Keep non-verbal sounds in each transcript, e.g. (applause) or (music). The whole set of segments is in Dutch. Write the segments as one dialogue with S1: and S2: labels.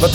S1: Wat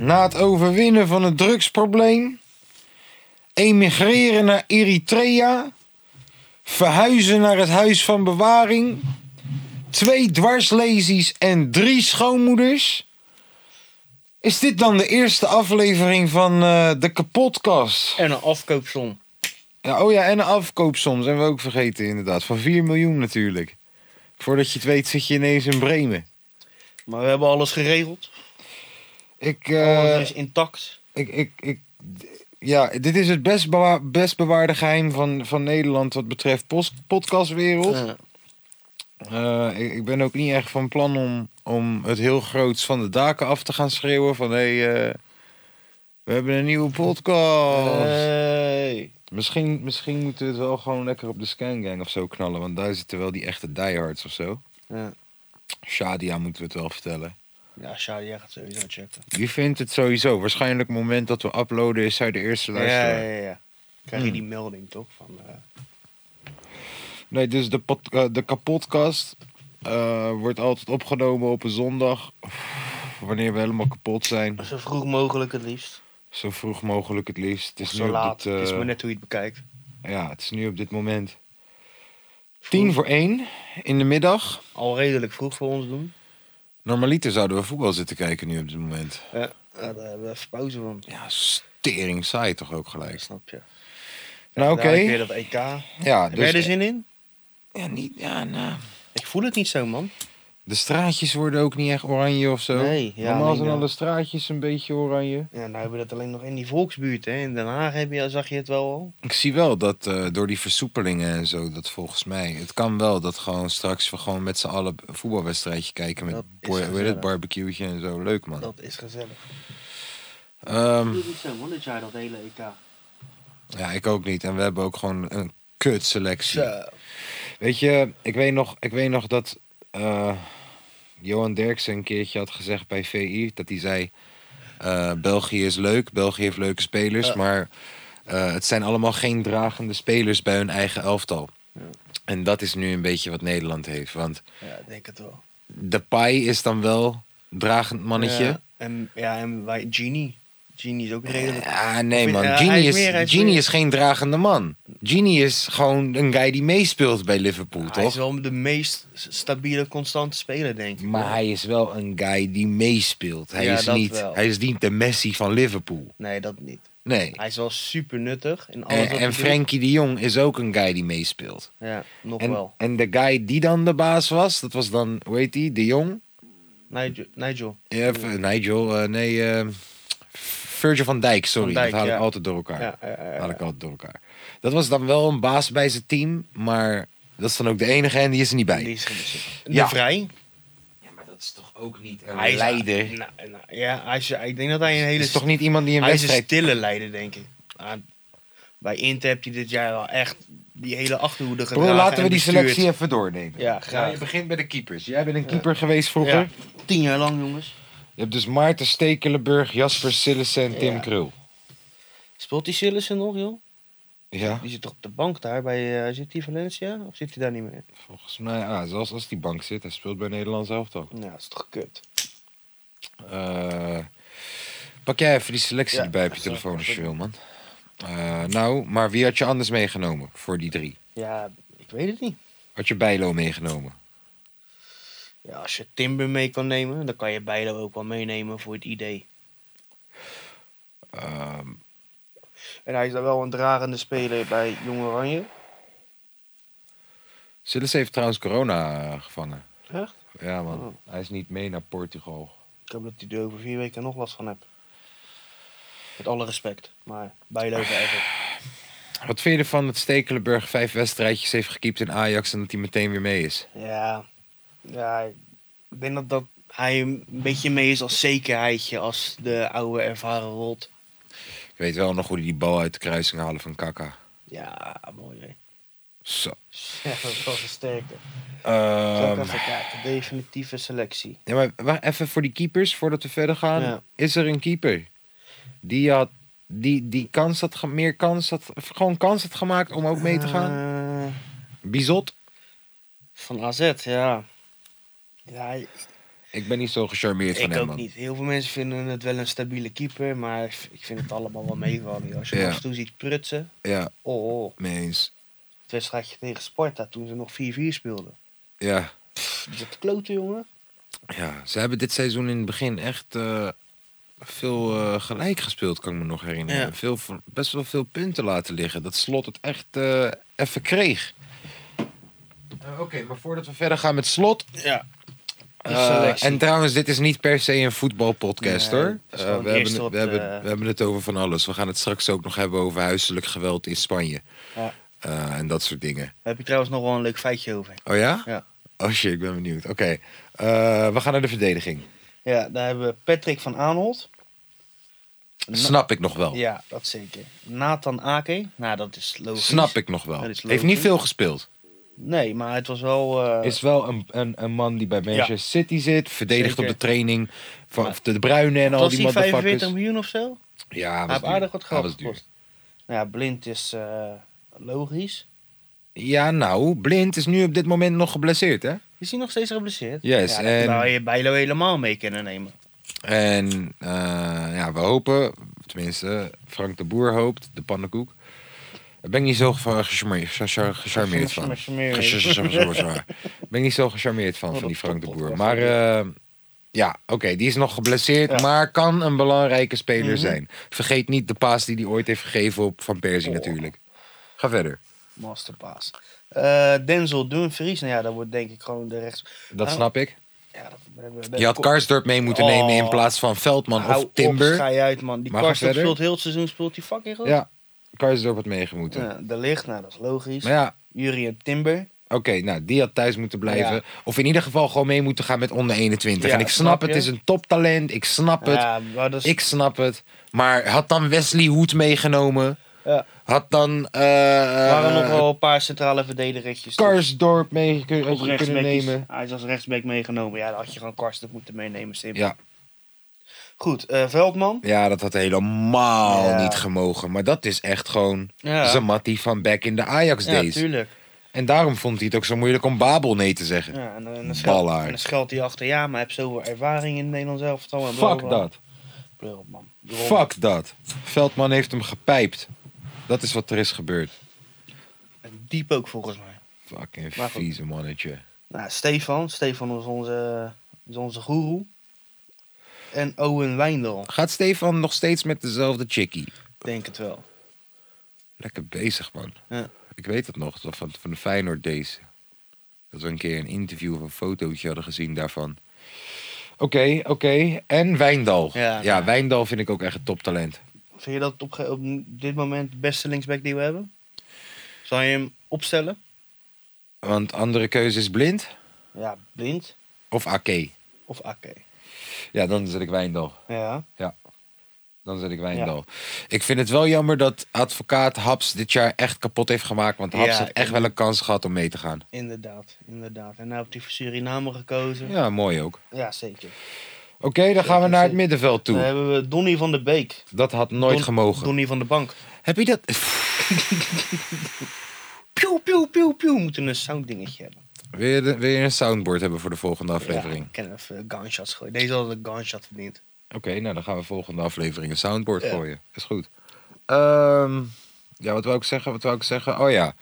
S1: Na het overwinnen van het drugsprobleem, emigreren naar Eritrea, verhuizen naar het huis van bewaring, twee dwarslesies en drie schoonmoeders. Is dit dan de eerste aflevering van eh, de kapotkast?
S2: En een afkoopsom.
S1: Ja, oh ja, en een afkoop soms. Hebben we ook vergeten, inderdaad. Van 4 miljoen natuurlijk. Voordat je het weet zit je ineens in Bremen.
S2: Maar we hebben alles geregeld.
S1: Ik,
S2: Alles
S1: eh,
S2: Oh, is intact.
S1: ik, ik, ik, ja, dit is het best, bewa- best bewaarde geheim van, van Nederland wat betreft pos- podcastwereld.
S2: Ja.
S1: Eh, ik, ik ben ook niet echt van plan om, om het heel groots van de daken af te gaan schreeuwen van hé, hey, eh, we hebben een nieuwe
S2: Eh,
S1: podcast.
S2: Hey.
S1: Misschien, misschien moeten we het wel gewoon lekker op de Scangang of zo knallen, want daar zitten wel die echte diehards of zo.
S2: Ja.
S1: Shadia moeten we het wel vertellen.
S2: Ja, Shadi, jij gaat sowieso checken.
S1: Die vindt het sowieso. Waarschijnlijk het moment dat we uploaden is zij de eerste luisteraar.
S2: Ja, ja, ja. Krijg je
S1: Hmm.
S2: die melding toch? Van, eh,
S1: Nee, dus de, pod, eh, de kapotkast eh, wordt altijd opgenomen op een zondag. Wanneer we helemaal kapot zijn.
S2: zo vroeg mogelijk het liefst.
S1: Zo vroeg mogelijk het liefst. Het is,
S2: Zo
S1: nu,
S2: laat.
S1: Op dit,
S2: Het is
S1: eh,
S2: maar net hoe je het bekijkt.
S1: ja, het is nu op dit moment. Tien voor één in de middag.
S2: Al redelijk vroeg voor ons doen.
S1: Normaliter zouden we voetbal zitten kijken nu op dit moment.
S2: Ja. Ja, daar hebben we even pauze van.
S1: Ja, stering saai toch ook
S2: Dat
S1: gelijk.
S2: snap je.
S1: Nou oké.
S2: Daarna heb je weer dat E EK.
S1: Ja,
S2: Heb jij er
S1: dus,
S2: zin in?
S1: ja, niet, ja, nou.
S2: Ik voel het niet zo, man.
S1: De straatjes worden ook niet echt oranje of zo.
S2: Nee, ja,
S1: Normaal
S2: nee,
S1: zijn
S2: ja.
S1: alle straatjes een beetje oranje.
S2: Ja, nou hebben we dat alleen nog in die volksbuurt, hè. In Den Haag heb je, zag je het wel al.
S1: Ik zie wel dat eh, door die versoepelingen en zo, dat volgens mij... Het kan wel dat gewoon straks we gewoon met z'n allen een voetbalwedstrijdje kijken... met
S2: Dat is
S1: bo- hoe heet het
S2: gezellig.
S1: barbecueetje en zo. Leuk, man.
S2: Dat is gezellig. Ik
S1: Ehm,
S2: voel het niet zo, man, dat jij dat hele E EK...
S1: ja, ik ook niet. En we hebben ook gewoon een kut selectie. Weet je, ik weet nog, ik weet nog dat eh, Johan Derksen een keertje had gezegd bij VI... dat hij zei, eh, België is leuk, België heeft leuke spelers...
S2: Ja.
S1: maar eh, het zijn allemaal geen dragende spelers bij hun eigen elftal. En dat is nu een beetje wat Nederland heeft. Want
S2: Ja, ik denk het wel.
S1: de Pai is dan wel dragend mannetje.
S2: Ja, en, ja, en wij, Genie. Genie is ook redelijk.
S1: Ah, nee
S2: Of-
S1: man.
S2: ja, hij
S1: Genie,
S2: is
S1: is,
S2: meer, hij is
S1: Genie
S2: meer.
S1: is geen dragende man. Genie is gewoon een guy die meespeelt bij Liverpool,
S2: hij
S1: toch?
S2: is wel de meest stabiele, constante speler, denk ik.
S1: Maar hij is wel een guy die meespeelt. Hij,
S2: Ja,
S1: is
S2: dat
S1: niet,
S2: wel.
S1: hij is niet de Messi van Liverpool.
S2: Nee, dat niet.
S1: Nee.
S2: Hij is wel super nuttig. In alles
S1: En,
S2: wat
S1: en
S2: hij
S1: Frenkie de Jong is ook een guy die meespeelt.
S2: doet. Ja, nog
S1: En,
S2: wel.
S1: en de guy die dan de baas was, dat was dan, hoe heet die? De Jong?
S2: Nigel. Nigel.
S1: Ja, v- Nigel, eh, nee, eh, Virgil van Dijk, sorry.
S2: Van Dijk,
S1: dat haal
S2: ja.
S1: ik altijd door elkaar.
S2: Ja, ja, ja, ja.
S1: haal ik altijd door elkaar. Dat was dan wel een baas bij zijn team, maar dat is dan ook de enige en die is er niet bij.
S2: Die is geblesseerd.
S1: Ja.
S2: De Vrij.
S1: Ja, maar dat is toch ook niet een
S2: Hij is
S1: leider? Het
S2: Nou, nou, ja, hij is, ik denk dat hij een hele.
S1: is toch niet iemand die een
S2: hij is een
S1: wedstrijd...
S2: stille leider, denk ik. Ah, bij Inter heeft hij dit jaar wel echt die hele achterhoede
S1: Broer,
S2: gedragen.
S1: laten we
S2: en
S1: die
S2: bestuurd.
S1: selectie even doornemen.
S2: Ja, graag.
S1: je begint bij de keepers. Jij bent een keeper geweest vroeger.
S2: Ja. Tien jaar lang, jongens.
S1: Je hebt dus Maarten Stekelenburg, Jasper Sillissen en Tim
S2: Ja.
S1: Krul.
S2: Speelt die Sillissen nog, joh?
S1: Ja,
S2: Die zit toch op de bank daar bij. eh zit die Valencia? Of zit hij daar niet meer?
S1: volgens mij, ah, zelfs als die bank zit, hij speelt bij Nederland zelf toch.
S2: Nou, dat is toch kut.
S1: Eh, pak jij even die selectie
S2: Ja,
S1: erbij op je
S2: dat
S1: telefoon
S2: zou
S1: als
S2: ik
S1: je wil, man. Eh, nou, maar wie had je anders meegenomen voor die drie?
S2: Ja, ik weet het niet.
S1: Had je Bijlo meegenomen?
S2: Ja, als je Timber mee kan nemen, dan kan je Bijlo ook wel meenemen voor het idee.
S1: Ehm,
S2: En hij is dan wel een dragende speler bij Jong Oranje.
S1: Sillissen heeft trouwens corona eh, gevangen.
S2: Echt?
S1: Ja, man.
S2: Oh.
S1: Hij is niet mee naar Portugal.
S2: Ik hoop dat hij er over vier weken nog last van hebt. Met alle respect. Maar Bijlo even.
S1: Wat vind je ervan dat Stekelenburg vijf wedstrijdjes heeft gekiept in Ajax en dat hij meteen weer mee is?
S2: (laughs) Ja. Ja, ik denk dat, dat hij een beetje mee is als zekerheidje. Als de oude ervaren rolt.
S1: Ik weet wel nog hoe die, die bal uit de kruising halen van Kaka.
S2: Ja, mooi hè.
S1: Zo.
S2: (laughs) Ja, dat was wel een sterke. Zal ik
S1: Ehm,
S2: even kijken. Definitieve selectie.
S1: ja, maar wacht even voor die keepers, voordat we verder gaan.
S2: Ja.
S1: Is er een keeper die, had, die, die kans had, ge- meer kans had, of gewoon kans had gemaakt om ook mee te gaan?
S2: Eh,
S1: Bizot?
S2: van AZ, ja. Ja,
S1: Ik ben niet zo gecharmeerd van
S2: ik
S1: hem,
S2: ook
S1: man.
S2: niet. Heel veel mensen vinden het wel een stabiele keeper, maar ik v- ik vind het allemaal wel meevallen. joh. Als je hem
S1: Ja.
S2: af en toe ziet prutsen,
S1: Ja,
S2: oh, oh.
S1: mee eens.
S2: het wedstrijdje tegen Sparta toen ze nog 4-4 speelden.
S1: Ja.
S2: Is dat klote, jongen?
S1: ja, ze hebben dit seizoen in het begin echt eh, veel eh, gelijk gespeeld, kan ik me nog herinneren.
S2: Ja.
S1: Veel, van- best wel veel punten laten liggen. Dat Slot het echt eh, even kreeg. Eh, Oké, maar voordat we verder gaan met Slot...
S2: Ja. De
S1: Eh,
S2: selectie.
S1: en trouwens, dit is niet per se een voetbalpodcast
S2: Nee,
S1: hoor.
S2: het
S1: Eh,
S2: is gewoon
S1: we,
S2: eerst
S1: hebben, het-
S2: wat,
S1: we, hebben,
S2: eh,
S1: we hebben het over van alles. We gaan het straks ook nog hebben over huiselijk geweld in Spanje.
S2: Ja.
S1: Eh, en dat soort dingen.
S2: Daar heb je trouwens nog wel een leuk feitje over.
S1: Oh ja?
S2: Ja.
S1: Oh shit, ik ben benieuwd. Oké, Eh, we gaan naar de verdediging.
S2: Ja, daar hebben we Patrick van Aanholt. Na-
S1: Snap ik nog wel.
S2: Ja, dat zeker. Nathan Ake. Nou, dat is logisch.
S1: Snap ik nog wel.
S2: Dat is
S1: Heeft niet
S2: logisch.
S1: veel gespeeld.
S2: Nee, maar het was wel... eh,
S1: Is wel een, een, een man die bij Manchester City zit. Verdedigt
S2: Zeker.
S1: op de training. Van
S2: Maar-
S1: de Bruinen en al
S2: was
S1: Nou, die
S2: die
S1: motherfuckers.
S2: 45 miljoen of zo?
S1: Ja, was
S2: Hij heeft
S1: duur.
S2: aardig wat
S1: Ja,
S2: geld
S1: was duur.
S2: gekost. Nou ja, Blind is eh, logisch.
S1: Ja, nou, Blind is nu op dit moment nog geblesseerd, hè?
S2: Is hij nog steeds geblesseerd?
S1: Yes,
S2: ja,
S1: en-
S2: en... zou je Bijlo helemaal mee kunnen nemen.
S1: En eh, ja, we hopen, tenminste, Frank de Boer hoopt, de pannenkoek. Daar ben ik niet zo ge- gecharmeerd gechar- gecharmeerd van.
S2: Gecharmeerd.
S1: Gecharmeerd. Ben ik niet zo gecharmeerd van, van die Frank de Boer. Maar eh, ja, oké, die is nog geblesseerd,
S2: Ja. Mhm.
S1: maar kan een belangrijke speler zijn. Vergeet niet de paas die hij ooit heeft gegeven op Van Persie
S2: Oh.
S1: natuurlijk. Ga verder.
S2: Masterpass. Eh Denzel Dumfries. Nou ja, dat wordt denk ik gewoon de rechts...
S1: Dat
S2: Ah,
S1: snap ik.
S2: Ja, dat, we hebben-
S1: Je had Karsdorp mee moeten nemen in
S2: Oh.
S1: plaats van Veldman
S2: Hou
S1: of Timber.
S2: Op, schei uit, man. Die
S1: Maar ga
S2: Karsten
S1: verder.
S2: speelt heel het seizoen speelt die fucking goed.
S1: Ja, Karsdorp had meegemoeten.
S2: Ja, de licht, nou dat is logisch.
S1: Maar ja,
S2: Jury en Timber.
S1: Oké, nou, die had thuis moeten blijven.
S2: Ja.
S1: Of in ieder geval gewoon mee moeten gaan met onder 21.
S2: Ja,
S1: en ik snap,
S2: snap
S1: het,
S2: je?
S1: is een toptalent. Ik snap het.
S2: Ja, maar dat is,
S1: Ik snap het. Maar had dan Wesley Hoed meegenomen?
S2: Ja.
S1: Had dan eh,
S2: er waren
S1: eh,
S2: nog wel een paar centrale verdedigertjes.
S1: Karsdorp mee kun-
S2: Op
S1: had je kunnen
S2: rechtsback is-
S1: nemen?
S2: Hij is als rechtsback meegenomen. Ja, dan had je gewoon Karsten moeten meenemen. Simpel.
S1: Ja.
S2: Goed, eh, Veldman.
S1: ja, dat had helemaal
S2: Ja.
S1: niet gemogen. Maar dat is echt gewoon
S2: Ja.
S1: zijn mattie van back in de Ajax
S2: Ja,
S1: days.
S2: tuurlijk.
S1: en daarom vond hij het ook zo moeilijk om Babel nee te zeggen.
S2: Ja, en, dan- en dan schelt,
S1: Ballaard.
S2: en dan schelt hij achter, ja, maar heb zoveel ervaring in het Nederlands elftal. en bla,
S1: Fuck
S2: bla, bla.
S1: dat.
S2: Pleur op, man. Pleur op.
S1: Fuck dat. Veldman heeft hem gepijpt. Dat is wat er is gebeurd.
S2: En Diep ook volgens mij.
S1: Fucking
S2: Maar goed.
S1: vieze mannetje.
S2: Nou, Stefan. Stefan is onze, is onze goeroe. En Owen Wijndal.
S1: Gaat Stefan nog steeds met dezelfde chickie?
S2: Denk het wel.
S1: Lekker bezig, man.
S2: Ja.
S1: Ik weet het nog, dat van, van de Feyenoord deze. Dat we een keer een interview of een fotootje hadden gezien daarvan. Oké, oké. En Wijndal.
S2: Ja.
S1: Wijndal vind ik ook echt een toptalent.
S2: Vind je dat op, ge- op dit moment de beste linksback die we hebben? Zou je hem opstellen?
S1: Want andere keuze is blind
S2: Ja, blind
S1: of Ake.
S2: of Aké.
S1: Ja, dan zet ik Wijndal.
S2: Ja.
S1: Dan zet ik Wijndal. Ik vind het wel jammer dat advocaat Haps dit jaar echt kapot heeft gemaakt. Want Haps
S2: Ja,
S1: had echt
S2: ik-
S1: wel een kans gehad om mee te gaan.
S2: Inderdaad, inderdaad. En nou heeft hij voor Suriname gekozen. Ja,
S1: Ja, mooi ook.
S2: zeker.
S1: Oké, dan gaan we naar het
S2: zeker.
S1: middenveld toe.
S2: Dan hebben we Donny van der Beek.
S1: Dat had nooit
S2: Don-
S1: gemogen.
S2: Donny van de Bank.
S1: Heb je dat?
S2: Piu, piu, piu, piu. We moeten een sounddingetje hebben.
S1: Wil je, de- wil je een soundboard hebben voor de volgende aflevering?
S2: Ja, ik kan even gunshots gooien. Deze had een gunshot verdiend.
S1: Oké, nou dan gaan we volgende aflevering een soundboard
S2: Ja.
S1: gooien. Is goed. Ehm, ja, wat wou ik zeggen? Wat wou ik zeggen? Oh ja.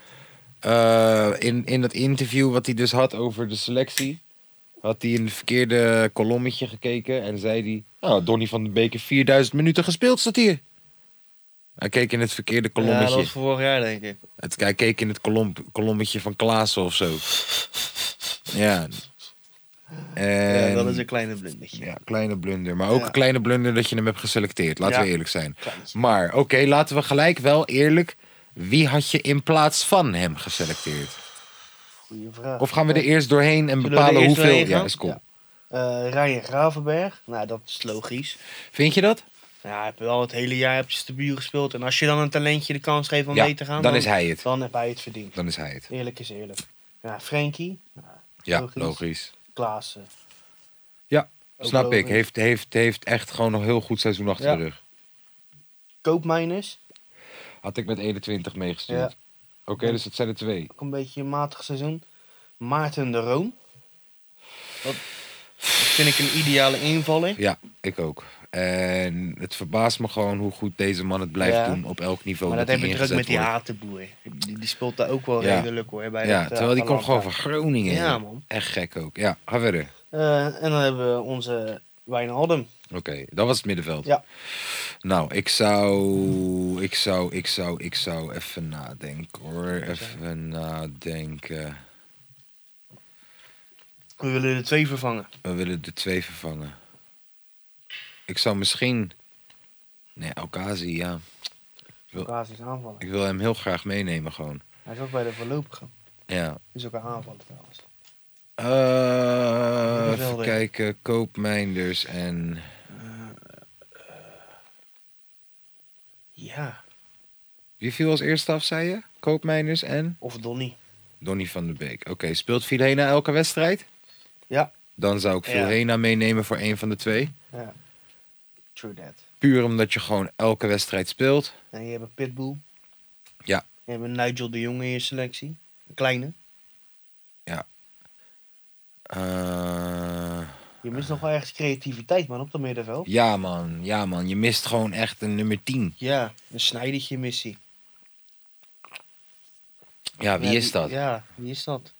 S1: Eh, in, in dat interview wat hij dus had over de selectie, had hij in het verkeerde kolommetje gekeken en zei hij: Nou, Donny van den Beek heeft 4000 minuten gespeeld, staat hier. Hij keek in het verkeerde
S2: Ja,
S1: kolommetje.
S2: dat was voor vorig jaar, denk ik.
S1: Het, hij keek in het kolom, kolommetje van Klaassen of zo. Ja. En,
S2: Ja, dat is een kleine blindetje.
S1: ja, kleine blunder. Maar ook
S2: Ja.
S1: een kleine blunder dat je hem hebt geselecteerd. Laten
S2: Ja.
S1: we eerlijk zijn.
S2: Kleintje.
S1: Maar oké, laten we gelijk wel eerlijk. Wie had je in plaats van hem geselecteerd?
S2: Goeie vraag.
S1: Of gaan we er eerst doorheen en
S2: we er
S1: bepalen
S2: eerst
S1: hoeveel?
S2: doorheen
S1: Ja,
S2: gaan?
S1: is cool.
S2: Ja. Eh Ryan Gravenberg. Nou, dat is logisch.
S1: Vind je dat?
S2: Ja, heb je wel het hele jaar heb je stabiel gespeeld. En als je dan een talentje de kans geeft om
S1: Ja,
S2: mee te gaan,
S1: dan is hij het.
S2: Dan heb hij het verdiend.
S1: Dan is hij het.
S2: Eerlijk is eerlijk. Ja, Frenkie,
S1: Ja,
S2: Logisch.
S1: logisch.
S2: Klaassen.
S1: Ja,
S2: Ook
S1: snap ik.
S2: logisch.
S1: Heeft, heeft, heeft echt gewoon een heel goed seizoen achter
S2: Ja.
S1: de rug.
S2: Koopmijners,
S1: Had ik met 21 meegestuurd.
S2: Ja.
S1: Oké, dus dat zijn er twee.
S2: ook een beetje een matig seizoen. Maarten de Room. Dat vind ik een ideale invaller.
S1: Ja, ik ook. En het verbaast me gewoon hoe goed deze man het blijft
S2: Ja.
S1: doen op elk niveau.
S2: Maar dat
S1: hij
S2: heb ik er ook met
S1: ingezet
S2: die
S1: wordt.
S2: Atenboer. Die, die speelt daar ook wel
S1: Ja.
S2: redelijk hoor. Bij
S1: Ja,
S2: dat, eh,
S1: terwijl die komt gewoon
S2: Atalanta.
S1: van Groningen.
S2: Ja,
S1: joh.
S2: man.
S1: Echt gek ook. Ja, ga verder.
S2: Eh, en dan hebben we onze Wijnaldum.
S1: Oké, dat was het middenveld.
S2: Ja.
S1: Nou, ik zou, ik zou, ik zou, ik zou even nadenken hoor. Even nadenken.
S2: We willen er twee vervangen.
S1: We willen de twee vervangen. Ik zou misschien... Nee, Alkazi, ja. Wil-
S2: Basis aanvallen.
S1: Ik wil hem heel graag meenemen gewoon.
S2: Hij is ook bij de voorlopige.
S1: Ja.
S2: Is ook een aanvaller trouwens.
S1: Eh,
S2: Middenvelder.
S1: even kijken. Koopmijnders en...
S2: Ja,
S1: Wie viel als eerste af, zei je? Koopmijnders en?
S2: of Donny.
S1: Donny van der Beek. Oké, speelt Vilhena elke wedstrijd?
S2: Ja.
S1: Dan zou ik
S2: Ja.
S1: Vilhena meenemen voor een van de twee.
S2: ja. True that.
S1: Puur omdat je gewoon elke wedstrijd speelt.
S2: En je hebt een Pitbull.
S1: Ja.
S2: Je hebt een Nigel de Jong in je selectie. Een kleine.
S1: Eh,
S2: Je mist nog wel ergens creativiteit, man, op dat middenveld.
S1: ja, man. Ja, man. Je mist gewoon echt een nummer 10.
S2: Ja, een snijdertje missie.
S1: Ja, wie is dat?
S2: Ja, wie is dat?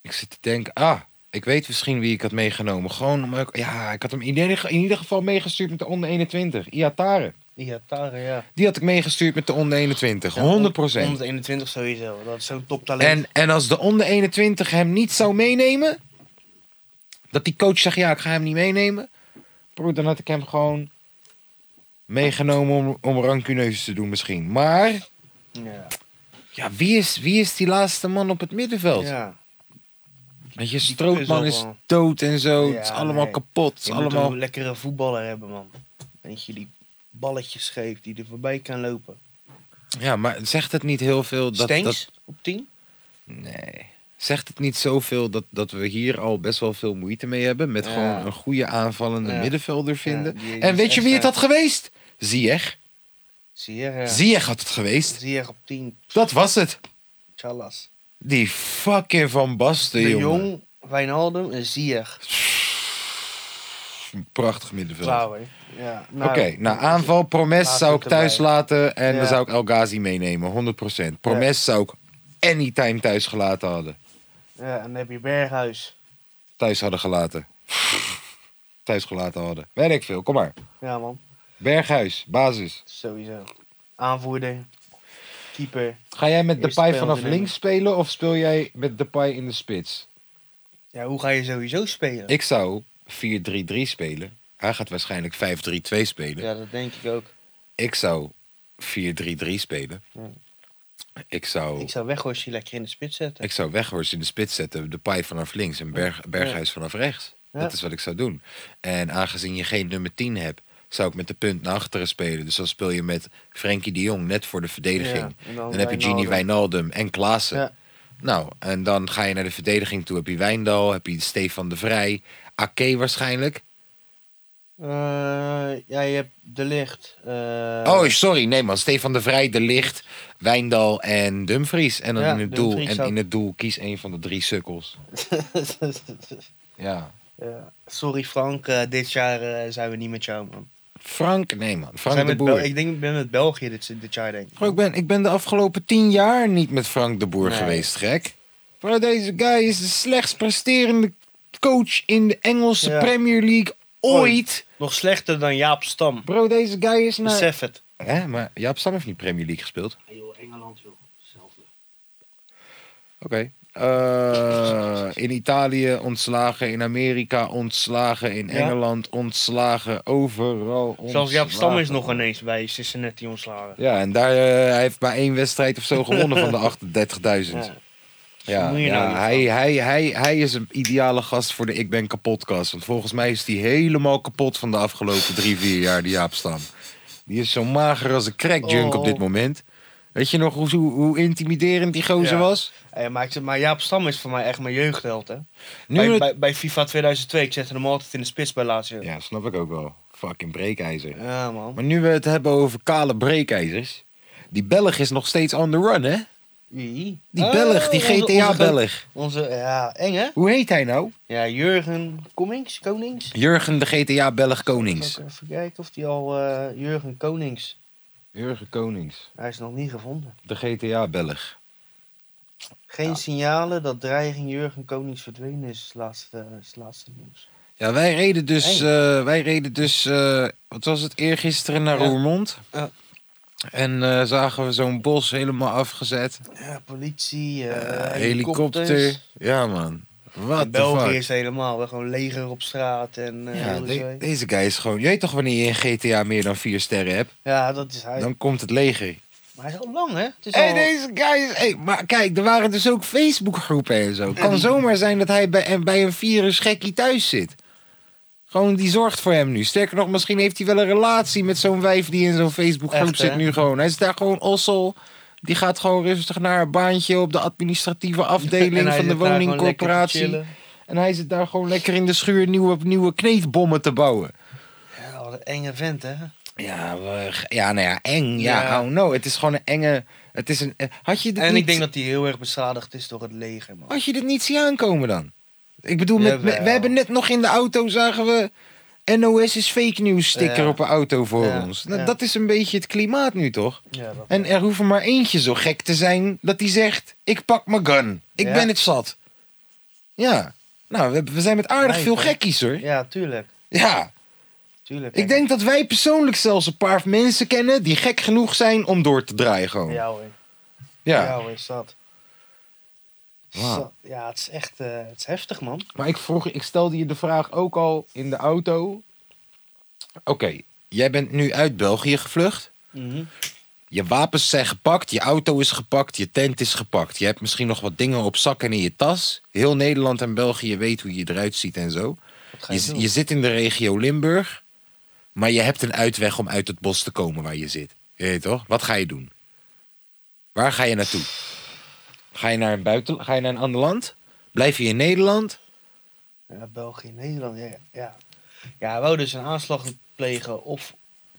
S1: Ik zit te denken, ah, ik weet misschien wie ik had meegenomen. Gewoon, om ook- ja, ik had hem in ieder, in ieder geval meegestuurd met de onder 21. Iatare.
S2: Ja, Tara, ja.
S1: Die had ik meegestuurd met de onder 21. 100%.
S2: 121 sowieso. Dat is zo'n toptalent.
S1: En, en als de onder 21 hem niet zou meenemen, dat die coach zegt, ja, ik ga hem niet meenemen. Broer, dan had ik hem gewoon meegenomen om, om rancuneus te doen misschien. Maar,
S2: Ja.
S1: ja, wie is, wie is die laatste man op het middenveld?
S2: ja.
S1: Weet je,
S2: is
S1: Strootman
S2: wel
S1: is
S2: wel-
S1: dood en zo.
S2: Ja,
S1: het is allemaal
S2: nee.
S1: kapot. Het is
S2: Je moet
S1: allemaal...
S2: een lekkere voetballer hebben, man. Eentje die balletjes geeft, die er voorbij kan lopen.
S1: Ja, maar zegt het niet heel veel dat...
S2: Stenks
S1: dat
S2: op 10?
S1: nee. Zegt het niet zoveel dat, dat we hier al best wel veel moeite mee hebben... met
S2: Ja.
S1: gewoon een goede aanvallende
S2: Ja.
S1: middenvelder vinden.
S2: die- die
S1: en
S2: is
S1: weet je
S2: echt,
S1: wie het
S2: eh,
S1: had geweest? Ziyech.
S2: Zie je? Ja.
S1: Ziyech had het geweest.
S2: Zie je op 10?
S1: Dat was het.
S2: Chalas.
S1: Die fucking Van Basten,
S2: De
S1: jongen.
S2: Jong, Wijnaldum en Zier.
S1: Prachtig middenveld.
S2: Klauwer. Ja, nou,
S1: Oké, nou aanval, Promes
S2: Laat
S1: zou
S2: het
S1: ik thuis
S2: erbij.
S1: laten en dan
S2: Ja.
S1: zou ik El Ghazi meenemen, 100%. Promes zou ik anytime thuis gelaten hadden.
S2: Ja, en dan heb je Berghuis.
S1: Thuis hadden gelaten. (laughs) Thuis gelaten hadden. Werk veel, kom maar.
S2: Ja, man.
S1: Berghuis, basis.
S2: Sowieso. Aanvoerder. Keeper.
S1: Ga jij met
S2: Eerste
S1: Depay
S2: speler
S1: vanaf
S2: erin.
S1: links spelen of speel jij met Depay in de spits?
S2: Ja, hoe ga je sowieso spelen?
S1: Ik zou 4-3-3 spelen. Hij gaat waarschijnlijk 5-3-2 spelen.
S2: Ja, dat denk ik ook.
S1: Ik zou 4-3-3 spelen.
S2: Ja.
S1: Ik zou...
S2: Hmm. Ik zou Weghorstje lekker in de spits zetten.
S1: Oh. Ik zou Weghorst in de spits zetten, de paai vanaf links en Berg, Berghuis vanaf rechts.
S2: Ja.
S1: Dat is wat ik zou doen. En aangezien je geen nummer 10 hebt, zou ik met de punt naar achteren spelen. Dus dan speel je met Frenkie de Jong net voor de verdediging.
S2: Ja, en
S1: dan
S2: dan
S1: heb je Gini
S2: Wijnaldum.
S1: Wijnaldum en Klaassen.
S2: Ja.
S1: Nou, en dan ga je naar de verdediging toe. Heb je Wijndal, heb je Stefan de Vrij, Ake waarschijnlijk.
S2: Eh, ja, je hebt De Licht. eh,
S1: oh, sorry, nee man. Stefan de Vrij, De Licht, Wijndal en Dumfries. En dan
S2: Ja,
S1: in het doel.
S2: Dumfries
S1: En
S2: ook.
S1: in het doel kies een van de drie sukkels. Ja.
S2: (laughs) Ja, sorry Frank, eh, dit jaar eh, zijn we niet met jou, man.
S1: Frank, nee man.
S2: We
S1: Frank
S2: zijn
S1: de
S2: met
S1: Boer.
S2: Bel- ik denk, ik ben met België dit, dit jaar, denk ik.
S1: Bro, ik, ben, ik ben de afgelopen tien jaar niet met Frank de Boer
S2: Nee.
S1: geweest, gek. Bro, deze guy is de slechtst presterende coach in de Engelse
S2: Ja.
S1: Premier League ooit.
S2: Nog slechter dan Jaap Stam.
S1: Bro, deze guy is naar...
S2: Besef het.
S1: Hè, maar Jaap Stam heeft niet Premier League gespeeld.
S2: Engeland, joh. Hetzelfde.
S1: Oké. Eh, in Italië ontslagen, in Amerika ontslagen, in
S2: Ja.
S1: Engeland ontslagen, overal ontslagen.
S2: Zelfs Jaap Stam is nog ineens bij Cincinnati ontslagen.
S1: Ja, en daar, eh, hij heeft maar één wedstrijd of zo gewonnen
S2: (laughs)
S1: van de 38.000.
S2: Ja.
S1: Ja,
S2: moet je
S1: ja,
S2: nou niet
S1: hij, hij, hij, hij is een ideale gast voor de Ik Ben Kapotcast. Want volgens mij is hij helemaal kapot van de afgelopen drie, vier jaar, die Jaap Stam. Die is zo mager als een crackjunk op dit
S2: Oh.
S1: moment. Weet je nog hoe, hoe, hoe intimiderend die gozer
S2: Ja.
S1: was?
S2: Hey, Eh, maar, ik zeg, maar Jaap Stam is voor mij echt mijn jeugdheld, hè?
S1: Nu
S2: bij,
S1: het-
S2: bij, bij FIFA 2002, ik zette hem altijd in de spits bij Lazio. Ja,
S1: Ja, snap ik ook wel. Fucking breekijzer.
S2: man.
S1: Maar nu we het hebben over kale breekijzers. Die Belg is nog steeds on the run, hè?
S2: Wie?
S1: Die
S2: Oh,
S1: Belg, die
S2: onze- onze grote-
S1: GTA-Belg.
S2: Onze, ja, eng hè?
S1: Hoe heet hij nou?
S2: Ja, Jurgen Konings, Konings.
S1: Jurgen de GTA-Belg Konings.
S2: Zal ik Even kijken of die al, eh, Jurgen Konings,
S1: Jurgen Konings,
S2: hij is nog niet gevonden.
S1: de GTA-Belg.
S2: Geen signalen dat dreiging Jurgen Konings verdwenen is, is laatste, eh, is laatste nieuws.
S1: Ja, wij reden dus, eh, wij reden dus eh, wat was het, eergisteren naar
S2: Ja.
S1: Roermond.
S2: Ja.
S1: En eh, zagen we zo'n bos helemaal afgezet.
S2: Ja, politie, eh, helikopters.
S1: Helikopter. Ja, man.
S2: In
S1: Wat de
S2: België
S1: fuck.
S2: is het helemaal wel gewoon leger op straat en eh,
S1: Ja,
S2: hele
S1: de-
S2: zooi.
S1: deze guy is gewoon... Je weet toch wanneer je in GTA meer dan vier sterren hebt?
S2: ja, dat is hij.
S1: Dan komt het leger.
S2: Maar hij is al lang, hè? Het is
S1: Hé,
S2: (laughs) al...
S1: deze guy is... Hey, maar kijk, er waren dus ook Facebookgroepen en zo. kan zomaar zijn dat hij bij, en bij een virus gekkie thuis zit. Gewoon, die zorgt voor hem nu. Sterker nog, misschien heeft hij wel een relatie met zo'n wijf die in zo'n Facebookgroep
S2: Echt,
S1: zit
S2: hè?
S1: nu gewoon. Hij is daar gewoon ossel. Die gaat gewoon rustig naar een baantje op de administratieve
S2: (laughs) En
S1: afdeling
S2: hij
S1: van de
S2: zit daar gewoon
S1: woningcorporatie.
S2: lekker te chillen.
S1: En hij zit daar gewoon lekker in de schuur nieuwe, nieuwe kneedbommen te bouwen.
S2: Ja, wat een enge vent, hè?
S1: Ja, we- ja nou ja, eng. Ja,
S2: Ja.
S1: oh no. Het is gewoon een enge... Het is een, eh, had je dit
S2: En
S1: niet-
S2: ik denk dat hij heel erg beschadigd is door het leger, man.
S1: Als je dit niet ziet aankomen dan. Ik bedoel, met, we,
S2: Jawel.
S1: we hebben net nog in de auto zagen we... NOS is fake news sticker
S2: Ja.
S1: op een auto voor
S2: Ja,
S1: ons. Nou,
S2: ja.
S1: Dat is een beetje het klimaat nu toch?
S2: Ja, dat...
S1: En er hoeft er maar eentje zo gek te zijn dat hij zegt... Ik pak mijn gun. Ik
S2: Ja.
S1: ben het zat. Ja. Nou, we, we zijn met aardig
S2: Nee,
S1: veel
S2: toch?
S1: gekkies hoor.
S2: ja tuurlijk.
S1: Ja.
S2: tuurlijk.
S1: Ik denk dat wij persoonlijk zelfs een paar mensen kennen... die gek genoeg zijn om door te draaien gewoon. Ja.
S2: Ja hoor. Ja,
S1: ja.
S2: hoor, is dat.
S1: Wauw.
S2: Zo- Ja, het is echt eh, het is heftig, man.
S1: Maar ik vroeg, ik stelde je de vraag ook al in de auto. Oké, jij bent nu uit België gevlucht.
S2: Mhm.
S1: Je wapens zijn gepakt, je auto is gepakt, je tent is gepakt. Je hebt misschien nog wat dingen op zak en in je tas. Heel Nederland en België weet hoe je eruit ziet en zo.
S2: Wat ga je,
S1: Je,
S2: doen?
S1: je zit in de regio Limburg, maar je hebt een uitweg om uit het bos te komen waar je zit. Je weet toch? Wat ga je doen? Waar ga je naartoe? Ga je naar, een buiten, ga je naar een ander land? Blijf je in Nederland?
S2: Ja, België, Nederland, ja. Ja, ja wou dus een aanslag plegen of...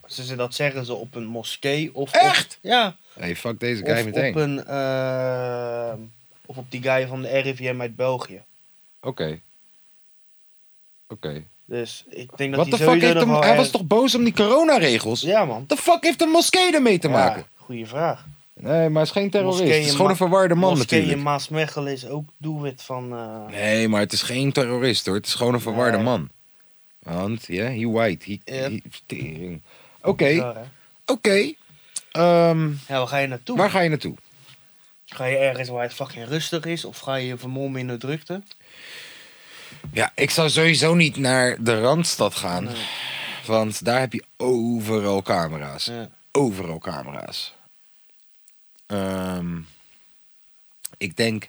S2: Ze, ze- dat zeggen ze op een moskee of... op-
S1: Echt?
S2: ja.
S1: Hey, fuck deze guy
S2: Of op
S1: meteen. Oké.
S2: een... eh, of op die guy van de RIVM uit België.
S1: Oké.
S2: Dus ik denk dat
S1: Wat
S2: die
S1: de fuck
S2: sowieso
S1: heeft
S2: nog
S1: hem... Hij
S2: wel
S1: was
S2: ergens-
S1: toch boos om die coronaregels?
S2: Ja, man.
S1: Wat de fuck heeft een moskee ermee te
S2: Ja,
S1: maken?
S2: Goeie vraag.
S1: Nee, maar hij is geen terrorist.
S2: Moskee
S1: het is
S2: in
S1: gewoon
S2: Ma-
S1: een verwarde man
S2: moskee
S1: natuurlijk.
S2: in Maasmechelen is ook doelwit van... eh,
S1: Nee, maar het is geen terrorist hoor. Het is gewoon een verwarde
S2: Nee.
S1: man. Want, ja, he white. He,
S2: Yep.
S1: he- tering. Oké,
S2: bizar, hè?
S1: oké. Ehm,
S2: Ja, waar ga je naartoe?
S1: waar ga je naartoe?
S2: Ga je ergens waar het fucking rustig is? Of ga je je vermommen in de drukte?
S1: Ja, ik zou sowieso niet naar de Randstad gaan.
S2: Nee.
S1: Want daar heb je overal camera's.
S2: Ja.
S1: overal camera's. Ehm, ik denk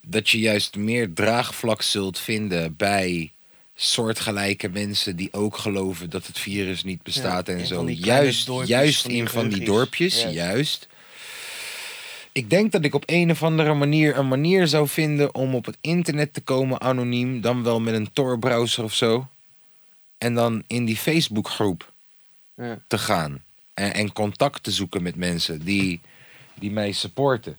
S1: dat je juist meer draagvlak zult vinden bij soortgelijke mensen die ook geloven dat het virus niet bestaat
S2: Ja,
S1: en
S2: in
S1: zo.
S2: van die kleine
S1: Juist,
S2: dorpjes,
S1: juist
S2: van die
S1: in van die
S2: geheugjes.
S1: dorpjes,
S2: Ja.
S1: juist. Ik denk dat ik op een of andere manier een manier zou vinden om op het internet te komen anoniem, dan wel met een Tor-browser of zo. En dan in die Facebookgroep
S2: Ja.
S1: te gaan. En, en contact te zoeken met mensen die, die mij supporten.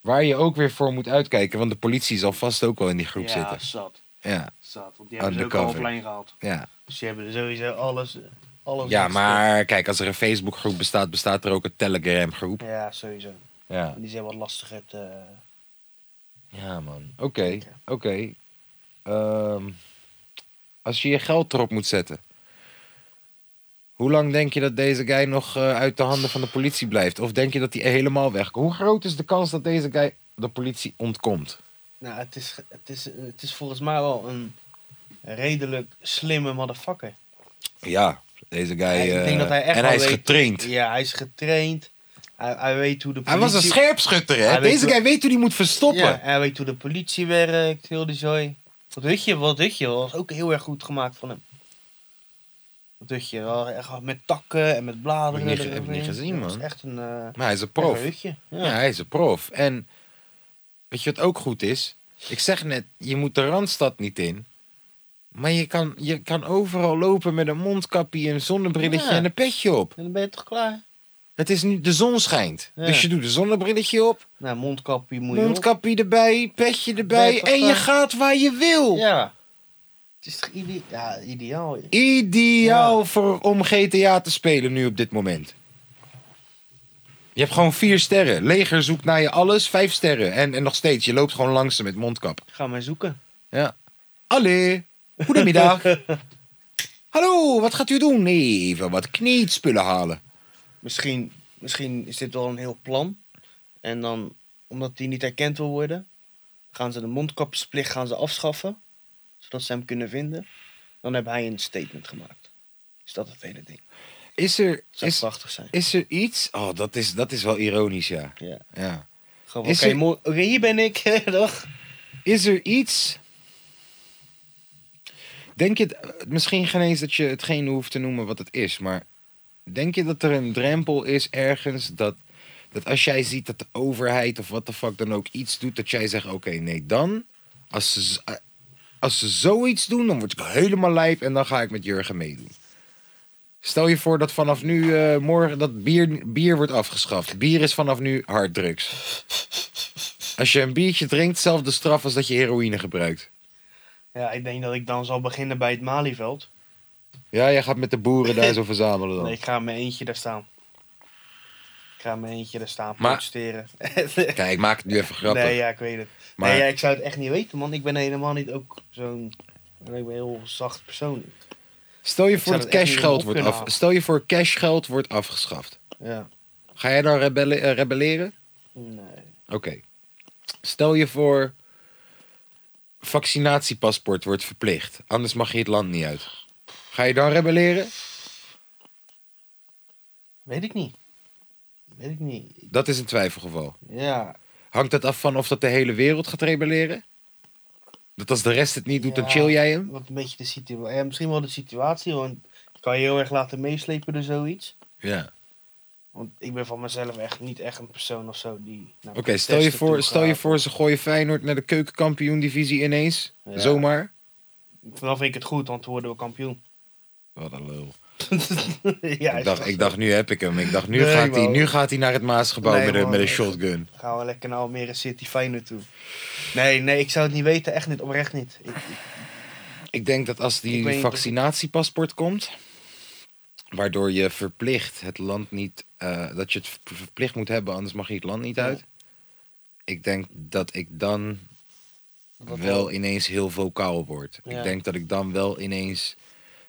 S1: Waar je ook weer voor moet uitkijken, want de politie zal vast ook wel in die groep
S2: ja,
S1: zitten.
S2: zat.
S1: Ja,
S2: Zat. Want die hebben ze ook al
S1: Undercover.
S2: offline gehaald.
S1: ja.
S2: Dus die hebben sowieso alles... alles
S1: ja,
S2: gestopt.
S1: maar kijk, als er een Facebookgroep bestaat, bestaat er ook een Telegram-groep.
S2: Ja, sowieso.
S1: Ja.
S2: Die zijn wat lastig het... eh,
S1: ja, man. Oké, oké. Ehm, als je je geld erop moet zetten, hoe lang denk je dat deze guy nog eh, uit de handen van de politie blijft? Of denk je dat hij helemaal wegkomt? Hoe groot is de kans dat deze guy de politie ontkomt?
S2: Nou, het is, het, is, het is volgens mij wel een redelijk slimme motherfucker.
S1: Ja, deze guy.
S2: Ja, ik
S1: eh,
S2: denk dat hij echt
S1: en
S2: wel
S1: hij is
S2: weet-
S1: getraind.
S2: Ja, hij is getraind. Hij, hij weet hoe de
S1: Hij
S2: politie...
S1: was een scherpschutter, hè?
S2: Hij weet
S1: Deze
S2: hoe-
S1: guy weet hoe hij moet verstoppen.
S2: Ja, hij weet hoe de politie werkt, heel die zooi. Wat hutje, wat hutje was ook heel erg goed gemaakt van hem. hutje. Wel echt Met takken en met bladeren.
S1: Heb ik niet ge- heb ik
S2: eroverheen.
S1: niet gezien,
S2: Het was
S1: man.
S2: echt een, eh,
S1: Maar hij is een
S2: echt
S1: prof.
S2: een hutje.
S1: Ja, hij is een prof. En weet je wat ook goed is? Ik zeg net, je moet de Randstad niet in. Maar je kan, je kan overal lopen met een mondkapje, een zonnebrilletje
S2: Ja.
S1: en een petje op.
S2: En dan ben je toch klaar?
S1: Het is nu, de zon schijnt.
S2: Ja.
S1: Dus je doet een zonnebrilletje op,
S2: Nou, mondkapje moet je op.
S1: mondkapje erbij, petje
S2: Ben je
S1: erbij.
S2: toch,
S1: En je
S2: eh,
S1: gaat waar je wil.
S2: Ja. Het is toch ide- ja, ideaal? joh.
S1: Ideaal voor, om GTA te spelen nu op dit moment. Je hebt gewoon vier sterren. Leger zoekt naar je alles, vijf sterren. En, en nog steeds, je loopt gewoon langs ze met mondkap.
S2: Ga maar zoeken.
S1: Ja. Allee,
S2: (laughs)
S1: goedemiddag. Hallo, wat gaat u doen? Even wat kneedspullen halen.
S2: Misschien, misschien is dit wel een heel plan. En dan, omdat die niet herkend wil worden, gaan ze de mondkapjesplicht gaan ze afschaffen. Zodat ze hem kunnen vinden. Dan heb hij een statement gemaakt. Is dat het hele ding?
S1: Is er,
S2: Zou
S1: is,
S2: prachtig zijn.
S1: is er iets... Oh, dat is, dat is wel ironisch, ja.
S2: Ja.
S1: ja.
S2: Gewoon,
S1: Is
S2: Oké,
S1: er-
S2: mo- oké, hier ben ik. (laughs) Dag.
S1: Is er iets... Denk je, het- misschien geen eens dat je hetgeen hoeft te noemen wat het is, maar denk je dat er een drempel is ergens dat, dat als jij ziet dat de overheid of wat de fuck dan ook iets doet, dat jij zegt: Oké, nee, dan, als ze, z- eh, als ze zoiets doen, dan word ik helemaal lijp en dan ga ik met Jurgen meedoen. Stel je voor dat vanaf nu eh, morgen dat bier, bier wordt afgeschaft. Bier is vanaf nu harddrugs. Als je een biertje drinkt, zelfde straf als dat je heroïne gebruikt.
S2: Ja, ik denk dat ik dan zal beginnen bij het Malieveld.
S1: Ja, jij gaat met de boeren daar
S2: (laughs)
S1: zo verzamelen dan.
S2: Nee, ik ga in mijn eentje daar staan. Ik ga in mijn eentje daar staan,
S1: Maar-
S2: protesteren. (laughs) eh,
S1: Kijk, ik maak het nu even grappig.
S2: Nee, ja, ik weet het.
S1: Maar-
S2: Nee, ja, ik zou het echt niet weten, man. Ik ben helemaal niet ook zo'n... Ik ben een heel zacht persoon.
S1: Stel je
S2: Ik
S1: voor
S2: zou
S1: het
S2: het echt niet
S1: cashgeld
S2: op
S1: wordt
S2: kunnen
S1: af.
S2: halen.
S1: Stel je voor cashgeld wordt afgeschaft.
S2: Ja.
S1: Ga jij dan rebelle- eh, rebelleren?
S2: Nee.
S1: Oké. Stel je voor vaccinatiepaspoort wordt verplicht. Anders mag je het land niet uit. Ga je dan rebelleren?
S2: Weet ik niet. Weet ik niet.
S1: Dat is een twijfelgeval.
S2: Ja.
S1: Hangt dat af van of dat de hele wereld gaat rebelleren? Dat als de rest het niet doet,
S2: Ja,
S1: dan chill jij hem?
S2: Wat een beetje de situatie... Ja, misschien wel de situatie, want je kan je heel erg laten meeslepen door zoiets.
S1: Ja.
S2: Want ik ben van mezelf echt niet echt een persoon of zo die... naar
S1: Oké, stel, je
S2: protesten toe
S1: voor, stel je
S2: gaat.
S1: voor ze gooien Feyenoord naar de keukenkampioen-divisie ineens.
S2: Ja.
S1: Zomaar.
S2: Dan vind ik het goed, want dan worden we kampioen. (laughs)
S1: Wat een lul.
S2: ja,
S1: ik, dacht,
S2: is toch
S1: ik
S2: zo.
S1: dacht, nu heb ik hem. Ik dacht, nu,
S2: Nee,
S1: gaat, hij,
S2: man.
S1: nu gaat hij naar het Maasgebouw
S2: Nee,
S1: met, een,
S2: man.
S1: met een shotgun.
S2: Gaan we lekker naar Almere City Feyenoord toe. Nee, nee, ik zou het niet weten. Echt niet, oprecht niet. Ik, ik-
S1: Ik denk dat als
S2: Ik
S1: die
S2: weet niet of ik-
S1: vaccinatiepaspoort komt, waardoor je verplicht het land niet, eh, dat je het ver- verplicht moet hebben, anders mag je het land niet
S2: Ja.
S1: uit. Ik denk dat ik dan
S2: dat
S1: wel ineens heel vocaal word. Ik
S2: Ja.
S1: denk dat ik dan wel ineens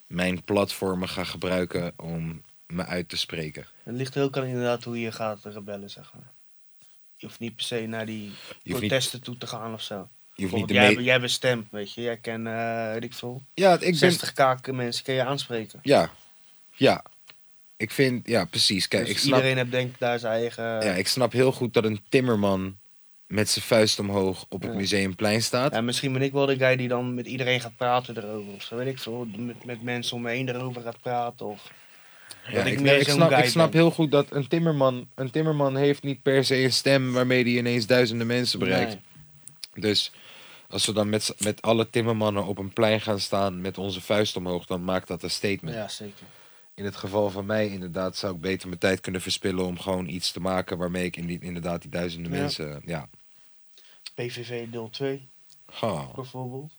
S1: mijn platformen ga gebruiken om me uit te spreken.
S2: Het ligt er ook aan inderdaad hoe je gaat rebellen, zeg maar. Je hoeft niet per se naar die
S1: Je hoeft niet-
S2: protesten toe te gaan of zo.
S1: Je hoeft niet de
S2: Bijvoorbeeld, jij,
S1: me-
S2: jij bent stem, weet je. Jij kent, eh weet ik veel,
S1: Ja, ik ben...
S2: 60k mensen kan je aanspreken.
S1: Ja, ja. Ik vind, ja, precies. Kijk,
S2: dus
S1: ik snap...
S2: iedereen eh, heeft denk ik daar zijn eigen...
S1: Ja,
S2: Ja,
S1: ik snap heel goed dat een timmerman met zijn vuist omhoog op het
S2: Ja.
S1: museumplein staat.
S2: misschien ben ik wel de guy die dan met iedereen gaat praten erover. Of zo, weet ik veel. Met, met mensen om me heen erover gaat praten. Of...
S1: Ja,
S2: dat ik
S1: ik,
S2: meer
S1: nee, ik
S2: zo'n
S1: snap,
S2: guy
S1: ik snap
S2: ben.
S1: heel goed dat een timmerman, een timmerman heeft niet per se een stem waarmee hij ineens duizenden mensen bereikt.
S2: Nee.
S1: Dus als we dan met, z'n- met alle timmermannen op een plein gaan staan met onze vuist omhoog, dan maakt dat een statement.
S2: Ja, zeker.
S1: In het geval van mij inderdaad zou ik beter mijn tijd kunnen verspillen om gewoon iets te maken waarmee ik in die- inderdaad die duizenden
S2: Ja.
S1: mensen... Ja.
S2: PVV deel 2.
S1: Ha.
S2: bijvoorbeeld.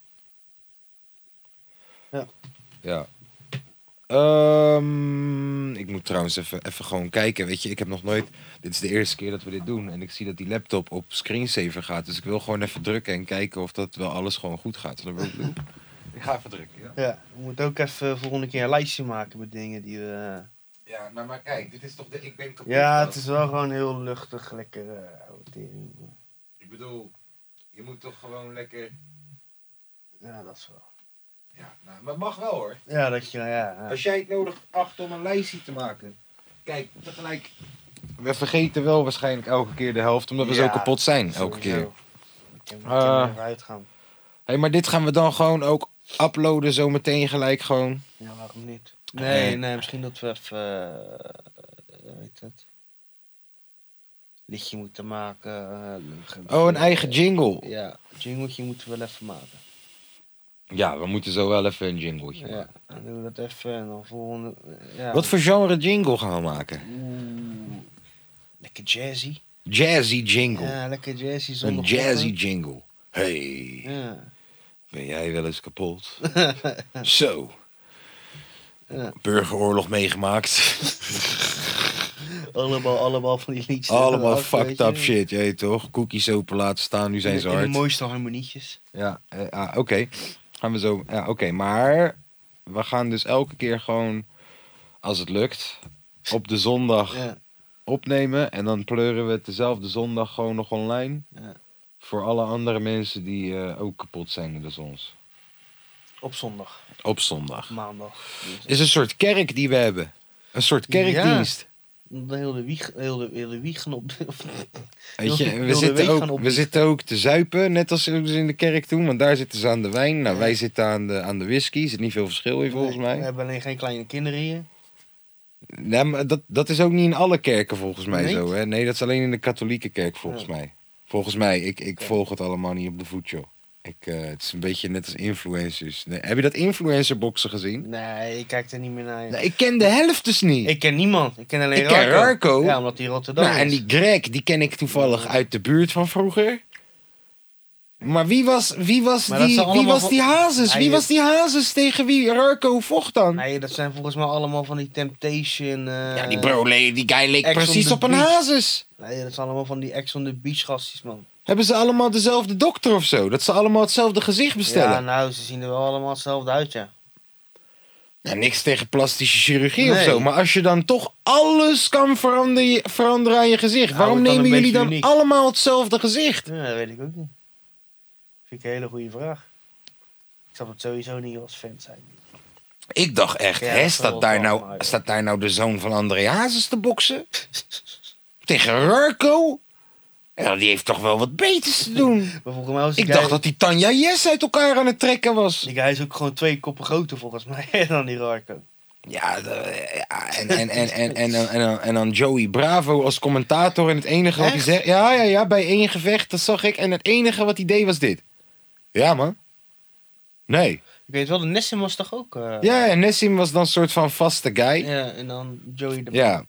S1: Ja. Ehm, ik moet trouwens even, even gewoon kijken. Weet je, ik heb nog nooit. Dit is de eerste keer dat we dit doen. En ik zie dat die laptop op screensaver gaat. Dus ik wil gewoon even drukken en kijken of dat wel alles gewoon goed gaat. Zullen we dat doen? Ik ga even drukken. Ja.
S2: Ja, we moeten ook even volgende keer een lijstje maken met dingen die we... eh,
S1: ja, nou maar kijk, dit is toch de Ik Ben Kapot.
S2: Ja, het is wel gewoon heel luchtig, lekker eh oude tering.
S1: Ik bedoel, je moet toch gewoon lekker.
S2: Ja, dat is wel...
S1: Ja, nou, maar het mag wel hoor.
S2: Ja, dat je, ja. ja.
S1: Als jij het nodig acht om een lijstje te maken. Kijk, tegelijk. We vergeten wel waarschijnlijk elke keer de helft, omdat we zo
S2: Ja,
S1: kapot zijn elke keer.
S2: Sowieso. We kunnen we
S1: Eh.
S2: kunnen eruit gaan.
S1: Hé, maar dit gaan we dan gewoon ook uploaden zometeen gelijk gewoon.
S2: Ja, waarom niet? Nee,
S1: Eh.
S2: nee, misschien dat we even. eh, hoe heet het? Liedje moeten maken. eh,
S1: Oh, een eigen jingle.
S2: Ja, jingletje moeten we wel even maken.
S1: Ja, we moeten zo wel even een jingletje
S2: Ja,
S1: maken.
S2: dan doen we dat even en dan volgende. eh, Ja.
S1: Wat voor genre jingle gaan we maken?
S2: Oeh, Lekker jazzy.
S1: Jazzy jingle.
S2: Ja, lekker jazzy
S1: een
S2: zonder
S1: jazzy
S2: koppen.
S1: jingle. Hey,
S2: Ja.
S1: ben jij wel eens
S2: (laughs)
S1: kapot? zo.
S2: Ja.
S1: Burgeroorlog meegemaakt.
S2: Allemaal, allemaal van die
S1: (laughs)
S2: liedjes.
S1: Allemaal
S2: Ach, weet
S1: fucked
S2: je.
S1: up shit, je weet toch? Cookies open laten staan, nu zijn
S2: In
S1: ze
S2: de- in de
S1: hard.
S2: mooiste harmonietjes.
S1: Ja, eh, ah, oké. Gaan we zo. Ja, oké, maar we gaan dus elke keer gewoon, als het lukt, op de zondag
S2: Ja.
S1: opnemen. En dan pleuren we het dezelfde zondag gewoon nog online.
S2: Ja.
S1: Voor alle andere mensen die eh, ook kapot zijn, dus ons.
S2: Op zondag,
S1: Op zondag.
S2: maandag. Dus dinsdag.
S1: Is een soort kerk die we hebben. Een soort kerkdienst.
S2: Dan heel de wieg, heel de, heel de wiegen op. de-
S1: Weet je,
S2: Heel de-
S1: we,
S2: heel de week
S1: zitten
S2: gaan
S1: ook, we
S2: opbiechten.
S1: zitten ook te zuipen, net als ze in de kerk toen. Want daar zitten ze aan de wijn. Nou, wij zitten aan de, aan de whisky. Er zit niet veel verschil in, volgens
S2: We
S1: mij.
S2: hebben alleen geen kleine kinderen hier.
S1: Nee, maar dat, dat is ook niet in alle kerken, volgens mij,
S2: Nee?
S1: zo. Hè? Nee, dat is alleen in de katholieke kerk, volgens
S2: Ja.
S1: mij. Volgens mij, ik, ik volg het allemaal niet op de voet, joh. Ik, eh, het is een beetje net als influencers. Nee, heb je dat influencerboksen gezien?
S2: Nee, ik kijk er niet meer naar.
S1: Nou, ik ken de helft dus niet.
S2: Ik ken niemand. Ik ken alleen
S1: Ik ken Rarko.
S2: Ja, omdat hij in Rotterdam
S1: nou, en
S2: is.
S1: die Greg, die ken ik toevallig uit de buurt van vroeger. Maar wie was, wie was,
S2: Maar dat
S1: die,
S2: zijn
S1: wie
S2: allemaal
S1: was
S2: van-
S1: die hazes?
S2: Hij
S1: Wie
S2: is-
S1: was die hazes tegen wie Rarko vocht dan?
S2: Nee, dat zijn volgens mij allemaal van die Temptation. eh,
S1: ja, die Broly, die guy leek
S2: Ex on
S1: precies
S2: the
S1: op een
S2: beach.
S1: hazes.
S2: Nee, dat zijn allemaal van die ex on the beach gastjes, man.
S1: Hebben ze allemaal dezelfde dokter of zo? Dat ze allemaal hetzelfde gezicht bestellen?
S2: Ja,
S1: nou...
S2: nou, ze zien er wel allemaal hetzelfde uit, ja.
S1: Nou, niks tegen plastische chirurgie of
S2: Nee.
S1: zo. Maar als je dan toch alles kan veranderen, veranderen aan je gezicht...
S2: Hou
S1: waarom
S2: het dan
S1: nemen
S2: een
S1: jullie
S2: beetje
S1: dan
S2: uniek.
S1: allemaal hetzelfde gezicht?
S2: ja. Dat weet ik ook niet. Vind ik een hele goede vraag. Ik snap het sowieso niet als fan (laughs) zijn.
S1: Ik dacht echt,
S2: Ja,
S1: hè,
S2: dat zal
S1: staat,
S2: wel
S1: daar
S2: wel,
S1: nou,
S2: maar-
S1: staat daar nou de zoon van André Hazes te boksen? Tegen Rurko? Ja, die heeft toch wel wat beters te (laughs) doen.
S2: Maar volgens mij was die
S1: Ik
S2: guy-
S1: dacht dat die Tanja Yes uit elkaar aan het trekken was.
S2: Die guy is ook gewoon twee koppen groter volgens mij (laughs) dan die Rarko.
S1: Ja, de- ja, en, en, en, en, en, en, en, dan- en dan Joey Bravo als commentator. En het enige wat hij
S2: Echt?
S1: zegt... Ja, ja, ja, bij één gevecht, dat zag ik. En het enige wat hij deed was dit. Ja, man. Nee.
S2: Ik weet wel, de Nessim was toch ook... eh,
S1: Ja, en Nessim was dan een soort van vaste guy.
S2: ja, en dan Joey de...
S1: Ja.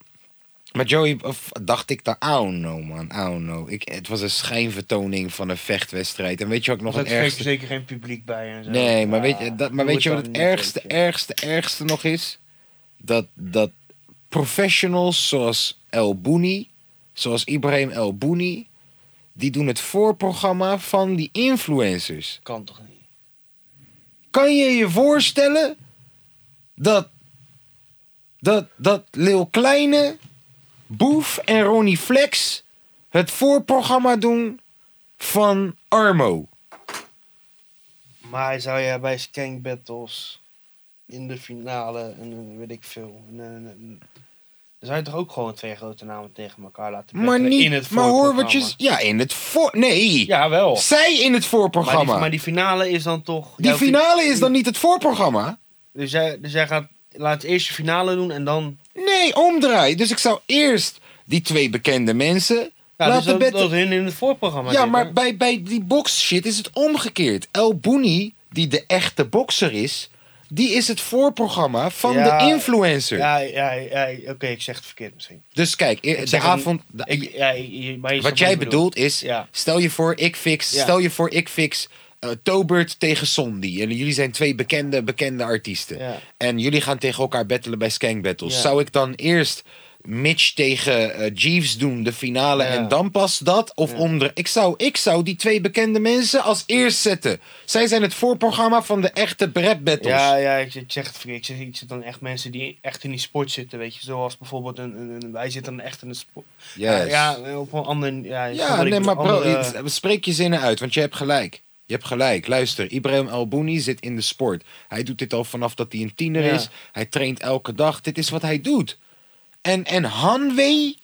S1: Maar Joey, of, dacht ik dan, oh no man, oh no. Ik, het was een schijnvertoning van een vechtwedstrijd. En weet je wat ik nog
S2: Nog
S1: het
S2: er is
S1: ergste...
S2: zeker geen publiek bij en zo.
S1: Nee, maar
S2: Ah,
S1: weet je, dat, maar
S2: doe
S1: weet je
S2: dan
S1: wat het
S2: niet,
S1: ergste,
S2: weet je.
S1: ergste, ergste nog is? Dat, dat professionals zoals El Bouni, zoals Ibrahim El Bouni... die doen het voorprogramma van die influencers.
S2: Kan toch niet?
S1: Kan je je voorstellen dat, dat, dat Lil Kleine, Boef en Ronnie Flex het voorprogramma doen van Armo?
S2: Maar zou jij bij Skank Battles in de finale en eh, weet ik veel. en, eh, en, en- dan zou je toch ook gewoon twee grote namen tegen elkaar laten
S1: Maar
S2: battelen
S1: niet,
S2: in het
S1: maar hoor wat je...
S2: voorprogramma?
S1: z- Ja, in het voor... Nee,
S2: Ja, wel. Maar
S1: zij in het
S2: die-
S1: voorprogramma.
S2: Maar, die nou, finale is dan toch...
S1: die
S2: jouw fi-
S1: finale is dan niet het voorprogramma?
S2: Dus jij, dus jij gaat... Laat eerst je finale doen en dan...
S1: Nee, omdraai. Dus ik zou eerst die twee bekende mensen
S2: Ja, dus
S1: laten
S2: dat,
S1: betten.
S2: dat hun in het voorprogramma
S1: ja,
S2: zitten.
S1: maar bij, bij die boxshit is het omgekeerd. El Bouni, die de echte bokser is, die is het voorprogramma van
S2: Ja,
S1: de influencer.
S2: Ja, ja, ja oké, ik zeg het verkeerd misschien.
S1: Dus kijk, eh, de
S2: zeg het-
S1: avond. de-
S2: Ik, ja, je- maar je snapt
S1: wat jij
S2: ik bedoel.
S1: bedoelt is,
S2: Ja.
S1: stel je voor ik fix,
S2: Ja.
S1: stel je voor ik fix eh, Tobert tegen Sondi. En jullie zijn twee bekende, bekende artiesten.
S2: Ja.
S1: En jullie gaan tegen elkaar battelen bij Skank Battles.
S2: Ja.
S1: Zou ik dan eerst Mitch tegen eh, Jeeves doen, de finale,
S2: Ja.
S1: en dan pas dat? Of onder... Ik zou, ik zou die twee bekende mensen als eerst zetten. Zij zijn het voorprogramma van de echte rap battles.
S2: Ja, ja, ik, ik zeg het verkeerd. Ik zeg, ik zit dan echt mensen die echt in die sport zitten, weet je. Zoals bijvoorbeeld, een, een- een- wij zitten dan echt in de sport.
S1: Yes.
S2: Ja, op een ander... Ja, ik snap
S1: Ja,
S2: wat ik
S1: nee, maar
S2: bedoel.
S1: bro,
S2: Andere-
S1: het- spreek je zinnen uit, want je hebt gelijk. Je hebt gelijk. Luister, Ibrahim Albouni zit in de sport. Hij doet dit al vanaf dat hij een tiener
S2: Ja.
S1: is. Hij traint elke dag. Dit is wat hij doet. En, en Hanwei...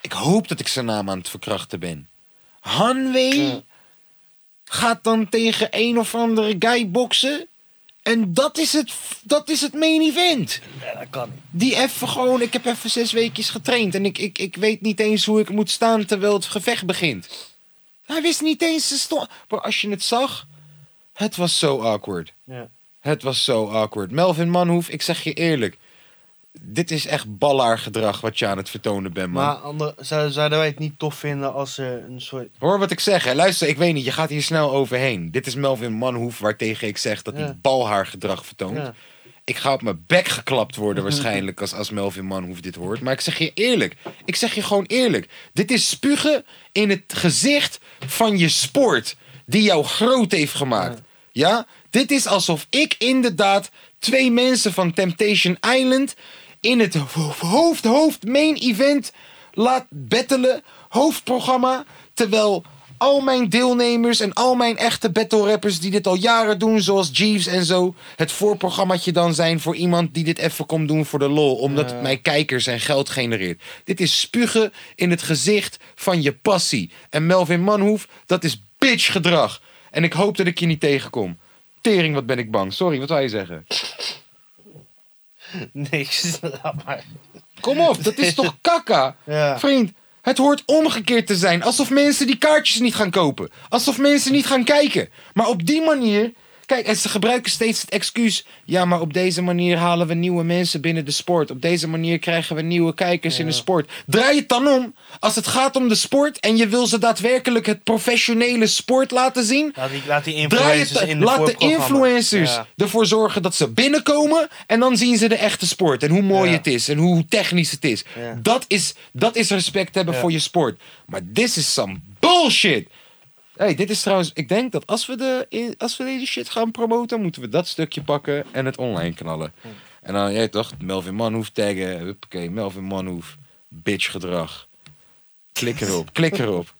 S1: Ik hoop dat ik zijn naam aan het verkrachten ben. Hanwei
S2: Ja.
S1: gaat dan tegen een of andere guy boksen... En dat is het, dat is het main event.
S2: Ja, dat kan niet.
S1: Die even gewoon, ik heb even zes weekjes getraind en ik, ik, ik weet niet eens hoe ik moet staan terwijl het gevecht begint. Hij wist niet eens, ze stond. Maar als je het zag, het was zo awkward.
S2: Ja.
S1: Het was zo awkward. Melvin Manhoef, ik zeg je eerlijk. Dit is echt ballaar gedrag wat je aan het vertonen bent, man.
S2: Maar ander, zou- zouden wij het niet tof vinden als er een soort... (laughs)
S1: Hoor wat ik zeg, hè. Luister, ik weet niet, je gaat hier snel overheen. Dit is Melvin Manhoef waartegen ik zeg dat hij
S2: Ja.
S1: balhaar gedrag vertoont.
S2: Ja.
S1: Ik ga op mijn bek geklapt
S2: (laughs)
S1: worden waarschijnlijk als, als Melvin Manhoef dit hoort. Maar ik zeg je eerlijk, ik zeg je gewoon eerlijk. Dit is spugen in het gezicht van je sport die jou groot heeft gemaakt. Ja? Dit is alsof ik inderdaad twee mensen van Temptation Island in het ho- hoofd, hoofd, main event laat bettelen, hoofdprogramma, terwijl al mijn deelnemers en al mijn echte battle rappers die dit al jaren doen, zoals Jeeves en zo, het voorprogrammaatje dan zijn voor iemand die dit even komt doen voor de lol, omdat het mij kijkers en geld genereert. Dit is spugen in het gezicht van je passie. En Melvin Manhoef, dat is bitch gedrag. En ik hoop dat ik je niet tegenkom. Tering, wat ben ik bang. Sorry, wat wou je zeggen?
S2: Niks. Laat maar.
S1: Kom op, dat is toch kakka?
S2: Ja.
S1: Vriend, het hoort omgekeerd te zijn. Alsof mensen die kaartjes niet gaan kopen. Alsof mensen niet gaan kijken. Maar op die manier. Kijk, en ze gebruiken steeds het excuus. Ja, maar op deze manier halen we nieuwe mensen binnen de sport. Op deze manier krijgen we nieuwe kijkers in de sport. Draai het dan om. Als het gaat om de sport en je wil ze daadwerkelijk het professionele sport laten zien.
S2: Laat die, laat die
S1: Draai
S2: influencers
S1: het,
S2: in de
S1: laat de
S2: voorprogramma.
S1: influencers
S2: Ja.
S1: ervoor zorgen dat ze binnenkomen. En dan zien ze de echte sport. En hoe mooi
S2: Ja.
S1: het is. En hoe technisch het is.
S2: Ja.
S1: Dat, is dat is respect hebben
S2: Ja.
S1: voor je sport. Maar this is some bullshit. hey, dit is trouwens. Ik denk dat als we, de, als we deze shit gaan promoten. moeten we dat stukje pakken en het online knallen.
S2: Hm.
S1: En dan, jij toch, Melvin Manhoef taggen. Huppakee, Melvin Manhoef. Bitch gedrag. Klik erop, (laughs) klik erop.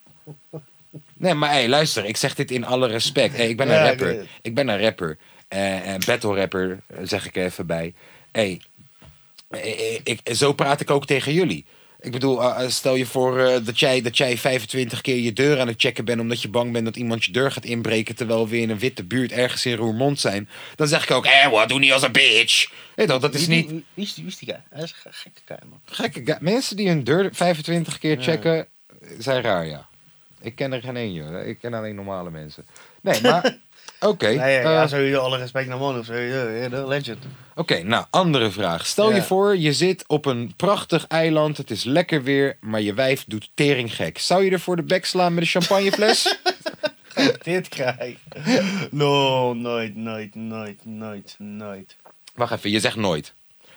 S1: Nee, maar hey, luister, ik zeg dit in alle respect. Hey, ik ben
S2: Ja,
S1: een
S2: ik
S1: rapper.
S2: weet het.
S1: Ik, ben een rapper. Eh, eh, battle rapper, eh, zeg ik er even bij. Hey, eh, ik, zo praat ik ook tegen jullie. Ik bedoel, eh, eh, stel je voor eh, dat, jij, dat jij 25 keer je deur aan het checken bent... omdat je bang bent dat iemand je deur gaat inbreken... terwijl we in een witte buurt ergens in Roermond zijn. Dan zeg ik ook, eh, wat, doe niet als een bitch. Hey, dat, dat is
S2: Wie-
S1: niet...
S2: Wie, wie is die, wie is die guy? Hij is een ge- gekke guy, man.
S1: Gekke guy. Mensen die hun deur 25 keer checken, zijn raar, ja. Ik ken er geen één, joh. Ik ken alleen normale mensen. Nee,
S2: (laughs)
S1: maar... Oké,
S2: Nee, ja,
S1: eh,
S2: ja, sowieso alle respect naar mannen. Sowieso, ja, de legend.
S1: oké, nou, andere vraag. Stel je
S2: Ja.
S1: voor, je zit op een prachtig eiland, het is lekker weer, maar je wijf doet tering gek. Zou je er voor de bek slaan met een
S2: (laughs)
S1: champagnefles?
S2: Dit krijg. No, nooit, nooit, nooit, nooit, nooit.
S1: Wacht even, je zegt nooit.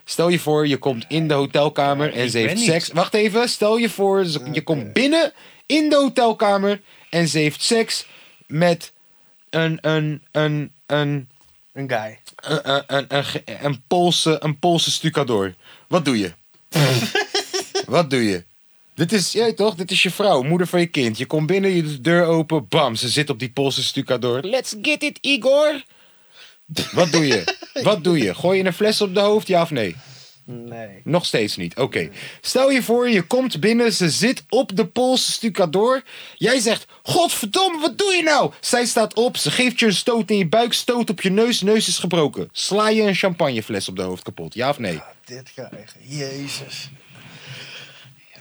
S1: Stel je voor, je komt in de hotelkamer en
S2: Ik
S1: ze
S2: ben
S1: heeft
S2: niet.
S1: seks. Wacht even, stel je voor, ze- je komt binnen in de hotelkamer en ze heeft seks met een, een, een, een,
S2: Een guy.
S1: een, een, een, een, ge- een Poolse, een Poolse stucador. Wat doe je? Wat doe je? Dit is, jij toch? Dit is je vrouw, moeder van je kind. Je komt binnen, je doet de deur open, bam, ze zit op die Poolse stucador. Let's get it, Igor! Wat doe je? Wat doe je? Gooi je een fles op de hoofd, ja of nee?
S2: Nee.
S1: Nog steeds niet. Oké. Stel je voor, je komt binnen, ze zit op de Poolse stucador. Jij zegt: Godverdomme, wat doe je nou? Zij staat op, ze geeft je een stoot in je buik, stoot op je neus, neus is gebroken. Sla je een champagnefles op de hoofd kapot, ja of nee?
S2: Dit krijg. Jezus.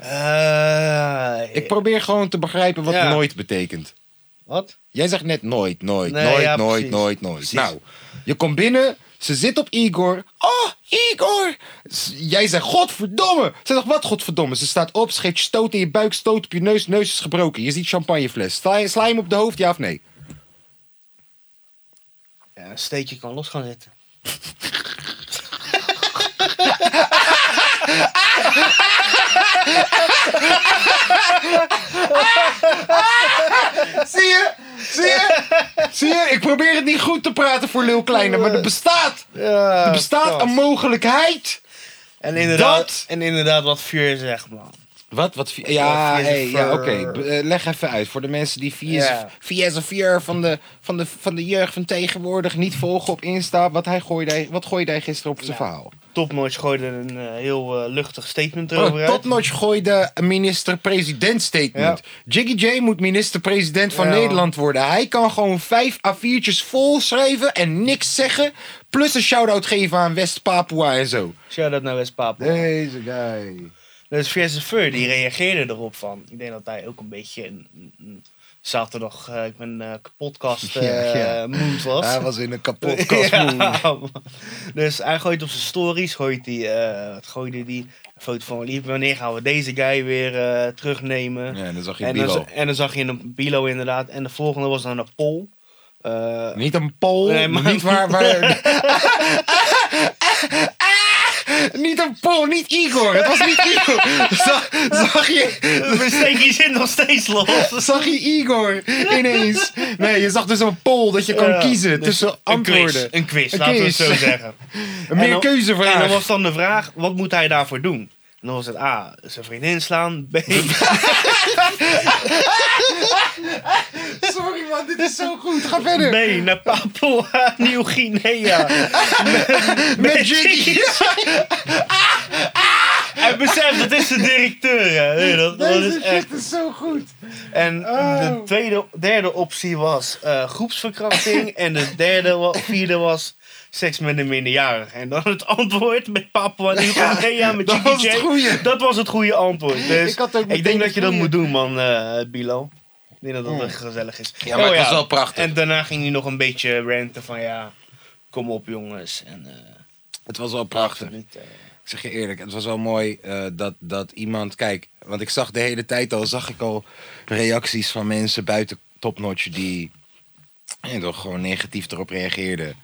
S2: Eh,
S1: Ik probeer gewoon te begrijpen wat
S2: Ja.
S1: nooit betekent.
S2: Wat?
S1: Jij zegt net nooit, nooit,
S2: Nee,
S1: nooit,
S2: ja,
S1: nooit,
S2: precies.
S1: nooit, nooit.
S2: Precies.
S1: Nou, je komt binnen, ze zit op Igor. Oh, Igor! S- Jij zegt, godverdomme! Ze zegt, wat godverdomme? Ze staat op, ze geeft je stoot in je buik, stoot op je neus, neus is gebroken. Je ziet champagnefles. Sla je, sla je hem op de hoofd, ja of
S2: (laughs)
S1: nee?
S2: Ja, een steekje kan los gaan zitten.
S1: Zie je? Zie je? Zie je? Ik probeer het niet goed te praten voor Lil Kleine, maar
S2: Eh.
S1: er bestaat,
S2: Ja,
S1: er bestaat een mogelijkheid.
S2: En inderdaad,
S1: Dat-
S2: en inderdaad wat vuur zegt, man.
S1: Wat? wat vi- ja,
S2: Fies en
S1: hey, ja oké.
S2: Fur.
S1: B- eh, leg even uit voor de mensen die Fies
S2: Ja.
S1: Fies en Fur van de, van, de, van de jeugd van tegenwoordig niet volgen op Insta. Wat, hij gooide, hij- wat gooide hij gisteren op zijn
S2: Nou.
S1: verhaal?
S2: Topnotch gooide een eh, heel eh, luchtig statement erover
S3: Oh,
S2: uit.
S3: Topnotch gooide minister-president statement. Jiggy J moet minister-president van
S2: Ja.
S3: Nederland worden. Hij kan gewoon vijf A4'tjes vol schrijven en niks zeggen. Plus een shout-out geven aan West-Papua en zo.
S2: Shout-out naar West Papel.
S3: Deze guy.
S2: Dus Veer die reageerde erop van. Ik denk dat hij ook een beetje een, een- een zaterdag eh, ik ben eh, podcast eh
S3: (laughs) Ja, ja.
S2: mood was.
S3: Hij
S2: (laughs)
S3: was in een kapot
S2: Ja,
S3: kastmoe.
S2: man. Dus hij gooit op zijn stories, gooit die, eh, wat gooide die een foto van lief. Wanneer gaan we deze guy weer eh, terugnemen?
S3: Ja, en dan zag je
S2: en, dan,
S3: Bilo.
S2: za- en dan zag je een Bilo inderdaad. En de volgende was dan een Pol.
S3: (laughs)
S2: Eh, (laughs)
S3: Niet een pol,
S2: Nee, maar-
S3: niet waar... waar...
S2: (laughs)
S3: (laughs) Niet een pol, niet Igor. Het was niet Igor. (laughs) Zag, zag je,
S2: we steken die zin nog steeds los.
S3: zag je Igor ineens. Nee, je zag dus een poll dat je kan
S2: Ja,
S3: kiezen
S2: dus
S3: tussen antwoorden.
S2: Een quiz, een quiz
S3: Een
S2: laten we het
S3: quiz.
S2: zo zeggen.
S3: Een (laughs) meer keuzevraag.
S2: En dan Ah. was dan de vraag, wat moet hij daarvoor doen? En dan was het A, zijn vriendin slaan. B,
S3: (laughs)
S2: (laughs)
S3: Sorry man, dit is zo goed. Ga verder.
S2: B naar Papua (laughs)
S3: (laughs)
S2: Nieuw-Guinea. (laughs)
S3: Met Jiggy.
S2: Ah, Hij beseft, dat is de directeur. hè. Nee, dat, dat is
S3: Deze
S2: echt.
S3: shit is zo
S2: (laughs)
S3: goed.
S2: En de
S3: Oh.
S2: tweede, derde optie was eh,
S3: (laughs)
S2: groepsverkrachting. en de derde, wa- vierde was seks met een minderjarige. En dan het antwoord met Papua Nieuw-Guinea met
S3: dat
S2: Jiggy
S3: was
S2: J.
S3: het goeie.
S2: Dat was het goede antwoord. Dus
S3: Ik had ook
S2: ik,
S3: meteen
S2: denk
S3: het
S2: dat je dat
S3: goeie.
S2: moet doen, man, eh Bilo. Ik denk dat dat
S3: Mm.
S2: echt gezellig is. Oh
S3: Ja, maar het was wel prachtig.
S2: En daarna ging hij nog een beetje ranten van ja, kom op jongens. En, eh,
S3: Het was wel prachtig.
S2: niet, eh,
S3: Ik zeg je eerlijk, het was wel mooi eh, dat, dat iemand. Kijk, want ik zag de hele tijd al, zag ik al reacties van mensen buiten topnotch die eh, toch gewoon negatief erop reageerden.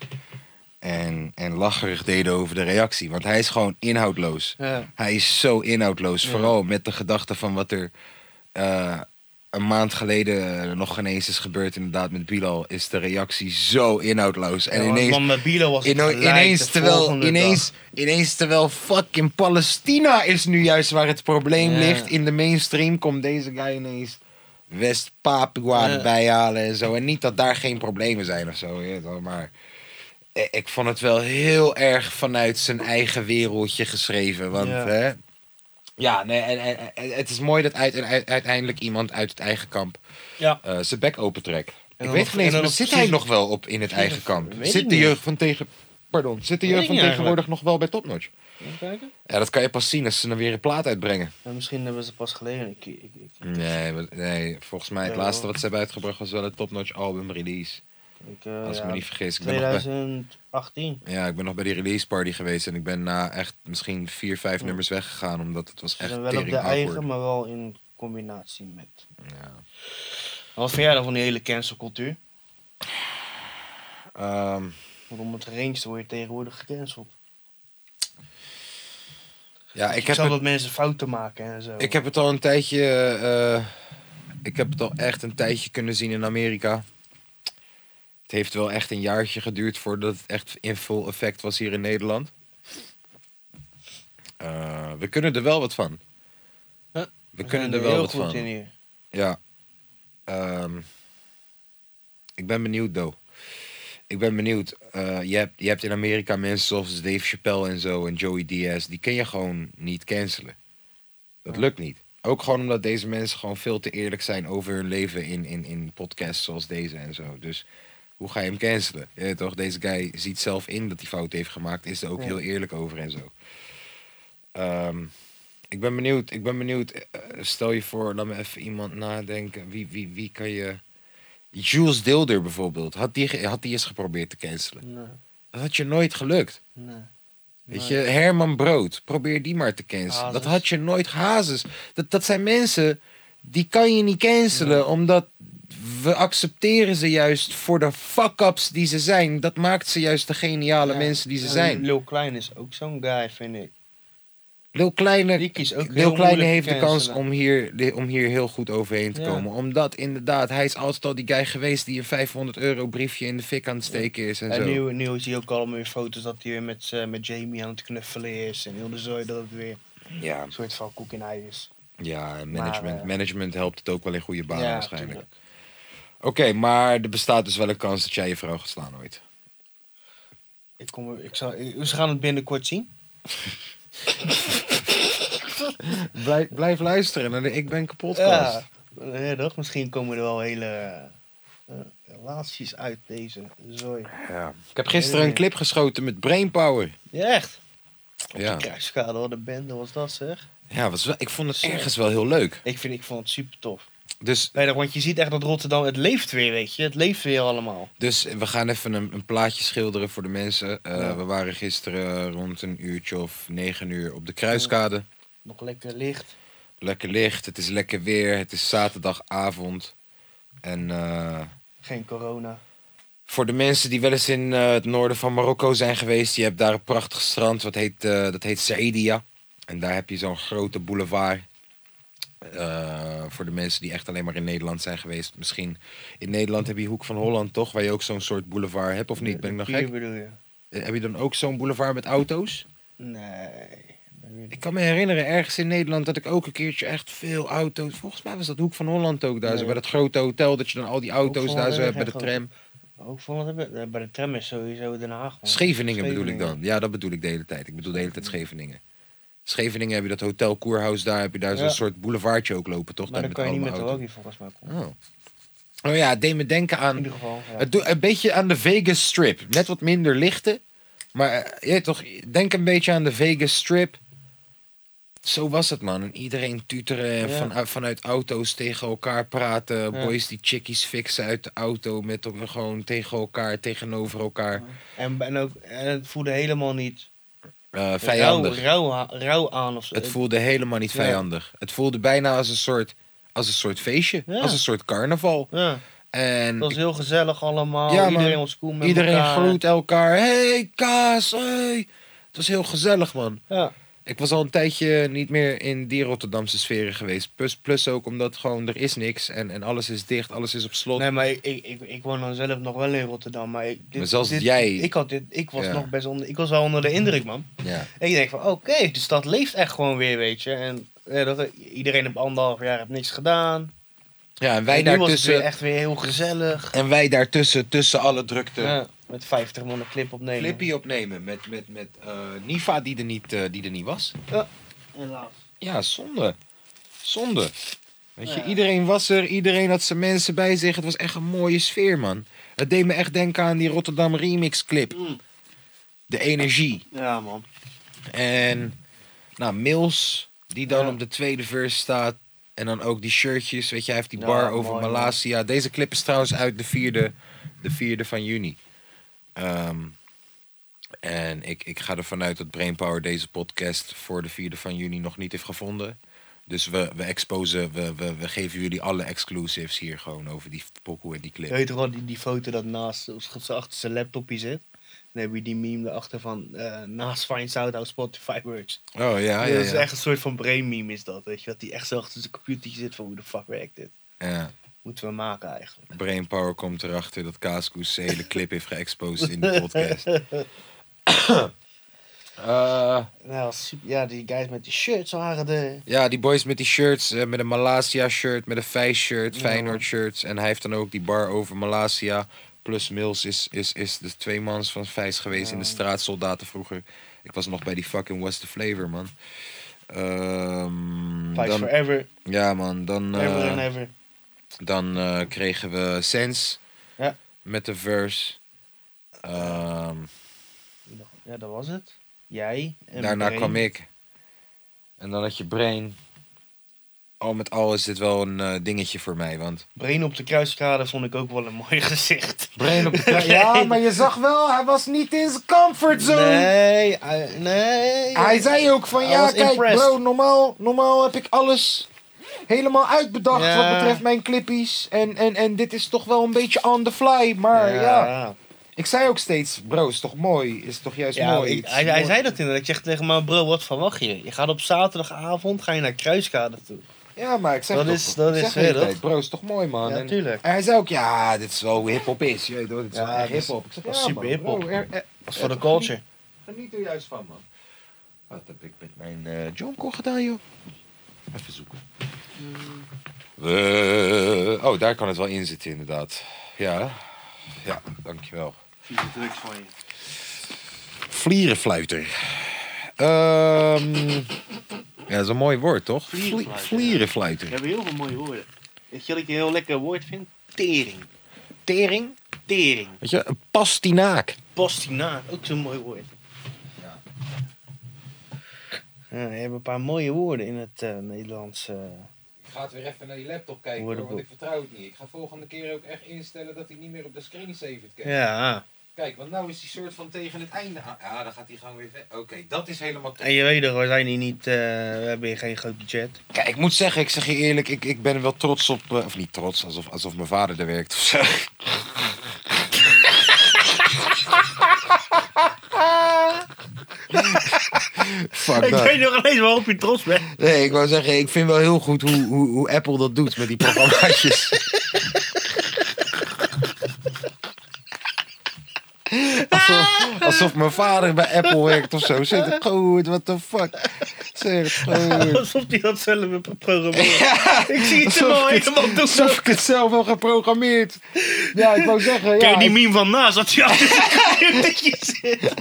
S3: En, en lacherig deden over de reactie. Want hij is gewoon inhoudloos.
S2: Ja.
S3: Hij is zo inhoudloos. Vooral met de gedachte van wat er eh, een maand geleden eh, nog ineens is gebeurd. Inderdaad, met Bilal. Is de reactie zo inhoudloos. En
S2: ja, want-
S3: ineens
S2: want met Bilo was het
S3: Ino-
S2: gelijk
S3: ineens,
S2: de
S3: terwijl,
S2: volgende
S3: ineens, ineens terwijl fucking Palestina is nu juist waar het probleem
S2: Ja.
S3: ligt. In de mainstream komt deze guy ineens West-Papua
S2: Ja.
S3: erbij halen en zo. En niet dat daar geen problemen zijn of zo. je weet wel, Maar i- ik vond het wel heel erg vanuit zijn eigen wereldje geschreven. Want
S2: Ja.
S3: ja, hè, ja nee, en, en, en het is mooi dat uit, uit- uiteindelijk iemand uit het eigen kamp
S2: dag. Ja.
S3: eh, zijn bek opentrekt. Ik
S2: dan
S3: weet
S2: nog-
S3: geen eens,
S2: en dan
S3: maar
S2: nog
S3: zit
S2: precies-
S3: hij nog wel op in het eigen kamp?
S2: weet ik
S3: Zit de
S2: niet.
S3: jeugd van tegen... Pardon, zit de
S2: Weet
S3: jeugd
S2: ik
S3: van
S2: niet
S3: tegenwoordig nog wel bij Topnotch?
S2: Even kijken.
S3: Ja, dat kan je pas zien als ze dan weer een plaat uitbrengen.
S2: Ja, misschien hebben ze pas geleden. Ik, ik, ik,
S3: Nee, want- nee volgens mij het
S2: Ja,
S3: laatste
S2: hoor.
S3: wat ze hebben uitgebracht was wel een Topnotch album release.
S2: ik, eh,
S3: Als ik
S2: ja,
S3: me niet vergis. Ik ben, nog bij,
S2: 2018.
S3: ja, ik ben nog bij die release party geweest en ik ben na echt misschien vier, vijf nummers weggegaan. Omdat het was
S2: Ze
S3: echt
S2: zijn
S3: tering
S2: wel op de
S3: awkward.
S2: eigen, maar wel in combinatie met.
S3: Ja.
S2: Wat vind jij dan van die hele cancelcultuur?
S3: Ehm,
S2: Want om het range word je tegenwoordig gecanceld.
S3: ja, ik
S2: Ik
S3: heb
S2: zal
S3: het-
S2: dat mensen fouten maken en zo.
S3: Ik heb het al een tijdje. eh, ik heb het al echt een tijdje kunnen zien in Amerika. Het heeft wel echt een jaartje geduurd voordat het echt in full effect was hier in Nederland. Eh, we kunnen er wel wat van.
S2: Huh?
S3: We kunnen er wel
S2: heel
S3: wat
S2: goed
S3: van.
S2: in hier.
S3: Ja. Ehm, ik ben benieuwd, though. Ik ben benieuwd. Eh, je, hebt, je hebt in Amerika mensen zoals Dave Chappelle en zo en Joey Diaz. Die kun je gewoon niet cancelen. Dat lukt niet. Ook gewoon omdat deze mensen gewoon veel te eerlijk zijn over hun leven in, in, in podcasts zoals deze en zo. Dus hoe ga je hem cancelen? Je weet toch? Deze guy ziet zelf in dat hij fout heeft gemaakt. Is er ook
S2: Ja.
S3: heel eerlijk over en zo. Ehm, ik ben benieuwd. Ik ben benieuwd. Eh, Stel je voor, laat me even iemand nadenken. Wie, wie, wie kan je... Jules Dilder bijvoorbeeld. Had die, ge- had die eens geprobeerd te cancelen.
S2: Nee,
S3: Dat had je nooit gelukt.
S2: nee.
S3: Weet je, Herman Brood. Probeer die maar te cancelen.
S2: Hazes.
S3: Dat had je nooit. Hazes. Dat, dat zijn mensen... Die kan je niet cancelen. Omdat we accepteren ze juist voor de fuck-ups die ze zijn. Dat maakt ze juist de geniale
S2: Ja.
S3: mensen die ze
S2: En
S3: zijn.
S2: Lil Klein is ook zo'n guy, vind ik.
S3: Lil Kleine
S2: Die kies ook
S3: Lil
S2: heel
S3: Kleine
S2: moeilijk
S3: heeft
S2: te
S3: de kans
S2: cancelen.
S3: om hier, om hier heel goed overheen te
S2: Ja.
S3: komen. Omdat inderdaad, hij is altijd al die guy geweest die een 500 euro briefje in de fik aan het steken is en,
S2: En
S3: zo.
S2: nu, nu zie je ook allemaal weer foto's dat hij weer met, eh, met Jamie aan het knuffelen is. En heel de zooi dat het weer
S3: Ja,
S2: een soort van koek in ei is.
S3: ja en management,
S2: Maar, eh,
S3: management helpt het ook wel in goede banen waarschijnlijk.
S2: tuurlijk.
S3: Oké, maar er bestaat dus wel een kans dat jij je vrouw gaat slaan ooit.
S2: Ik kom, er- ik zal, ik- ze gaan het binnenkort zien.
S3: Blijf, blijf luisteren naar de Ik Ben Kapot
S2: Ja,
S3: podcast.
S2: ja, eh, toch? Misschien komen er wel hele eh, relaties uit deze zooi.
S3: Ja. Ik heb gisteren een clip geschoten met Brainpower.
S2: Ja, echt.
S3: Ja,
S2: Kruiskade, wat een bende was dat zeg.
S3: ja was wel, ik vond het ergens wel heel leuk.
S2: Ik, vind, ik vond het super tof.
S3: Dus,
S2: Nee, want je ziet echt dat Rotterdam, het leeft weer, weet je. Het leeft weer allemaal.
S3: dus we gaan even een, een plaatje schilderen voor de mensen. Eh,
S2: Ja.
S3: We waren gisteren rond een uurtje of negen uur op de Kruiskade.
S2: Nog lekker licht.
S3: Lekker licht, het is lekker weer, het is zaterdagavond. En eh,
S2: Geen corona.
S3: voor de mensen die wel eens in eh, het noorden van Marokko zijn geweest, je hebt daar een prachtig strand, wat heet, eh, dat heet Saïdia. En daar heb je zo'n grote boulevard. Eh, voor de mensen die echt alleen maar in Nederland zijn geweest. Misschien in Nederland heb je Hoek van Holland, toch? Waar je ook zo'n soort boulevard hebt, of niet? Ben ik nog
S2: Hier
S3: gek?
S2: bedoel je?
S3: Eh, Heb je dan ook zo'n boulevard met auto's?
S2: Nee. dat weet
S3: Ik
S2: ik.
S3: kan me herinneren ergens in Nederland dat ik ook een keertje echt veel auto's. Volgens mij was dat Hoek van Holland ook daar.
S2: Ja.
S3: Zo, bij dat grote hotel dat je dan al die auto's
S2: van
S3: daar zo
S2: Holland
S3: hebt bij de
S2: echt
S3: tram.
S2: Ook van wat hebben eh, Bij de tram is sowieso Den Haag. man.
S3: Scheveningen bedoel ik dan. Ja, dat bedoel ik de hele tijd. Ik bedoel de hele
S2: Mm.
S3: tijd Scheveningen. Scheveningen heb je dat hotel Koerhuis daar. Heb je daar zo'n
S2: Ja.
S3: soort boulevardje ook lopen, toch?
S2: Maar
S3: daar
S2: dan kan je niet met de
S3: allemaal
S2: hockey volgens mij komen.
S3: auto's. Oh. oh ja, het deed me denken
S2: In
S3: aan.
S2: ieder geval. ja.
S3: Het doet een beetje aan de Vegas Strip. Net wat minder lichten. Maar eh, je weet toch, denk een beetje aan de Vegas Strip. Zo was het, man. En iedereen tuteren en
S2: Ja.
S3: van, vanuit auto's tegen elkaar praten. Boys die chickies fixen uit de auto. Met elkaar gewoon tegen elkaar, tegenover elkaar.
S2: En, en, ook, en het voelde helemaal niet
S3: Eh,
S2: rauw,
S3: vijandig.
S2: rauw, ha- rauw aan of zo.
S3: Het voelde helemaal niet
S2: eh, Ja.
S3: vijandig. Het voelde bijna als een soort, als een soort feestje.
S2: Ja.
S3: Als een soort carnaval.
S2: Ja,
S3: En
S2: het was heel gezellig allemaal.
S3: Ja, man.
S2: iedereen was cool met
S3: iedereen
S2: elkaar.
S3: groet elkaar. Hey, Kaas, hey. Het was heel gezellig, man.
S2: Ja.
S3: Ik was al een tijdje niet meer in die Rotterdamse sferen geweest. Plus, plus ook omdat gewoon er is niks en, en alles is dicht, alles is op slot.
S2: Nee, maar ik, ik, ik, ik woon dan zelf nog wel in Rotterdam. Maar, ik, dit,
S3: Maar zelfs
S2: dit-
S3: jij-
S2: Ik, had dit, ik was
S3: Ja.
S2: nog best onder... Ik was wel onder de indruk, man.
S3: Ja.
S2: En ik denk van, oké, de stad leeft echt gewoon weer, weet je. En ja, dat, iedereen op anderhalf jaar heeft niks gedaan.
S3: ja, en
S2: en
S3: wij
S2: nu was het
S3: daartussen.
S2: weer echt weer heel gezellig.
S3: En wij daartussen, tussen alle drukte.
S2: Ja, met 50 man een clip opnemen.
S3: Flippy opnemen met, met, met eh, Niva die er, niet, eh, die er niet was.
S2: Helaas.
S3: Ja, zonde. Zonde. Weet je,
S2: Ja.
S3: iedereen was er, iedereen had zijn mensen bij zich. Het was echt een mooie sfeer, man. Het deed me echt denken aan die Rotterdam Remix clip.
S2: Mm.
S3: De energie.
S2: Ja, man.
S3: En nou, Mills, die dan
S2: Ja.
S3: op de tweede verse staat. En dan ook die shirtjes. Weet je, hij heeft die
S2: Ja,
S3: bar over
S2: mooi,
S3: Malasia. Deze clip is trouwens uit de vierde, de vierde van juni. Ehm, en ik, ik ga ervan uit dat Brainpower deze podcast voor de vierde van juni nog niet heeft gevonden. Dus we, we exposen, we, we, we geven jullie alle exclusives hier gewoon over die pokoe en die
S2: Je
S3: clip.
S2: weet toch wel, die, die foto dat naast, of ze achter zijn laptopje zit. Dan heb je die meme erachter van, eh, naast Find Out How Spotify Works.
S3: Oh ja, ja,
S2: dat is
S3: ja.
S2: echt een soort van brain meme is dat, weet je. Dat die echt zo achter zijn computertje zit van, hoe de fuck werkt dit?
S3: ja.
S2: Moeten we maken eigenlijk.
S3: Brainpower komt erachter dat Kaaskoes zijn hele clip heeft geëxposed in
S2: (laughs)
S3: de podcast. Eh,
S2: Nou, super, ja, die guys met die shirts waren de...
S3: ja, die boys met die shirts, eh, met een Malasia shirt, met een Feyenoord shirt,
S2: Ja.
S3: Feyenoord shirts. En hij heeft dan ook die bar over Malasia. Plus Mills is, is, is de tweemans van Feyenoord geweest in de
S2: Ja.
S3: straatsoldaten vroeger. Ik was nog bij die fucking West the Flavor, man. Ehm,
S2: Fight
S3: dan-
S2: forever,
S3: ja, man. Dan, eh,
S2: ever and ever.
S3: dan eh, kregen we Sense
S2: Ja.
S3: met de verse. Ehm,
S2: Ja, dat was het. Jij en
S3: Daarna
S2: brain.
S3: kwam ik. En dan had je Brain. Al met al is dit wel een eh, dingetje voor mij, want...
S2: Brain op de kruiskade vond ik ook wel een mooi (laughs) gezicht.
S3: Brain op
S2: (laughs)
S3: de... Ja, maar je zag wel, hij was niet in zijn comfortzone.
S2: Nee, hij- nee.
S3: Hij zei ook van,
S2: Hij
S3: ja,
S2: was
S3: kijk
S2: impressed.
S3: bro, normaal, normaal heb ik alles helemaal uitbedacht
S2: Ja.
S3: wat betreft mijn clippies. En, en, en dit is toch wel een beetje on the fly, maar ja. Ik zei ook steeds, bro, is toch mooi? Is toch juist
S2: Ja,
S3: mooi?
S2: ik-
S3: Het is
S2: hij, hij
S3: mooi.
S2: zei dat inderdaad. Ik zeg tegen me, bro, wat verwacht je? Je gaat op zaterdagavond ga je naar Kruiskade toe.
S3: Ja, maar ik zeg
S2: Dat
S3: toch-
S2: is- dat
S3: ik
S2: is
S3: zeg de hele
S2: weer dat.
S3: tijd, Bro, is toch mooi, man?
S2: Ja,
S3: En-
S2: tuurlijk.
S3: En hij zei ook, ja, dit is wel hoe hip-hop is. Je weet hoor, dit is
S2: Ja,
S3: wel echt
S2: dit is-
S3: hip-hop. Ik zeg, ja,
S2: dat is super
S3: man,
S2: hip-hop.
S3: bro, er- er-
S2: Dat is
S3: er-
S2: voor de
S3: geniet-
S2: culture.
S3: Geniet er juist van, man. Wat heb ik met mijn eh Jonko gedaan, joh? Even zoeken. We- oh, daar kan het wel in zitten, inderdaad. Ja, ja, dankjewel.
S2: Vieze drugs van je.
S3: Vlierenfluiter. Ehm, ja, dat is een mooi woord, toch?
S4: Vlierenfluiter,
S3: Vlie-
S4: ja.
S3: Vlierenfluiter.
S4: We hebben heel veel mooie woorden. Weet je wat ik een heel lekker woord vind? Tering.
S3: Tering?
S4: Tering.
S3: Weet je, een pastinaak.
S4: Pastinaak, ook zo'n mooi woord.
S2: Ja, je hebt een paar mooie woorden in het eh, Nederlands. eh.
S1: Ik ga het weer even naar die laptop kijken hoor,
S2: Woordenboek.
S1: want ik vertrouw het niet. Ik ga volgende keer ook echt instellen dat hij niet meer op de screensaver kijkt.
S2: ja.
S1: Kijk, want nou is hij soort van tegen het einde aan. Ja, dan gaat hij gewoon weer verder. Oké, dat is helemaal top.
S2: En je weet toch, we zijn hier niet. eh, we hebben hier geen groot budget.
S3: Kijk, ik moet zeggen, ik zeg je eerlijk, ik, ik ben er wel trots op. eh, of niet trots, alsof, alsof mijn vader er werkt of
S1: (laughs)
S3: zo. Fuck dat.
S2: nog ineens waarop je trots bent.
S3: Nee, ik wou zeggen, ik vind wel heel goed hoe, hoe, hoe Apple dat doet met die (laughs) programmaatjes. Alsof, alsof mijn vader bij Apple werkt of zo. Zit ik goed, what the fuck. Zeg
S2: (laughs)
S3: goed.
S2: Alsof die dat zelf hebben geprogrammeerd. ik zie het er
S3: Alsof
S2: al
S3: ik het-
S2: helemaal doen.
S3: Alsof ik het zelf wel geprogrammeerd. Ja, ik wou zeggen, ja,
S2: Kijk die
S3: ik-
S2: meme van naast dat je achter het (laughs) computertje zit.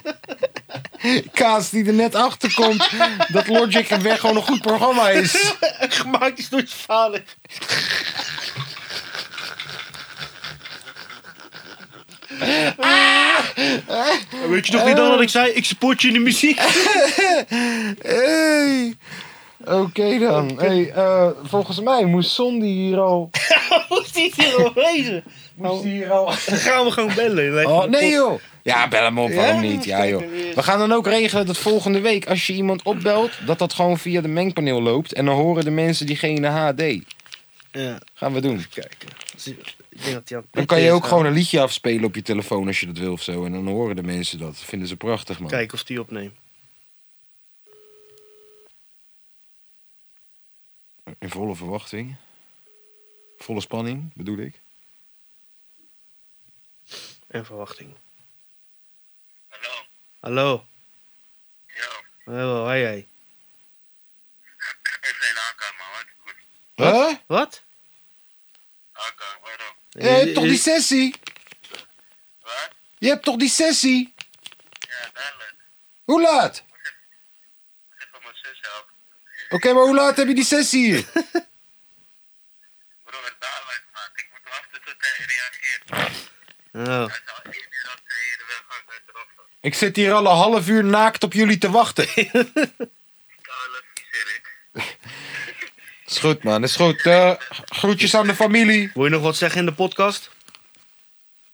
S3: kaas die er net achter komt, dat Logic en Weg gewoon een goed programma is.
S2: (laughs) Gemaakt is door je vader. Ah! Weet je nog niet dan dat ik zei, ik support je in de muziek?
S3: Hey. Oké dan. Hey, eh, volgens mij moest Sondi hier al
S2: (laughs) Hoe zit hier al wezen? Dan gaan we gewoon bellen. Lijkt me
S3: Oh,
S2: een
S3: nee
S2: pot-
S3: joh. Ja, bel hem op, waarom
S2: Ja,
S3: niet? Ja
S2: zeker
S3: joh.
S2: weer.
S3: We gaan dan ook regelen dat volgende week als je iemand opbelt, dat dat gewoon via de mengpaneel loopt. En dan horen de mensen diegene HD.
S2: Ja,
S3: Gaan we doen.
S2: kijken. Zie- Ik denk dat die aan het
S3: Dan kan je
S2: pitten
S3: ook
S2: is,
S3: gewoon een liedje afspelen op je telefoon als je dat wil of zo. En dan horen de mensen dat. Vinden ze prachtig man.
S2: nou, Kijken of die opneemt.
S3: In volle verwachting. Volle spanning, bedoel ik.
S2: En verwachting.
S5: Hallo,
S2: Hallo.
S5: yo.
S2: Hallo, hoi jij.
S5: Ik ben Hakan, man. Wat goed.
S3: Huh?
S2: Wat? Eh,
S5: Hakan, waarom?
S3: Je hebt toch die
S2: Is-
S3: sessie?
S5: Wat?
S3: Je hebt toch die sessie?
S5: Ja, duidelijk.
S3: Hoe laat?
S5: Ik zit van mijn zus helpen.
S3: Oké, maar hoe laat heb je die sessie hier?
S5: Broer, duidelijk, man. Ik moet wachten tot hij reageert. Hij
S2: Oh.
S5: zal één uur of twee uur wel gaan met roffen.
S3: (laughs) Ik zit hier al een half uur naakt op jullie te wachten.
S2: oh.
S5: Duidelijk, viezerik.
S3: Is goed, man. Is goed. Eh, groetjes aan de familie.
S2: (laughs) Wil je nog wat zeggen in de podcast?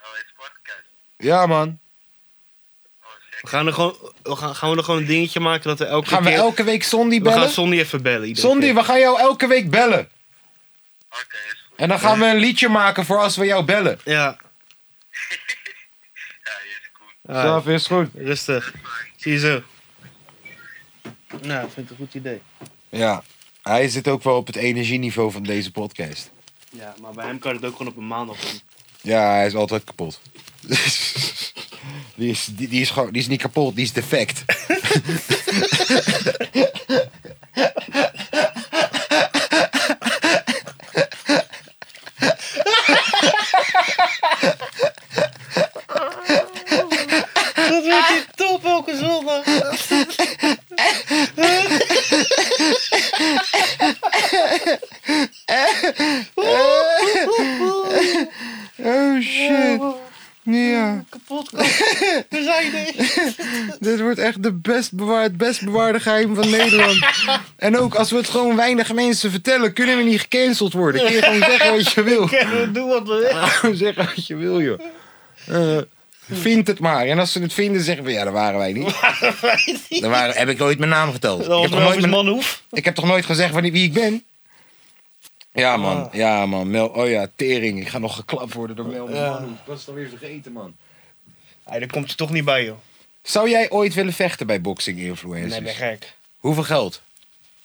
S5: Oh, het is podcast.
S3: Ja, man.
S5: Oh,
S2: We
S5: zeker.
S2: gaan, er gewoon, we gaan, gaan we er gewoon een dingetje maken dat we elke
S3: Gaan we
S2: keer...
S3: elke week Sondi
S2: we gaan
S3: bellen?
S2: Sondi even bellen. iedere
S3: Sondi,
S2: keer.
S3: we gaan jou elke week bellen.
S5: Oké, is goed.
S3: En dan gaan we een liedje maken voor als we jou bellen.
S2: Ja,
S5: (laughs) Ja, is goed.
S2: Ah,
S3: Snap je? is goed.
S2: rustig. Zie je zo. Nou, vind ik een goed idee.
S3: Ja. Hij zit ook wel op het energieniveau van deze podcast.
S2: Ja, maar bij hem kan het ook gewoon op een maandag doen.
S3: Ja, hij is altijd kapot. (laughs) Die is, die, die is, gewoon, die is niet kapot, die is defect.
S2: (laughs) Dat wordt je top (laughs) elke zondag.
S3: Oh shit. Ja,
S2: Kapot. (laughs) We zijn (laughs) er.
S3: dit wordt (laughs) echt de best bewaard, het best bewaarde geheim
S2: (laughs)
S3: van Nederland. En ook als we het gewoon weinig mensen vertellen, kunnen we niet gecanceld worden. Kun je gewoon zeggen wat
S2: (laughs)
S3: je wil.
S2: We doen wat we willen. (laughs)
S3: Gewoon zeggen wat je wil, joh. Eh, vind het maar. En als ze het vinden, zeggen we ja, dat waren wij niet. Dan waren, heb ik nooit mijn naam geteld.
S2: Dat was
S3: Ik heb, toch nooit
S2: Melvis
S3: mijn-
S2: Manhoef.
S3: ik heb toch nooit gezegd van wie ik ben? Ja, man.
S2: Ah.
S3: Ja, man. Mel, oh ja, tering. Ik ga nog geklapt worden door Mel.
S2: Ja.
S3: Man, ik was het alweer vergeten, man.
S2: Hey, daar komt je toch niet bij, joh.
S3: Zou jij ooit willen vechten bij boxing influencers?
S2: Nee, ben gek. Ik
S3: Hoeveel geld?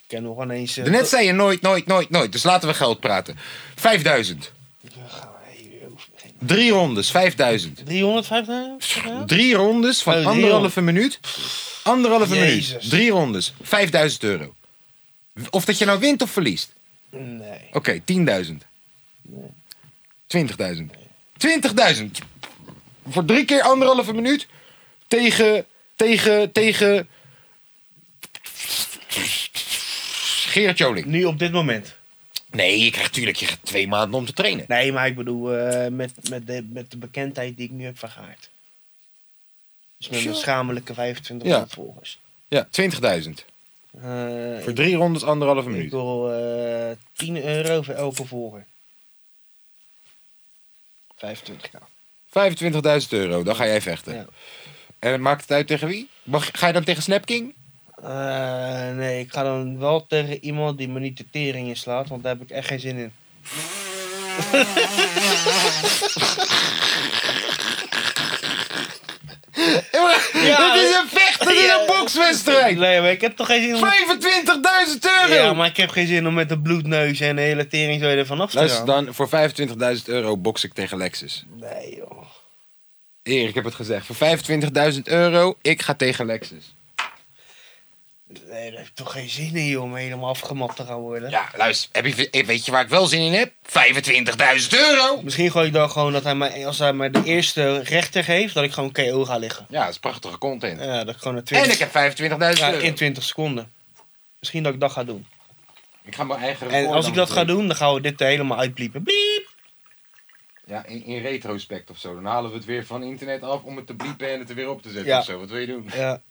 S2: ken nog wel eens... eh,
S3: Net zei je nooit, nooit, nooit, nooit. Dus laten we geld praten. 5000.
S2: Ja, gaan we- hey, joh.
S3: Drie rondes, 5000.
S2: 350?
S3: Drie rondes
S2: Oh,
S3: van
S2: drie
S3: anderhalve minuut. Anderhalve
S2: Jezus.
S3: minuut. Drie rondes. 5000 euro. Of dat je nou wint of verliest.
S2: Nee.
S3: Oké, 10.000. 20.000. 20.000. Voor drie keer anderhalve minuut tegen, tegen, tegen Gerard Joling.
S2: Nu op dit moment.
S3: Nee, je krijgt natuurlijk je krijgt twee maanden om te trainen.
S2: Nee, maar ik bedoel, eh, met, met, de, met de bekendheid die ik nu heb vergaard. Dus met mijn
S3: Sure.
S2: schamelijke 25
S3: Ja.
S2: volgers.
S3: Ja, 20.000.
S2: Eh,
S3: Voor drie rondes anderhalve
S2: ik, ik
S3: minuut.
S2: wil eh 10 euro voor elke volger. 25k.
S3: 25.000 euro, dan ga jij vechten.
S2: Ja.
S3: En maakt het uit tegen wie? Mag, ga je dan tegen Snapking?
S2: Eh, nee, ik ga dan wel tegen iemand die me niet de tering in slaat, want daar heb ik echt geen zin in. Ja,
S3: het is een vecht, het is
S2: ja.
S3: een bokswedstrijd!
S2: Nee, maar ik heb toch geen zin om...
S3: 25.000 euro!
S2: Ja, maar ik heb geen zin om met een bloedneus en de hele tering zo er vanaf te
S3: Luister
S2: gaan.
S3: dan, voor 25.000 euro boks ik tegen Lexus.
S2: Nee, joh.
S3: Erik, ik heb het gezegd. Voor 25.000 euro, ik ga tegen Lexus.
S2: Nee, daar heb ik toch geen zin in, joh, om helemaal afgemat te gaan worden.
S3: Ja, luister, heb je, eh, weet je waar ik wel zin in heb? 25.000 euro!
S2: Misschien gooi ik dan gewoon dat hij mij, als hij mij de eerste rechter geeft, dat ik gewoon KO ga liggen.
S3: Ja, dat is prachtige content.
S2: Ja, dat ik gewoon een 20,
S3: En ik heb 25.000
S2: ja,
S3: euro.
S2: in 20 seconden. Misschien dat ik dat ga doen.
S3: Ik ga mijn eigen
S2: En
S3: record
S2: als ik
S3: dan
S2: dat ga doen, dan gaan we dit er helemaal uitbliepen. Bliep!
S3: Ja, in, in retrospect of zo. Dan halen we het weer van internet af om het te bliepen en het er weer op te zetten
S2: Ja.
S3: of zo. Wat wil je doen?
S2: Ja,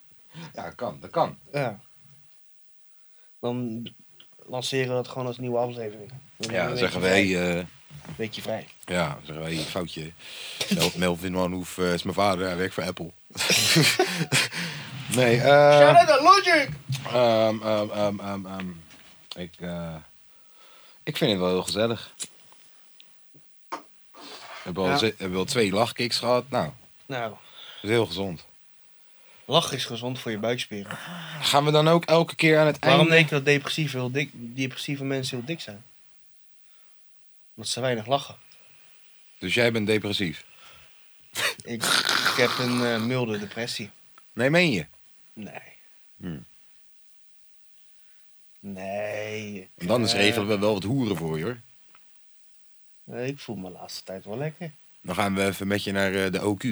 S3: Ja, kan. Dat kan.
S2: ja. Dan lanceren we dat gewoon als nieuwe aflevering. Dan
S3: Ja,
S2: ben je
S3: zeggen
S2: een
S3: wij... eh,
S2: beetje vrij. Een beetje vrij.
S3: ja, zeggen wij, foutje. Mel- Melvin Manhoef eh, is mijn vader. Hij werkt voor
S2: (laughs)
S3: Apple. nee, eh...
S2: Shout out to Logic!
S3: ehm, ehm, ehm, ehm, ehm. Ik, eh, ik vind het wel heel gezellig. We hebben al,
S2: Ja.
S3: ze- we hebben al twee lachkicks gehad. Nou,
S2: Nou,
S3: dat is heel gezond.
S2: lachen is gezond voor je buikspieren.
S3: Gaan we dan ook elke keer aan het
S2: Waarom
S3: einde...
S2: denk je dat depressieve, heel dik, depressieve mensen heel dik zijn? Omdat ze weinig lachen.
S3: Dus jij bent depressief?
S2: Ik, ik heb een eh, milde depressie.
S3: Nee, meen je?
S2: Nee.
S3: Hmm.
S2: Nee. ik,
S3: Want anders
S2: eh,
S3: regelen we wel wat hoeren voor je hoor.
S2: nee, Ik voel me de laatste tijd wel lekker.
S3: Dan gaan we even met je naar eh, de OQ.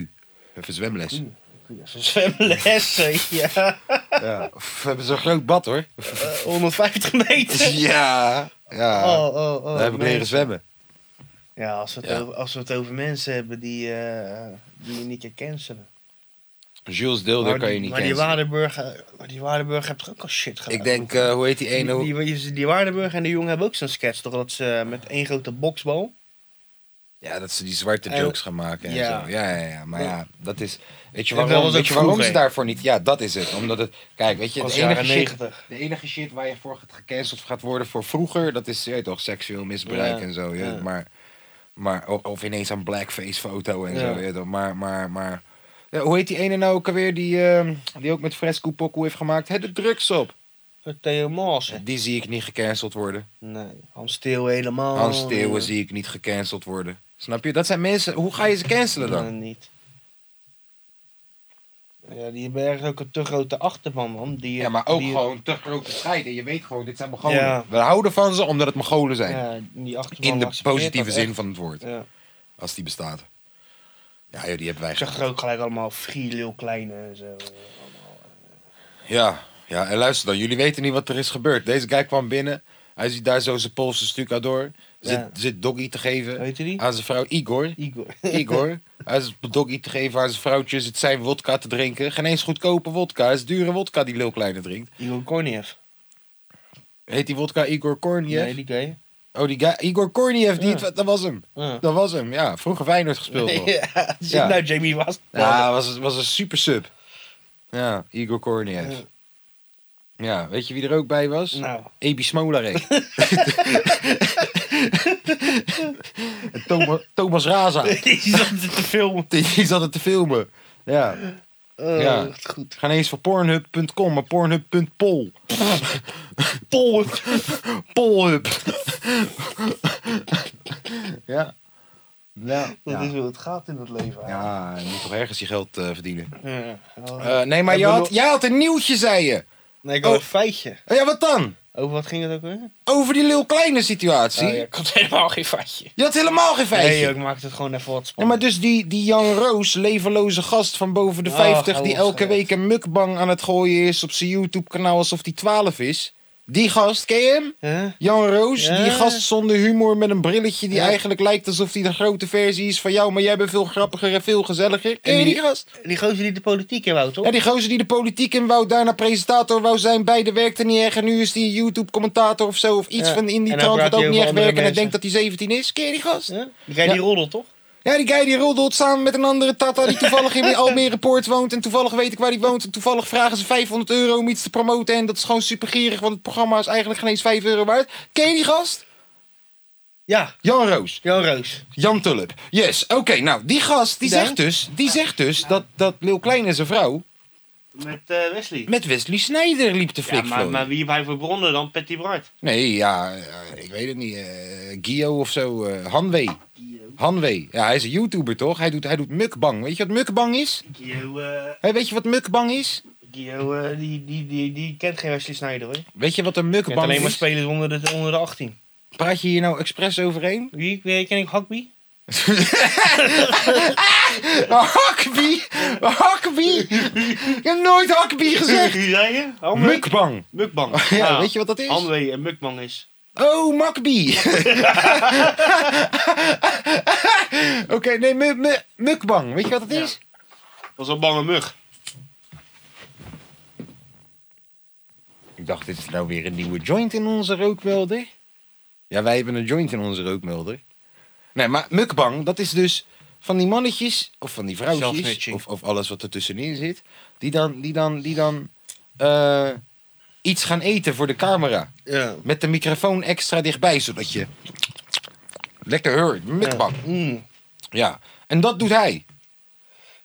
S3: Even zwemles.
S2: Ik wil even (laughs) zwemlessen, ja. (laughs)
S3: Ja. We hebben zo'n groot bad hoor.
S2: Eh, 150 meter.
S3: (laughs) Ja. Ja.
S2: Oh, oh, oh.
S3: Daar heb ik leren
S2: mensen.
S3: zwemmen.
S2: Ja, als we het,
S3: Ja.
S2: Over, als we het over mensen hebben die, eh, die je niet kan cancelen.
S3: Jules Deel, daar
S2: Maar
S3: Oh, kan
S2: die-
S3: je niet
S2: maar die,
S3: cancelen.
S2: Waardenburg, eh, maar die Waardenburg heeft toch ook al shit gedaan?
S3: Ik denk, eh, hoe heet die
S2: Die,
S3: ene?
S2: die, die, die Waardenburg en de jongen hebben ook zo'n sketch, toch? Dat ze eh, met één grote boksbal.
S3: Ja, dat ze die zwarte
S2: Eh,
S3: jokes gaan maken en
S2: ja.
S3: zo. Ja, ja, ja. Maar ja, dat is... Weet je
S2: En dat
S3: waarom,
S2: was
S3: weet
S2: ook
S3: je waarom
S2: vroeger.
S3: ze daarvoor niet... Ja, dat is het. Omdat het... Kijk, weet je,
S2: Als
S3: het
S2: jaren
S3: enige shit,
S2: 90.
S3: de enige shit waar je voor gecanceld gaat worden voor vroeger... dat is, je weet toch, seksueel misbruik
S2: Ja,
S3: en zo. je
S2: ja.
S3: weet, Maar, maar, of, of ineens een blackface foto en
S2: Ja.
S3: zo. je weet toch, maar, maar, maar... Ja, hoe heet die ene nou ook alweer die, ehm, die ook met Fresco Poco heeft gemaakt? Het de drugs op.
S2: Theo Maas.
S3: Die zie ik niet gecanceld worden.
S2: Nee, Hans Steeuw helemaal.
S3: Hans Steeuwen zie ik niet gecanceld worden. Snap je? Dat zijn mensen... Hoe ga je ze cancelen dan?
S2: Nee, niet. Ja, die hebben ergens ook een te grote achterban, man. Die,
S3: Ja, maar ook
S2: die,
S3: gewoon te grote scheid. En je weet gewoon, dit zijn Mongolen.
S2: Ja.
S3: We houden van ze omdat het Mongolen zijn.
S2: Ja, die achterban
S3: In de
S2: accepteert
S3: positieve
S2: dat
S3: zin
S2: echt.
S3: van het woord.
S2: Ja.
S3: Als die bestaat. Ja, joh, die hebben wij
S2: Ik zag er ook gelijk allemaal frieleel kleine en zo.
S3: Ja. ja, en luister dan. Jullie weten niet wat er is gebeurd. Deze guy kwam binnen. Hij ziet daar zo zijn Poolse stucador. Zit,
S2: Ja.
S3: zit doggy te geven
S2: Weet je die?
S3: aan zijn vrouw
S2: (laughs)
S3: Igor.
S2: Igor.
S3: Igor. Hij is doggy te geven aan zijn vrouwtje. Zit zijn wodka te drinken. Geen eens goedkope wodka. Het is dure wodka die Lil Kleine drinkt.
S2: Igor Korniev.
S3: Heet die wodka Igor Korniev?
S2: Nee, die gay.
S3: Oh, die guy. Igor Korniev. Die,
S2: Ja.
S3: Dat was hem.
S2: Ja.
S3: Dat was hem, ja. Vroeger Feyenoord gespeeld nog. Ja,
S2: (laughs) ja, zit
S3: Ja.
S2: nou Jamie was.
S3: was, was een super sub. Ja, Igor Korniev.
S2: Ja.
S3: Ja, weet je wie er ook bij was?
S2: Nou, (laughs)
S3: Ebi Smolarek. en Thomas, Thomas Raza.
S2: die zat te filmen.
S3: Die zat het te filmen. Ja.
S2: Oh,
S3: Ja.
S2: echt goed.
S3: Ga ineens voor pornhub.com, maar pornhub.pol. Polhub. Polhub. ja. Ja.
S2: Dat
S3: ja.
S2: is hoe het gaat in het leven. eigenlijk.
S3: Ja, je moet toch ergens je geld eh, verdienen.
S2: Ja. Oh.
S3: Eh, nee, maar je
S2: Hebben we
S3: had, jij had een nieuwtje, zei je.
S2: Nee, ik had
S3: Oh.
S2: een feitje.
S3: Oh, ja, wat dan?
S2: Over wat ging het ook weer?
S3: Over die Lil Kleine situatie.
S2: Oh ja,
S6: Komt helemaal geen vatje.
S3: Je had helemaal geen feitje.
S2: Nee, joh, ik maakte het gewoon even wat
S3: Ja, maar
S2: spannend.
S3: dus die, die Jan Roos, levenloze gast van boven de
S2: Ah,
S3: 50,
S2: gauw
S3: die elke
S2: opgelet.
S3: week een mukbang aan het gooien is op zijn YouTube-kanaal alsof hij 12 is. Die gast, ken je hem?
S2: Hè?
S3: Jan Roos,
S2: Ja.
S3: die gast zonder humor met een brilletje die
S2: Ja.
S3: eigenlijk lijkt alsof hij de grote versie is van jou, maar jij bent veel grappiger en veel gezelliger. Ken je
S2: En
S3: die
S2: die-
S3: gast?
S2: Die gozer die de politiek in wou, toch?
S3: Ja, die gozer die de politiek in wou, daarna presentator wou zijn, beide werkte niet echt en nu is hij een YouTube-commentator of zo of iets
S2: Ja.
S3: van in
S2: En
S3: die
S2: dan
S3: trant wat
S2: praat hij
S3: ook niet
S2: over
S3: echt
S2: andere
S3: werkt en hij
S2: mensen.
S3: denkt dat hij 17 is. Ken je die gast?
S2: Hè? Die guy die
S3: Ja.
S2: roddelt, toch?
S3: Ja, die guy die roddelt samen met een andere tata die toevallig (laughs) in Almere Poort woont. En toevallig weet ik waar die woont. En toevallig vragen ze 500 euro om iets te promoten. En dat is gewoon supergierig, want het programma is eigenlijk geen eens 5 euro waard. Ken je die gast?
S2: Ja,
S3: Jan Roos.
S2: Jan Roos.
S3: Jan Tulp. Yes, oké. nou, die gast die
S2: Ja.
S3: zegt dus, die zegt dus dat, dat Lil Klein en zijn vrouw
S4: Met eh, Wesley.
S3: met Wesley Snijder liep te
S4: ja,
S3: flikvloeien.
S4: maar, maar wie heeft hij voor bronnen dan? Patty Bright.
S3: Nee, ja, eh, ik weet het niet. eh Gio of zo. eh Hanwee. Hanwee. Ja, hij is een YouTuber toch? Hij doet, hij doet mukbang. Weet je wat mukbang is?
S4: Gio, eh,
S3: Hé, weet je wat mukbang is?
S2: Gio, eh, die, die, die, die kent geen Wesley Sneijder, hoor.
S3: Weet je wat een
S2: Kent
S3: mukbang
S2: alleen maar
S3: is?
S2: spelers onder de, onder de 18.
S3: Praat je hier nou expres overheen? (laughs)
S2: Wie, wie ken ik? Hakby?
S3: Hakbie! Hakbie! Ik heb nooit
S2: (laughs)
S3: hakbie gezegd!
S4: Wie zei je? Hanwee?
S3: Mukbang!
S4: Mukbang.
S3: (laughs) Ja, weet je wat dat is?
S4: Hanwee en mukbang is.
S3: Oh, makbie! (laughs) Oké, nee, mu- mu- mukbang. Weet je wat dat is?
S4: Dat is een bange mug.
S3: Ik dacht, dit is nou weer een nieuwe joint in onze rookmelder. Ja, wij hebben een joint in onze rookmelder. Nee, maar mukbang, dat is dus van die mannetjes, of van die vrouwtjes,
S2: Zelfsnitching.
S3: of, of alles wat er tussenin zit, die dan, die dan, die dan eh, iets gaan eten voor de camera.
S2: Ja.
S3: Met de microfoon extra dichtbij, zodat je lekker hoort. Mukbang.
S2: Mm.
S3: Ja, en dat doet hij.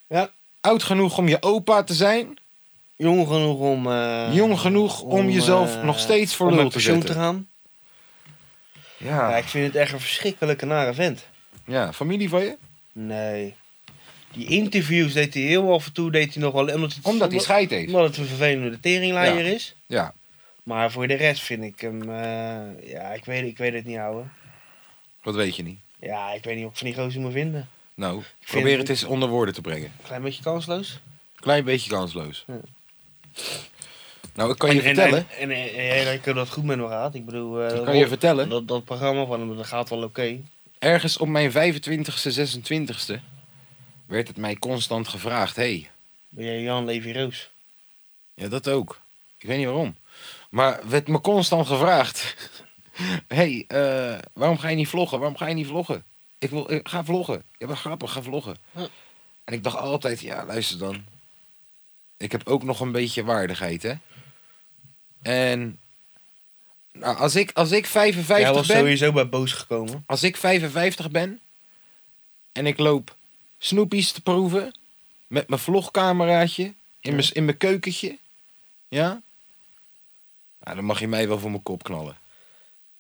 S2: Ja.
S3: Oud genoeg om je opa te zijn,
S2: Jong genoeg om... eh,
S3: jong genoeg om, jezelf
S2: eh,
S3: nog steeds voor
S2: om met
S3: lul te
S2: pensioen
S3: zetten. Ah.
S2: te gaan. Ja, ik vind het echt een verschrikkelijke nare vent.
S3: ja, familie van je?
S2: Nee. Die interviews deed hij heel af en toe, deed hij nog wel... Omdat, het,
S3: Omdat hij scheid heeft.
S2: Omdat het een vervelende teringlaaier is.
S3: Ja.
S2: Maar voor de rest vind ik hem... eh, ja, ik weet, ik weet het niet, ouwe.
S3: Wat weet je niet?
S2: Ja, ik weet niet of ik van die gozer moet vinden.
S3: Nou, probeer het eens onder woorden te brengen.
S2: Klein beetje kansloos.
S3: Klein beetje kansloos.
S2: Ja.
S3: Nou, ik kan je
S2: en,
S3: vertellen.
S2: En, en, en, en, en ik heb dat goed met me gehad. Ik bedoel... eh,
S3: ik kan je vertellen.
S2: dat, dat programma van hem, dat gaat wel oké.
S3: Ergens op mijn 25ste, 26ste werd het mij constant gevraagd. hey,
S2: Ben jij Jan Levi Roos?
S3: ja dat ook. Ik weet niet waarom. Maar werd me constant gevraagd. (laughs) hey, eh, waarom ga je niet vloggen? Waarom ga je niet vloggen? Ik wil, ik ga vloggen. Ja, maar grappig, ga vloggen.
S2: Ja.
S3: En ik dacht altijd, ja, luister dan. Ik heb ook nog een beetje waardigheid, hè. En nou, als, ik, als ik 55
S2: Jij was
S3: ben...
S2: sowieso bij Boos gekomen.
S3: Als ik 55 ben en ik loop snoepies te proeven met mijn vlogcameraatje in mijn, in mijn keukentje, ja? ja, dan mag je mij wel voor mijn kop knallen.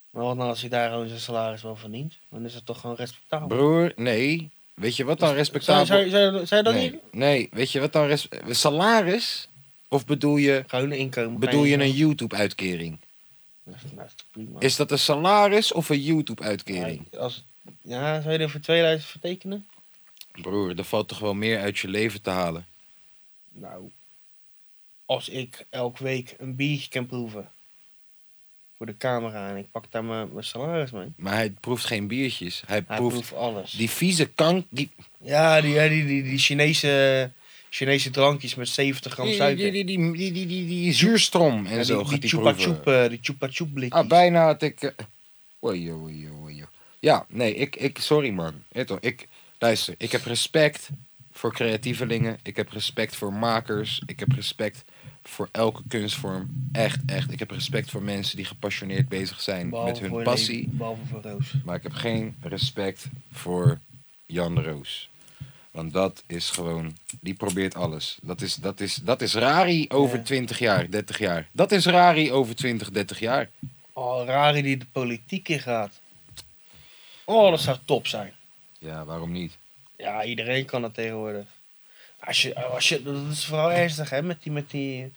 S2: Maar wat nou als hij daar gewoon zijn salaris wel verdient? Dan is het toch gewoon respectabel.
S3: Broer, nee. Weet je wat dan
S2: Oh. Dus zou,
S3: respectabel?
S2: zou, zou, zou je dat
S3: nee,
S2: niet?
S3: nee, weet je wat dan res- salaris? Of bedoel je,
S2: Gewoon een inkomen.
S3: bedoel je een YouTube-uitkering?
S2: Dat is- dat is toch prima.
S3: Is dat een salaris of een YouTube-uitkering?
S2: Ja, als, ja, zou je er voor 2000 vertekenen?
S3: Broer, er valt toch wel meer uit je leven te halen.
S2: Nou, als ik elke week een biertje kan proeven. Voor de camera en ik pak daar mijn, mijn salaris mee.
S3: Maar hij proeft geen biertjes. Hij,
S2: Hij proeft,
S3: proeft
S2: alles.
S3: die vieze kank, die
S2: Ja, die, ja, die, die, die Chinese, Chinese drankjes met 70 gram
S3: Die, die,
S2: suiker.
S3: die, die, die, die, die, die zuurstrom en
S2: Ja,
S3: zo
S2: die,
S3: gaat
S2: die
S3: die
S2: chupa
S3: proeven.
S2: chup, eh, die chupa chup blikjes.
S3: Ah, bijna had ik... eh, oei, oei, oei, oei. Ja, nee, ik, ik, sorry man. Ja, toch, Ik, luister, ik heb respect voor creatievelingen. Ik heb respect voor makers. Ik heb respect voor elke kunstvorm. Echt, echt. Ik heb respect voor mensen die gepassioneerd bezig zijn
S2: Behalve
S3: met
S2: voor
S3: hun
S2: je
S3: passie.
S2: leven, behalve voor Roos.
S3: Maar ik heb geen respect voor Jan Roos. Want dat is gewoon, die probeert alles. Dat is, dat is, dat is Rari over
S2: Ja.
S3: 20 jaar, 30 jaar. Dat is Rari over 20, 30 jaar.
S2: Oh, Rari die de politiek in gaat. Oh, dat zou top zijn.
S3: Ja, waarom niet?
S2: Ja, iedereen kan dat tegenwoordig. Als je, als je, dat is vooral ernstig, hè, met die, met die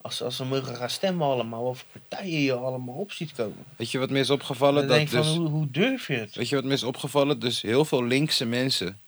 S2: Als, als ze mogen gaan stemmen allemaal, of partijen je allemaal op ziet komen.
S3: Weet je wat me is
S2: Dan
S3: opgevallen?
S2: denk
S3: Dat
S2: ik van,
S3: dus,
S2: hoe, hoe durf je het?
S3: weet je wat me is opgevallen? Dus heel veel linkse mensen,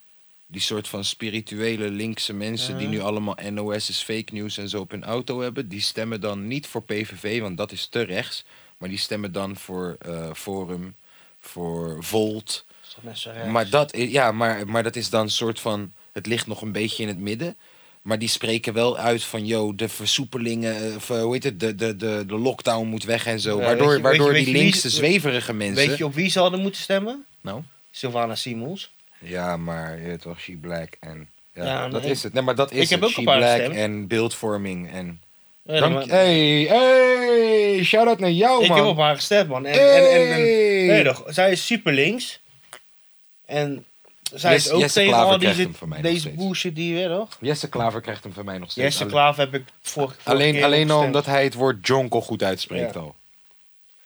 S3: die soort van spirituele linkse mensen, die
S2: Ja.
S3: nu allemaal NOS is fake news en zo op hun auto hebben, die stemmen dan niet voor PVV, want dat is te rechts. Maar die stemmen dan voor eh, Forum, voor Volt.
S2: Dat is toch net zo raar.
S3: Maar dat, i- ja, maar, maar dat is dan een soort van. Het ligt nog een beetje in het midden. Maar die spreken wel uit van, yo, de versoepelingen, eh, of eh, hoe heet het, de, de, de, de lockdown moet weg en zo.
S2: Ja,
S3: waardoor
S2: weet je-
S3: waardoor
S2: weet je-
S3: die
S2: weet je wie-
S3: linkse, zweverige mensen...
S2: Weet je op wie ze hadden moeten stemmen?
S3: Nou?
S2: Sylvana Simons.
S3: Ja, maar je weet toch, She Black en... Ja,
S2: Ja,
S3: dat
S2: nee.
S3: is het. Nee, maar dat is
S2: Ik heb
S3: het.
S2: ook
S3: She
S2: een paar
S3: Black
S2: stemmen.
S3: en beeldvorming en...
S2: Ja,
S3: Dank...
S2: maar-
S3: Hey, hey, shout-out naar jou,
S2: Eh, ik
S3: man.
S2: heb op haar gestemd, man. En, en, en, en-
S3: Hey!
S2: nee, toch, zij is super links. En zij
S3: Jesse-
S2: is ook
S3: Jesse
S2: tegen
S3: Klaver
S2: al
S3: krijgt
S2: deze,
S3: hem van mij nog
S2: deze
S3: steeds.
S2: bullshit die je weet, toch?
S3: Jesse Klaver krijgt hem van mij nog steeds.
S2: Jesse Klaver heb ik vorige, vorige
S3: alleen
S2: keer
S3: alleen al
S2: opgestemd.
S3: omdat hij het woord jonkel goed uitspreekt
S2: Ja.
S3: al.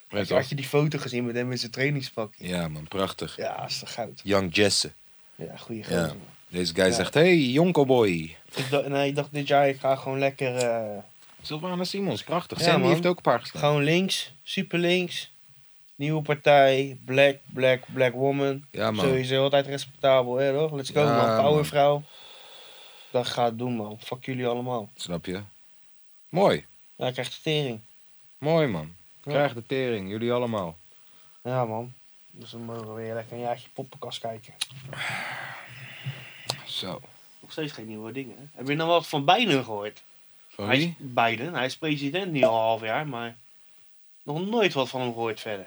S3: Weet je wel?
S2: Had je die foto gezien met hem in zijn trainingspakje?
S3: Ja, man, prachtig.
S2: Ja, dat is toch goud.
S3: Young Jesse.
S2: Ja, goede
S3: Ja.
S2: gozer. man.
S3: Deze guy
S2: Ja.
S3: zegt: Hey, jonko boy.
S2: Ik dacht, nee, ik dacht dit jaar, ik ga gewoon lekker... eh,
S3: Sylvana Simons, prachtig.
S2: Ja,
S3: Sandy
S2: man.
S3: heeft ook een paar gestaan.
S2: gewoon links, super links. Nieuwe partij, black, black, black woman.
S3: Ja, man.
S2: Sowieso altijd respectabel, hè, toch? Let's go,
S3: Ja,
S2: man.
S3: man.
S2: Powervrouw. Dat gaat doen, man. Fuck jullie allemaal.
S3: Snap je? Mooi,
S2: Ja, ik krijg de tering.
S3: mooi man.
S2: Ja.
S3: Krijg de tering, jullie allemaal.
S2: Ja, man. Dus we mogen weer lekker een jaartje poppenkast kijken.
S3: Zo.
S4: Nog steeds geen nieuwe dingen. hè? Heb je nou wat van Biden gehoord?
S3: Van
S4: Hij is
S3: wie?
S4: Biden, hij is president nu al een half jaar, maar nog nooit wat van hem gehoord verder.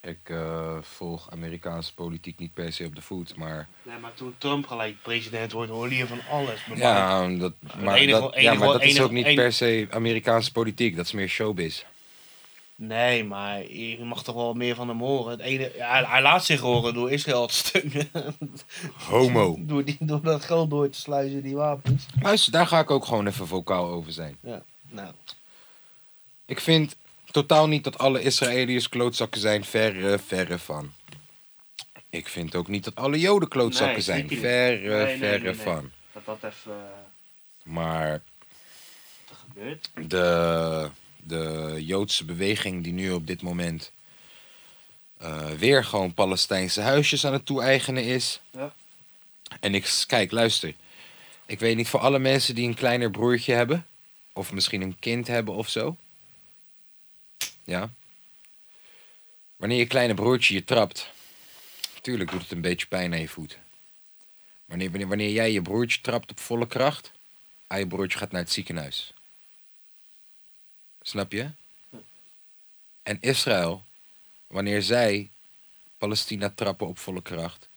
S3: Ik eh, volg Amerikaanse politiek niet per se op de voet, maar.
S4: Nee, maar toen Trump gelijk president wordt, hoorde je van alles. Maar
S3: Ja, dat, maar
S4: enige-
S3: dat, ja,
S4: enige-
S3: maar dat is
S4: enige-
S3: ook niet
S4: enige-
S3: per se Amerikaanse politiek, dat is meer showbiz.
S4: Nee, maar je mag toch wel meer van hem horen. Het ene, ja, hij- hij laat zich horen door Israël te steunen.
S3: Homo.
S4: (laughs) door, die, door dat geld door te sluizen, die wapens.
S3: Luister, daar ga ik ook gewoon even vocaal over zijn.
S4: Nou,
S3: Ik vind totaal niet dat alle Israëliërs klootzakken zijn. Verre, verre van. Ik vind ook niet dat alle Joden klootzakken
S4: Nee,
S3: zijn.
S4: zeker niet.
S3: Verre,
S4: Nee, nee,
S3: verre
S4: nee, nee.
S3: van.
S4: dat dat even eh,
S3: Maar
S4: gebeurt.
S3: de, de Joodse beweging die nu op dit moment eh, weer gewoon Palestijnse huisjes aan het toe-eigenen is.
S4: Ja.
S3: En ik s- kijk, luister. Ik weet niet voor alle mensen die een kleiner broertje hebben, of misschien een kind hebben of zo. Ja. Wanneer je kleine broertje je trapt, tuurlijk doet het een beetje pijn aan je voet. Wanneer, wanneer, wanneer jij je broertje trapt op volle kracht, en je broertje gaat naar het ziekenhuis. Snap je? En Israël, wanneer zij Palestina trappen op volle kracht,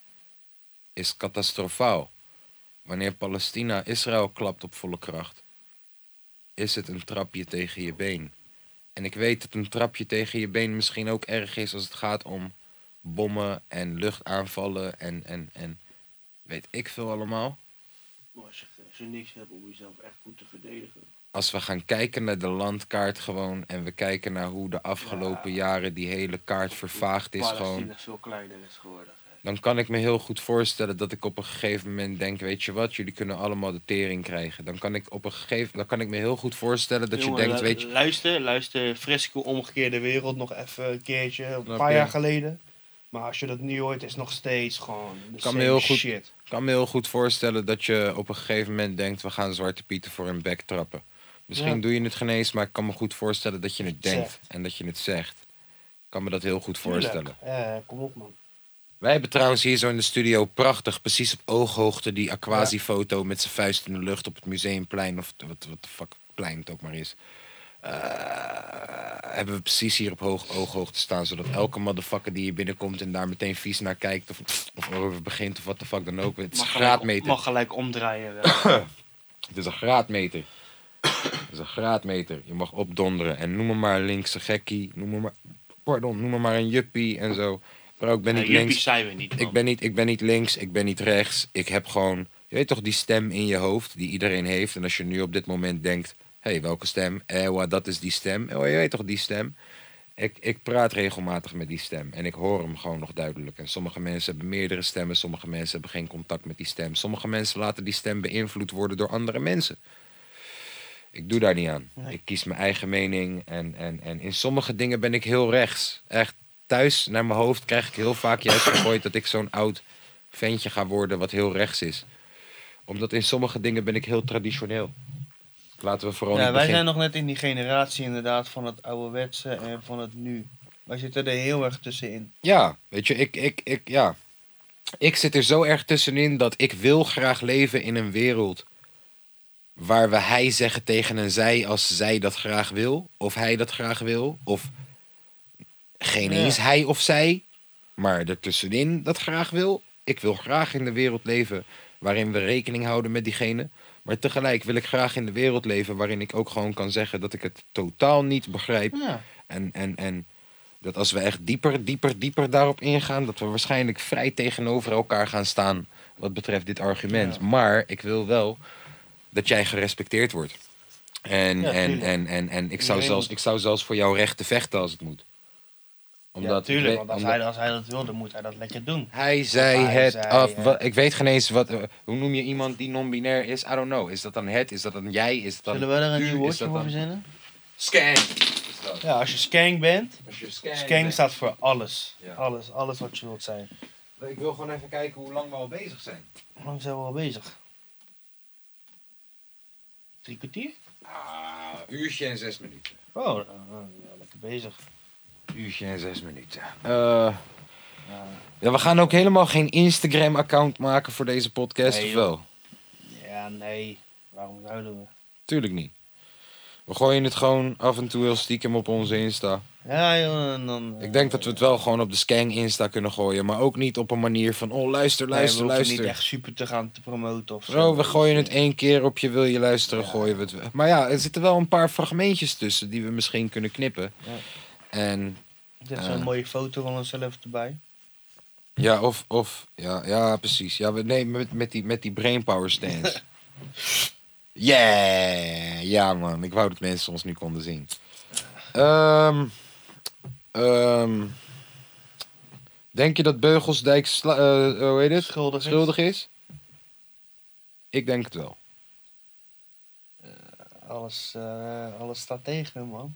S3: is catastrofaal. Wanneer Palestina Israël klapt op volle kracht, is het een trapje tegen je been. En ik weet dat een trapje tegen je been misschien ook erg is als het gaat om bommen en luchtaanvallen en, en, en weet ik veel allemaal.
S4: Maar als je, als je niks hebt om jezelf echt goed te verdedigen.
S3: als we gaan kijken naar de landkaart gewoon en we kijken naar hoe de afgelopen jaren die hele kaart vervaagd is
S4: Palestina
S3: gewoon,
S4: veel kleiner is geworden.
S3: dan kan ik me heel goed voorstellen dat ik op een gegeven moment denk, weet je wat, jullie kunnen allemaal de tering krijgen. Dan kan ik op een gegeven, dan kan ik me heel goed voorstellen dat
S4: Jongen,
S3: je denkt,
S4: lu-
S3: weet je,
S4: Luister, luister, Fresco omgekeerde wereld nog even een keertje, een
S3: Snap
S4: paar
S3: je?
S4: jaar geleden. Maar als je dat nu hoort, is het nog steeds gewoon de
S3: Kan
S4: kan
S3: me heel goed-
S4: shit.
S3: ik kan me heel goed voorstellen dat je op een gegeven moment denkt, we gaan zwarte pieten voor hun bek trappen. Misschien
S4: Ja.
S3: doe je het geen eens, maar ik kan me goed voorstellen dat je het denkt
S4: Zegt.
S3: en dat je het zegt. Ik kan me dat heel goed voorstellen.
S4: Tuurlijk. Eh, kom op man.
S3: Wij hebben trouwens hier zo in de studio prachtig, precies op ooghoogte, die Aquasi-foto met zijn vuist in de lucht op het museumplein. Of wat, wat de fuck plein het ook maar is. Eh, hebben we precies hier op hoog, ooghoogte staan, zodat elke motherfucker die hier binnenkomt en daar meteen vies naar kijkt of, of over begint of wat de fuck dan ook. Het is een
S4: Mag gelijk,
S3: graadmeter.
S4: mag gelijk omdraaien.
S3: (laughs)
S4: wel.
S3: Het is een graadmeter. Het is een graadmeter. Je mag opdonderen. En noem me maar een linkse gekkie. Noem me maar, pardon, noem me maar een juppie en zo. Maar ik ben
S4: Nee,
S3: niet
S4: juppies
S3: links.
S4: zijn we niet.
S3: Ik ben, niet, ik ben niet links, ik ben niet rechts. Ik heb gewoon, je weet toch, die stem in je hoofd die iedereen heeft. En als je nu op dit moment denkt, hé, hey, welke stem? Ewa, dat is die stem. Oh, je weet toch, die stem? Ik, ik praat regelmatig met die stem en ik hoor hem gewoon nog duidelijk. En sommige mensen hebben meerdere stemmen, sommige mensen hebben geen contact met die stem. Sommige mensen laten die stem beïnvloed worden door andere mensen. Ik doe daar niet aan.
S2: Nee.
S3: Ik kies mijn eigen mening. En, en, en in sommige dingen ben ik heel rechts. Echt thuis naar mijn hoofd krijg ik heel vaak juist gegooid dat ik zo'n oud ventje ga worden wat heel rechts is. Omdat in sommige dingen ben ik heel traditioneel. Laten we vooral
S2: Ja,
S3: niet
S2: wij
S3: beginnen.
S2: zijn nog net in die generatie inderdaad van het ouderwetse en van het nu. Wij zitten er heel erg tussenin.
S3: Ja, weet je, ik, ik, ik, ja. ik zit er zo erg tussenin dat ik wil graag leven in een wereld waar we hij zeggen tegen een zij als zij dat graag wil, of hij dat graag wil, of geen
S2: Ja.
S3: eens hij of zij, maar ertussenin dat graag wil. Ik wil graag in de wereld leven waarin we rekening houden met diegene. Maar tegelijk wil ik graag in de wereld leven waarin ik ook gewoon kan zeggen dat ik het totaal niet begrijp.
S2: Ja.
S3: En, en, en dat als we echt dieper, dieper, dieper daarop ingaan, dat we waarschijnlijk vrij tegenover elkaar gaan staan wat betreft dit argument. Maar ik wil wel dat jij gerespecteerd wordt. En,
S4: Ja,
S3: en,
S4: tuurlijk.
S3: en, en, en ik, zou
S4: Iedereen
S3: zelfs,
S4: moet-
S3: ik zou zelfs voor jouw rechten vechten als het moet.
S4: ja,
S3: ik
S4: tuurlijk,
S3: weet-
S4: want als,
S3: omdat-
S4: hij, als hij dat wil, dan moet hij dat lekker doen.
S3: hij zei
S4: Hij
S3: het
S4: zei eh,
S3: af.
S4: het.
S3: Wat- ik weet geen eens wat. eh, hoe noem je iemand die non-binair is? I don't know. Is dat dan het? Is dat dan jij? Is dat dan
S2: Zullen we er een
S3: u?
S2: nieuw
S3: Is
S2: woordje
S3: dat
S2: voor
S3: dan-
S2: verzinnen?
S3: Scan. Is dat.
S4: Ja, als je skank bent,
S3: Als je scan.
S4: skank staat voor alles.
S3: Ja.
S4: Alles, alles wat je wilt zijn.
S3: Ik wil gewoon even kijken hoe lang we al bezig zijn.
S4: Hoe lang zijn we al bezig? Drie kwartier?
S3: Ah, uurtje en zes minuten.
S4: Oh, nou, nou, ja, lekker bezig.
S3: Uurtje en zes minuten. Eh, ja, we gaan ook helemaal geen Instagram-account maken voor deze podcast,
S4: Nee,
S3: of
S4: joh.
S3: wel?
S4: Ja, nee. Waarom ruilen we?
S3: Tuurlijk niet. We gooien het gewoon af en toe heel stiekem op onze Insta.
S2: Ja, joh, en dan.
S4: eh,
S3: Ik denk dat we het wel gewoon op de Skang Insta kunnen gooien. Maar ook niet op een manier van, oh luister, luister,
S2: niet
S3: luister.
S2: echt super te gaan te promoten of zo.
S3: Zo, we gooien het één keer op je wil je luisteren, gooien we het weg. Maar ja, er zitten wel een paar fragmentjes tussen die we misschien kunnen knippen.
S2: Ja.
S3: En
S2: Er zit zo'n
S3: eh.
S2: mooie foto van onszelf erbij.
S3: ja, of, of ja, ja, precies. Ja, we nemen met, met, die, met die brainpower
S4: (laughs)
S3: stance. yeah! Ja, man. Ik wou dat mensen ons nu konden zien. Ehm, ehm, denk je dat Beugelsdijk, sla- eh, hoe heet het?
S4: Schuldig is?
S3: schuldig is? Ik denk het wel.
S4: Alles, eh, alles staat tegen hem, man.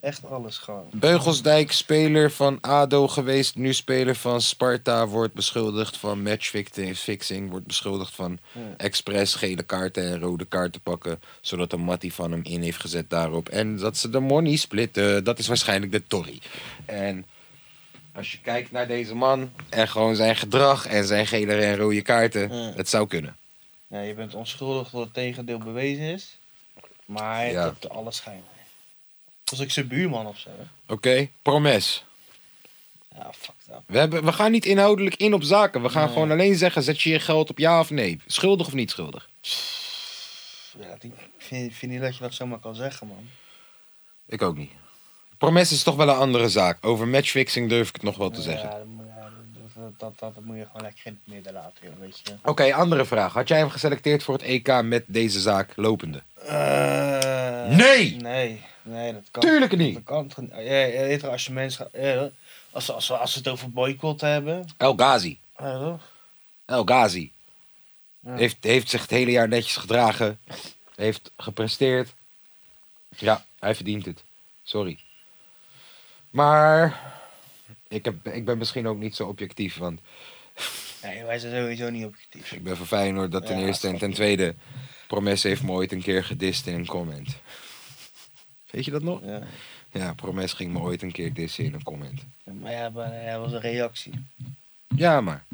S4: Echt alles gewoon.
S3: Beugelsdijk, speler van ADO geweest, nu speler van Sparta, wordt beschuldigd van matchfixing, wordt beschuldigd van expres gele kaarten en rode kaarten pakken, zodat een mattie van hem in heeft gezet daarop. En dat ze de money splitten, dat is waarschijnlijk de Tory. En als je kijkt naar deze man en gewoon zijn gedrag en zijn gele en rode kaarten,
S2: Ja.
S3: het zou kunnen.
S2: Ja, je bent onschuldig dat het tegendeel bewezen is.
S4: Maar hij
S3: Ja.
S4: heeft op alles schijn. Was ik zijn buurman of zo? hè?
S3: Oké, promes.
S4: Ja, fuck dat.
S3: We, hebben, we gaan niet inhoudelijk in op zaken. We gaan gewoon alleen zeggen: zet je je geld op ja of nee. Schuldig of niet schuldig?
S4: Ja, die- ik vind, vind niet dat je dat zomaar kan zeggen, man.
S3: Ik ook niet. Promes is toch wel een andere zaak. Over matchfixing durf ik het nog wel te zeggen.
S4: Ja, dat moet- ja, dat, dat, dat, dat moet je gewoon lekker in het midden laten, joh, weet je.
S3: Oké, andere vraag. Had jij hem geselecteerd voor het EK met deze zaak lopende?
S4: Eh,
S3: Nee!
S4: Nee, nee, dat kan
S3: Tuurlijk niet.
S4: Dat kan toch niet. Ja, ja, ja, weet je, als je mensen gaat- ja, hoor. als, we- als, we- als we het over boycott hebben.
S3: El Ghazi.
S4: ja, toch?
S3: El Ghazi.
S4: Ja.
S3: Heeft, heeft zich het hele jaar netjes gedragen. Heeft gepresteerd. Ja, hij verdient het. Sorry. Maar ik, heb, ik ben misschien ook niet zo objectief. Want
S4: Nee, wij zijn sowieso niet objectief.
S3: ik ben van Feyenoord dat ten
S4: Ja,
S3: eerste. En ten tweede, Promes heeft me ooit een keer gedist in een comment. Weet je dat nog?
S4: Ja.
S3: Ja, Promes ging me ooit een keer dissen in een comment.
S4: Maar ja, maar, ja, dat was een reactie.
S3: Ja, maar.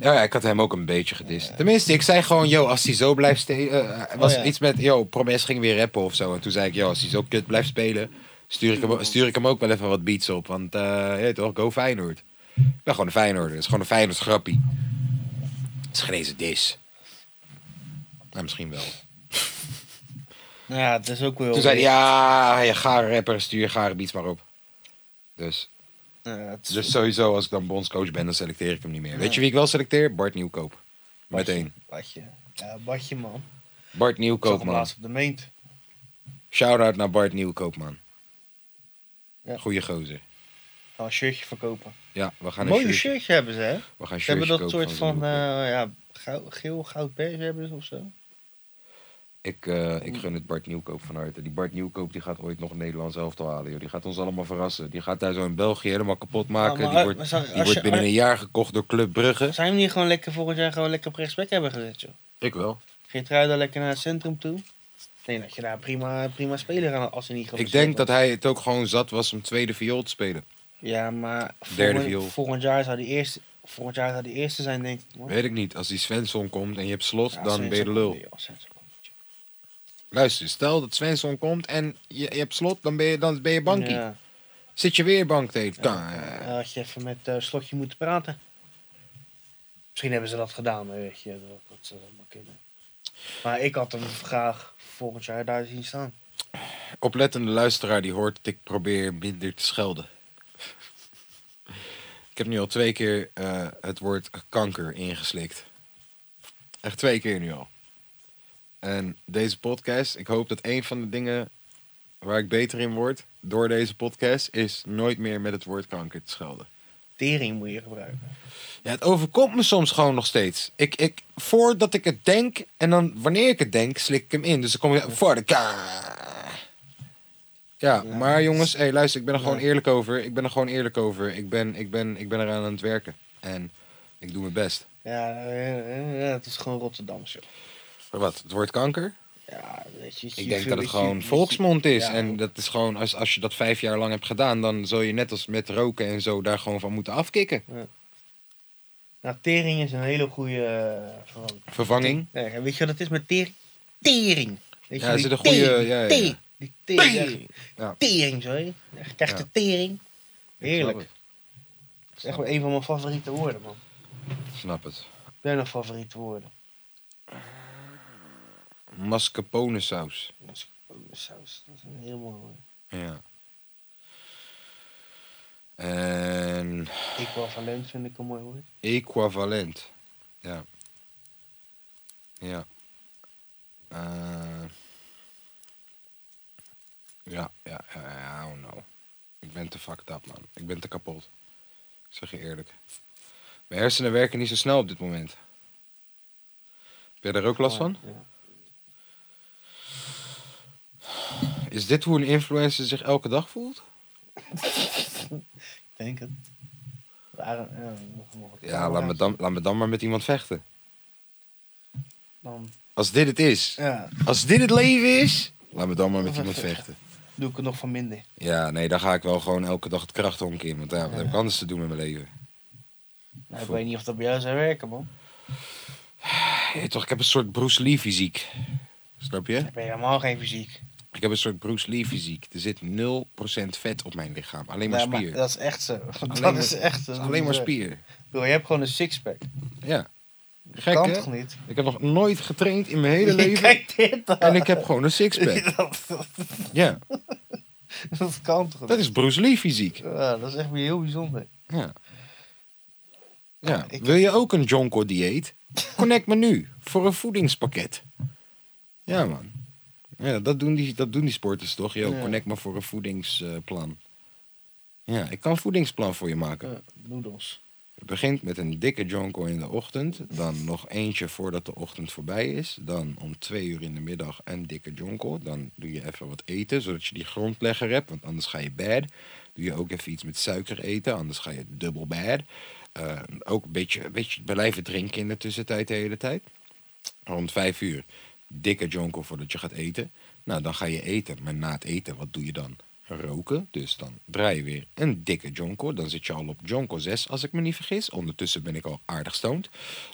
S3: Ja, ja, ik had hem ook een beetje gedist. Tenminste, ik zei gewoon, yo, als hij zo blijft spelen. was
S4: Oh, ja.
S3: iets met, yo, Promes ging weer rappen of zo. En toen zei ik, yo, als hij zo kut blijft spelen, stuur ik hem, stuur ik hem ook wel even wat beats op. Want, eh, je weet toch, go Feyenoord. Ik ben gewoon een Feyenoorder. Het is gewoon een Feyenoord grappie. Het is geen eens een dis. Nou, misschien wel.
S4: Nou ja, het is ook wel.
S3: Toen zei hij, ja, je gare rapper, stuur je gare beats maar op. Dus,
S4: Ja, het is-
S3: dus sowieso, als ik dan bondscoach ben, dan selecteer ik hem niet meer. Weet je wie ik wel selecteer? Bart Nieuwkoop. Meteen.
S4: Badje. Ja, badje, man. Ik
S3: Bart
S4: zag
S3: Nieuwkoop,
S4: hem
S3: man.
S4: laatst op de meent.
S3: Shout-out naar Bart Nieuwkoop, man.
S4: Ja.
S3: Goeie gozer.
S4: Gaan we een shirtje verkopen.
S3: Ja, we gaan een
S4: Mooie
S3: shirtje-
S4: shirtje hebben ze, hè?
S3: We gaan een
S4: Ze hebben
S3: shirtje
S4: dat
S2: eh,
S3: kopen
S4: soort van,
S3: Nieuwkoop.
S4: eh, ja, geel, geel goud beige hebben ze of zo.
S3: Ik, eh, ik gun het Bart Nieuwkoop van harte. Die Bart Nieuwkoop die gaat ooit nog een Nederlands elftal halen. Joh. Die gaat ons allemaal verrassen. Die gaat daar zo in België helemaal kapot maken.
S2: Ja, maar,
S3: die
S2: eh,
S3: wordt,
S2: maar zou-
S3: die
S2: als
S3: wordt
S2: je-
S3: binnen
S2: eh,
S3: een jaar gekocht door Club Brugge.
S2: Zijn we niet gewoon lekker volgend jaar gewoon lekker op rechtsback hebben gezet, joh?
S3: Ik wel.
S2: Geertruida lekker naar het centrum toe. Ik denk dat je daar prima, prima speler aan als hij niet
S3: Ik
S2: geblesseerd
S3: denk dat
S2: wordt.
S3: hij het ook gewoon zat was om tweede viool te spelen.
S2: Ja, maar
S3: Derde viool.
S2: volgend, volgend jaar zou die eerste, volgend jaar zou die eerste zijn, denk ik. hoor.
S3: Weet ik niet. Als die Svensson komt en je hebt slot,
S2: Ja,
S3: dan
S2: Svensson
S3: ben je de lul.
S2: komt, joh, Svensson komt, joh.
S3: Luister, stel dat Svensson komt en je, je hebt slot, dan ben je, dan ben je bankie.
S2: Ja,
S3: Zit je weer bank tegen. Kan, eh,
S2: dan had je even met eh, Slotje moeten praten. Misschien hebben ze dat gedaan, maar weet je, dat, dat zou wel kunnen. Maar ik had hem graag volgend jaar daar zien staan.
S3: oplettende luisteraar die hoort dat ik probeer minder te schelden. (laughs) ik heb nu al twee keer eh, het woord kanker ingeslikt. Echt twee keer nu al. En deze podcast, ik hoop dat een van de dingen waar ik beter in word door deze podcast is nooit meer met het woord kanker te schelden.
S2: Tering moet je gebruiken.
S3: Ja, het overkomt me soms gewoon nog steeds. Ik, ik, voordat ik het denk en dan wanneer ik het denk, slik ik hem in. Dus dan kom je voor de ka. Ja, maar jongens, hey, luister, ik ben er gewoon eerlijk over. Ik ben er gewoon eerlijk over. Ik ben, ik ben, ik ben eraan aan het werken. En ik doe mijn best.
S2: Ja, eh, eh, eh, het is gewoon Rotterdams, joh.
S3: Maar wat, het woord kanker?
S2: Ja, weet je, je
S3: Ik denk
S2: veel-
S3: dat het
S2: je-
S3: gewoon
S2: je-
S3: volksmond is.
S2: ja.
S3: En dat is gewoon, als, als je dat vijf jaar lang hebt gedaan, dan zul je net als met roken en zo daar gewoon van moeten afkicken.
S2: Nou, tering is een hele goede eh, vervanging.
S3: Vervanging.
S2: Nee, en weet je wat het is met tering? Tering! Weet je,
S3: Ja, er
S2: die
S3: zit een goede-
S2: tering,
S3: ja, ja, ja.
S2: tering, Die tering,
S3: Tering! Ja.
S2: ja. tering sorry. Je krijgt
S3: Ja.
S2: de tering. Heerlijk.
S3: Ik
S2: Dat is echt wel een van mijn favoriete woorden, man.
S3: Snap het.
S2: Ben nog favoriete woorden.
S3: Mascarpone saus.
S2: Saus, Oh, dat is een heel mooi woord.
S3: Ja. En
S2: Equivalent vind ik een mooi woord.
S3: equivalent. Ja. Ja. Eh, ja, ja, ja, ja, I don't know. Ik ben te fucked up, man. Ik ben te kapot. Ik zeg je eerlijk. Mijn hersenen werken niet zo snel op dit moment. Heb jij er ook last van?
S2: Ja.
S3: Is dit hoe een influencer zich elke dag voelt?
S2: Ik denk het. Waarom- ja, nog- nog-
S3: Ja, laat me dan, laat me dan maar met iemand vechten.
S2: Dan
S3: Als dit het is,
S2: ja,
S3: Als dit het leven is, laat me dan maar
S2: Oh,
S3: met iemand vechten.
S2: doe ik het nog van minder.
S3: Ja, nee, dan ga ik wel gewoon elke dag het krachthonk in. Want ja, wat heb ik anders te doen met mijn leven?
S2: Nou, ik
S3: Voor-
S2: weet niet of dat bij jou zou werken, man.
S3: Hey, toch, ik heb een soort Bruce Lee fysiek. Snap je?
S2: Ik ben helemaal geen fysiek.
S3: Ik heb een soort Bruce Lee fysiek. Er zit 0% vet op mijn lichaam. Alleen maar
S2: Ja, maar eh,
S3: spier.
S2: dat is echt zo. (laughs) Dat
S3: Alleen maar-
S2: is echt zo.
S3: Het is alleen maar spier.
S2: Bro, je hebt gewoon een sixpack.
S3: Ja. Gek,
S2: Kan
S3: hè?
S2: toch niet?
S3: Ik heb nog nooit getraind
S2: (laughs)
S3: in mijn hele leven.
S2: Kijk dit dan.
S3: En ik heb gewoon een
S2: (laughs)
S3: sixpack.
S2: dat, dat,
S3: Ja,
S2: dat kan toch
S3: dat
S2: niet?
S3: is Bruce Lee fysiek.
S2: Ja, dat is echt weer heel bijzonder.
S3: Ja. ja.
S2: ik-
S3: Wil je ook een Jonko dieet? Connect me nu voor een voedingspakket. Ja, man. Ja, dat doen die, dat doen die sporters toch? Yo,
S2: Ja.
S3: connect me voor een voedingsplan. ja, ik kan een voedingsplan voor je maken.
S2: Ja, noedels.
S3: Het begint met een dikke jonko in de ochtend. Dan nog eentje voordat de ochtend voorbij is. Dan om twee uur in de middag een dikke jonko. Dan doe je even wat eten, zodat je die grondlegger hebt. Want anders ga je bad. Doe je ook even iets met suiker eten, anders ga je dubbel bad. Eh, ook een beetje, een beetje blijven drinken in de tussentijd de hele tijd. Rond vijf uur, dikke jonko voordat je gaat eten. Nou, dan ga je eten. Maar na het eten, wat doe je dan? Roken. Dus dan draai je weer een dikke jonko. Dan zit je al op jonko 6, als ik me niet vergis. Ondertussen ben ik al aardig stoned.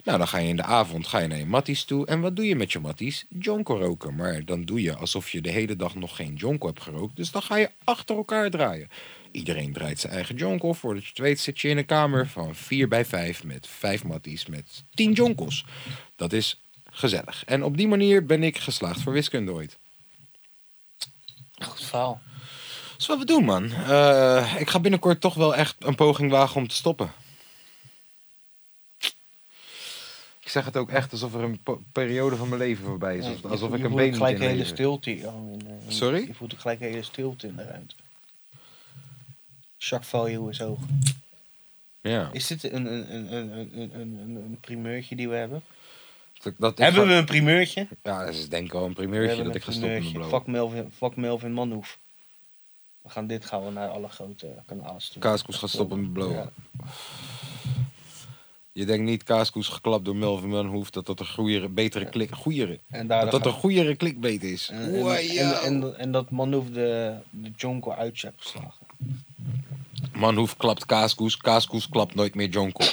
S3: Nou, dan ga je in de avond ga je naar je matties toe. En wat doe je met je matties? Jonko roken. Maar dan doe je alsof je de hele dag nog geen jonko hebt gerookt. Dus dan ga je achter elkaar draaien. Iedereen draait zijn eigen jonko. Voordat je het weet zit je in een kamer van 4 bij 5 met 5 matties met 10 jonkels. Dat is gezellig. En op die manier ben ik geslaagd voor wiskunde ooit.
S2: Goed verhaal.
S3: Dat is Dus wat we doen, man. Eh, ik ga binnenkort toch wel echt een poging wagen om te stoppen. Ik zeg het ook echt alsof er een po- periode van mijn leven voorbij is.
S2: Ja,
S3: Alsof,
S2: je
S3: alsof
S2: voelt-
S3: ik
S2: je
S3: een
S2: voelt
S3: been moet
S2: gelijk een hele
S3: inleveren.
S2: stilte. hier al in, eh, in-
S3: Sorry?
S2: Je voelt ook gelijk een hele stilte in de ruimte. Jacques Valjeau is hoog.
S3: Ja.
S2: Is dit een, een, een, een, een, een, een, een primeurtje die we hebben?
S3: Dat, dat, ik
S2: Hebben
S3: ga-
S2: we een primeurtje?
S3: Ja, dat is denk ik wel een
S2: We
S3: primeurtje
S2: hebben
S3: dat
S2: een
S3: ik ga stoppen met
S2: primeurtje.
S3: blowen.
S2: Fuck Melvin, fuck Melvin Manhoef. We gaan dit gaan we naar alle grote kanalen sturen.
S3: Kaaskoes gaat stoppen met blowen. Je denkt niet Kaaskoes geklapt door Melvin Manhoef dat dat een goeiere, betere klik, goeiere,
S2: En daar
S3: dat dat een goeiere clickbait is.
S2: en, en, en, en- en dat Manhoef de, de Jonko uit heeft geslagen.
S3: Manhoef klapt Kaaskoes, Kaaskoes klapt nooit meer Jonko.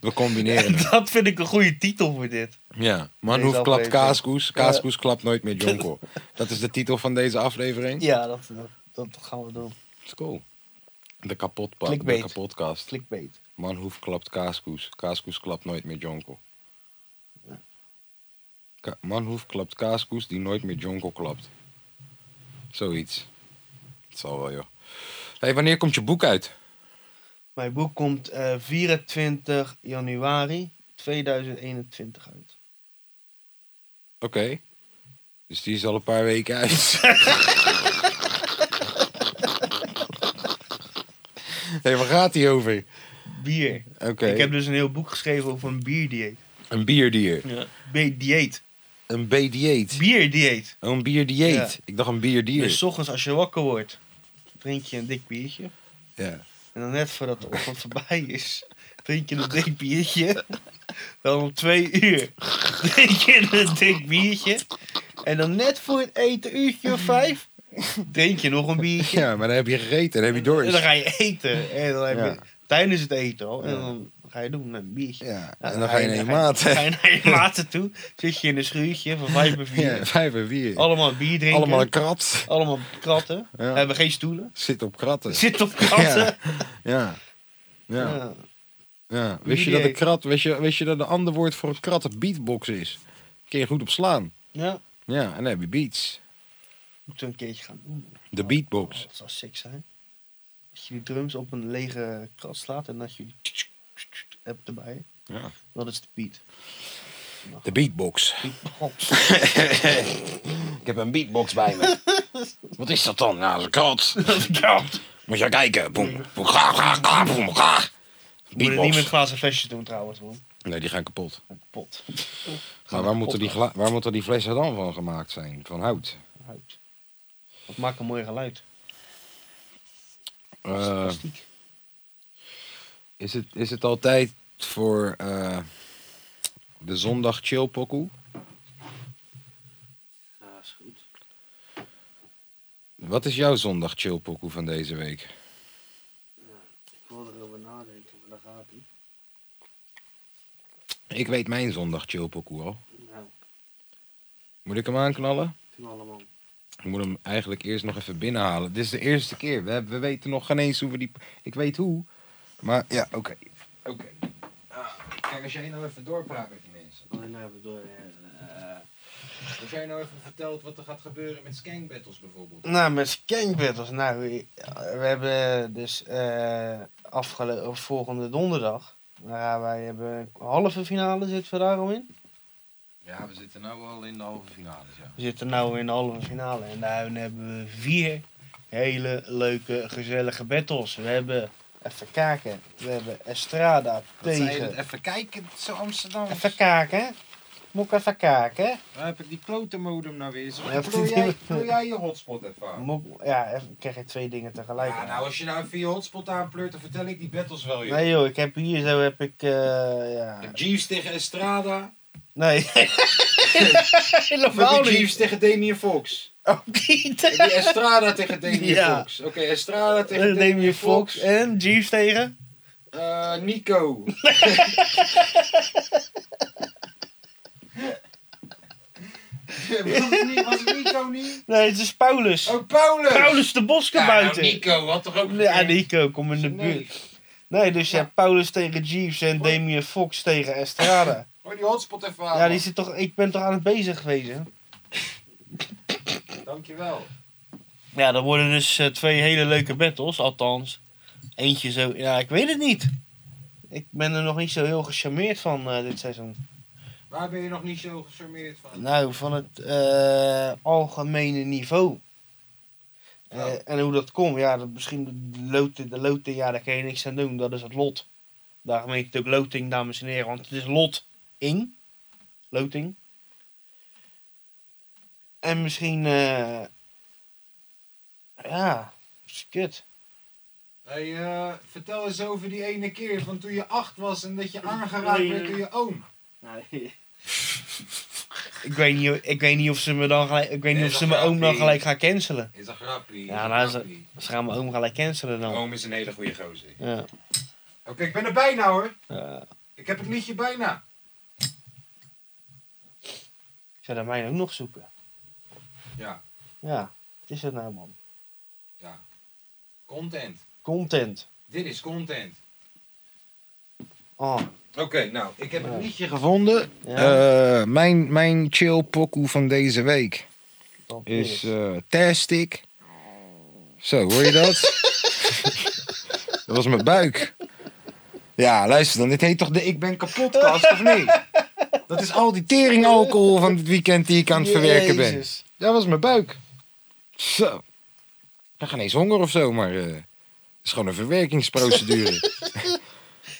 S3: We combineren
S2: (laughs)
S3: het.
S2: Dat vind ik een goede titel voor dit.
S3: Ja, Manhoef
S2: Deze
S3: klapt
S2: aflevering.
S3: Kaaskoes, Kaaskoes klapt nooit meer Jonko. Dat is de titel van deze aflevering.
S2: Ja, dat, dat, dat gaan we doen.
S3: Let's go. De kapotpa, de
S2: Clickbait.
S3: kapotkast.
S2: Clickbait.
S3: Manhoef klapt Kaaskoes. Kaaskoes klapt nooit meer Jonko. Ka- Manhoef klapt Kaaskoes die nooit meer Jonko klapt. Zoiets. Het zal wel, joh. hey, wanneer komt je boek uit?
S2: Mijn boek komt eh, 24 januari 2021 uit.
S3: Oké. Dus die is al een paar
S2: (laughs)
S3: weken uit. hey, waar gaat die over?
S2: Bier.
S3: Oké.
S2: Ik heb dus een heel boek geschreven over een bierdieet.
S3: Een bierdieet.
S2: Ja. Dieet.
S3: Een B-dieet.
S2: Bierdieet.
S3: Oh, een bierdieet.
S2: Ja.
S3: Ik dacht een bierdier.
S2: Dus 's ochtends als je wakker wordt, drink je een dik biertje.
S3: Ja.
S2: En dan net voordat de
S3: (laughs)
S2: ochtend voorbij is, drink je een dik biertje. Dan om twee uur drink je een dik biertje. En dan net voor het eten, uurtje of vijf, drink je nog een biertje.
S3: ja, maar dan heb je gegeten. Dan heb je door.
S2: En dan ga je eten. En dan heb je,
S3: Ja.
S2: Tijdens het eten al. En dan ga je doen met een biertje.
S3: Ja,
S2: Nou,
S3: en dan ga je naar je maat.
S2: Ga je naar je maten toe. Zit je in een schuurtje van vijf bij vier.
S3: Ja, vijf en vier.
S2: Allemaal bier drinken.
S3: Allemaal
S2: Allemaal,
S3: een krat.
S2: kratten.
S3: Ja.
S2: Hebben geen stoelen.
S3: Zit op kratten.
S2: Zit op kratten.
S3: Ja. Ja. ja.
S2: Ja.
S3: Wist je dat een krat, wist je, wist je dat een ander woord voor een krat een beatbox is? Kun je goed op slaan.
S2: Ja.
S3: Ja, en dan heb je beats.
S2: Moeten we een keertje gaan doen.
S3: De beatbox.
S2: Dat zou sick zijn. Dat je die drums op een lege krat slaat en dat je die hebt erbij.
S3: Ja.
S2: Dat is de beat.
S3: De beatbox.
S2: (laughs) Beatbox.
S3: Ik heb een beatbox bij me. (laughs) Wat is dat dan? Nou, dat is een krat. Moet je kijken. Boem, boem, ga, ga, ga, boem, ga.
S2: Moet het niet met
S3: Beatbox.
S2: glazen flesjes doen trouwens, man.
S3: Nee, die gaan kapot.
S2: Pot.
S3: Maar waar moeten, die gla- waar moeten die flessen dan van gemaakt zijn? Van hout.
S2: Hout. Dat maakt een mooi geluid.
S3: Eh,
S2: Plastiek.
S3: Is het, is het altijd voor eh, de zondag chillpokoe?
S1: Ja, is goed.
S3: Wat is jouw zondag chillpokoe van deze week?
S1: Ik wil erover nadenken, maar daar gaat ie.
S3: Ik weet mijn zondag chillpokoe al.
S1: Nou,
S3: Moet ik hem aanknallen?
S1: knallen man.
S3: Ik moet hem eigenlijk eerst nog even binnenhalen. Dit is de eerste keer. We, hebben- we weten nog geen eens hoe we die... Ik weet hoe. Maar ja, oké. Oké. Ah, kijk, als jij nou even doorpraat met die mensen.
S1: Alleen nou even door. eh, eh, Als jij nou even vertelt wat er gaat gebeuren met skank battles bijvoorbeeld.
S2: Nou, met skankbattles. Nou, we we hebben dus eh afgelo- of volgende donderdag. Nou, wij hebben een halve finale zitten we daar al in.
S3: Ja, we zitten nu al in de halve finale. Ja.
S2: We zitten nu in de halve finale. En daarin hebben we vier hele leuke, gezellige battles. We hebben, even kijken, we hebben Estrada tegen...
S3: Even kijken, zo Amsterdam.
S2: Even kijken. Moet ik even kijken?
S3: Waar heb ik die klote modem nou weer? Zo,
S2: Ja,
S3: Doe jij, doe jij je hotspot even aan.
S2: Moet, ik- ja, even, ik krijg je twee dingen tegelijk.
S3: Ja, nou, als je nou even je hotspot aanpleurt, dan vertel ik die battles wel, joh.
S2: Nee joh, ik heb hier zo heb ik... eh ja.
S3: Jeeves tegen Estrada.
S2: Nee.
S3: Of heb
S2: Helemaal
S3: (laughs) ik Jeeves
S2: niet.
S3: tegen Damien Fox?
S2: Ook niet.
S3: Heb je Estrada
S2: (laughs)
S3: tegen Damien
S2: Ja.
S3: Fox? Oké, Estrada tegen
S2: Eh,
S3: Damien,
S2: Neem je
S3: Fox.
S2: Fox en Jeeves tegen.
S3: Eh,
S2: (laughs)
S3: Nico. was, het niet, was het Nico niet?
S2: Nee, het is Paulus.
S3: Oh, Paulus!
S2: Paulus de Boske
S3: Ja, nou,
S2: buiten.
S3: Nico had toch ook...
S2: Ja, Nico, kom in de
S3: Nee.
S2: buurt. Nee, dus je hebt Paulus tegen Jeeves en Damien Fox tegen Estrada.
S3: Hoor die hotspot even aan.
S2: Ja, die zit toch, ik ben toch aan het bezig geweest. hè?
S3: man. Dankjewel.
S2: Ja, dan worden dus eh, twee hele leuke battles, althans. Eentje zo, ja, ik weet het niet. Ik ben er nog niet zo heel gecharmeerd van eh, dit seizoen.
S1: Waar ben je nog niet zo gecharmeerd van?
S2: Nou, van het eh, algemene niveau. Eh, En hoe dat komt, ja, dat misschien de loting, de loting, ja, daar kan je niks aan doen, dat is het lot. Daarmee natuurlijk loting, dames en heren, want het is lot. Ing. Loting. En misschien... eh ja, is kut.
S1: Hey, eh, vertel eens over die ene keer van toen je acht was en dat je aangeraakt werd door je oom.
S2: Ik weet, niet, ik weet niet of ze me dan gelijk, ik weet niet
S1: Nee,
S2: of
S1: dat
S2: ze mijn oom dan
S1: grapje.
S2: gelijk gaan cancelen.
S1: Is dat grappie?
S2: Ja, nou is Oh. Ze gaan mijn oom gelijk cancelen
S3: Oh.
S2: dan.
S1: Oom is een hele goede gozer.
S2: Ja.
S1: Oké, ik ben er bijna hoor.
S2: Ja.
S1: Ik heb het liedje bijna.
S2: Ik zou dat mij ook nog zoeken.
S1: Ja.
S2: Ja, wat is dat nou man?
S1: Content.
S2: Content.
S1: Dit is content.
S2: Oh,
S1: Oké, nou, ik heb een liedje gevonden.
S2: ja.
S3: Eh, mijn, mijn chill pokoe van deze week
S2: dat
S3: is eh Tastic. Zo, hoor je
S2: (laughs)
S3: dat? dat was mijn buik. Ja, luister dan. Dit heet toch de Ik Ben Kapotkast, of
S2: (laughs)
S3: niet? Dat is al die teringalcohol van dit weekend die ik aan het verwerken ben.
S2: Jezus.
S3: Dat was mijn buik. Zo. Ik ga ineens honger of zo, maar eh, het is gewoon een verwerkingsprocedure.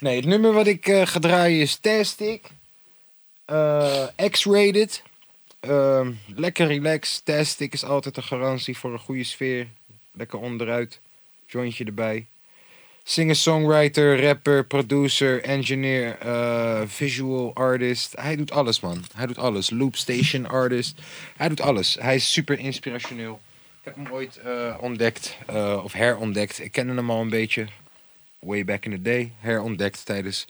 S3: nee, het nummer wat ik eh, ga draaien is Tastic. Eh, X-rated. Ehm, lekker relaxed. Tastic is altijd een garantie voor een goede sfeer. Lekker onderuit. Jointje erbij. Singer, songwriter, rapper, producer, engineer, eh, visual artist. Hij doet alles, man. Hij doet alles. Loop station artist. Hij doet alles. Hij is super inspirationeel. Ik heb hem ooit eh, ontdekt, eh, of herontdekt. Ik kende hem al een beetje. Way back in the day. Herontdekt tijdens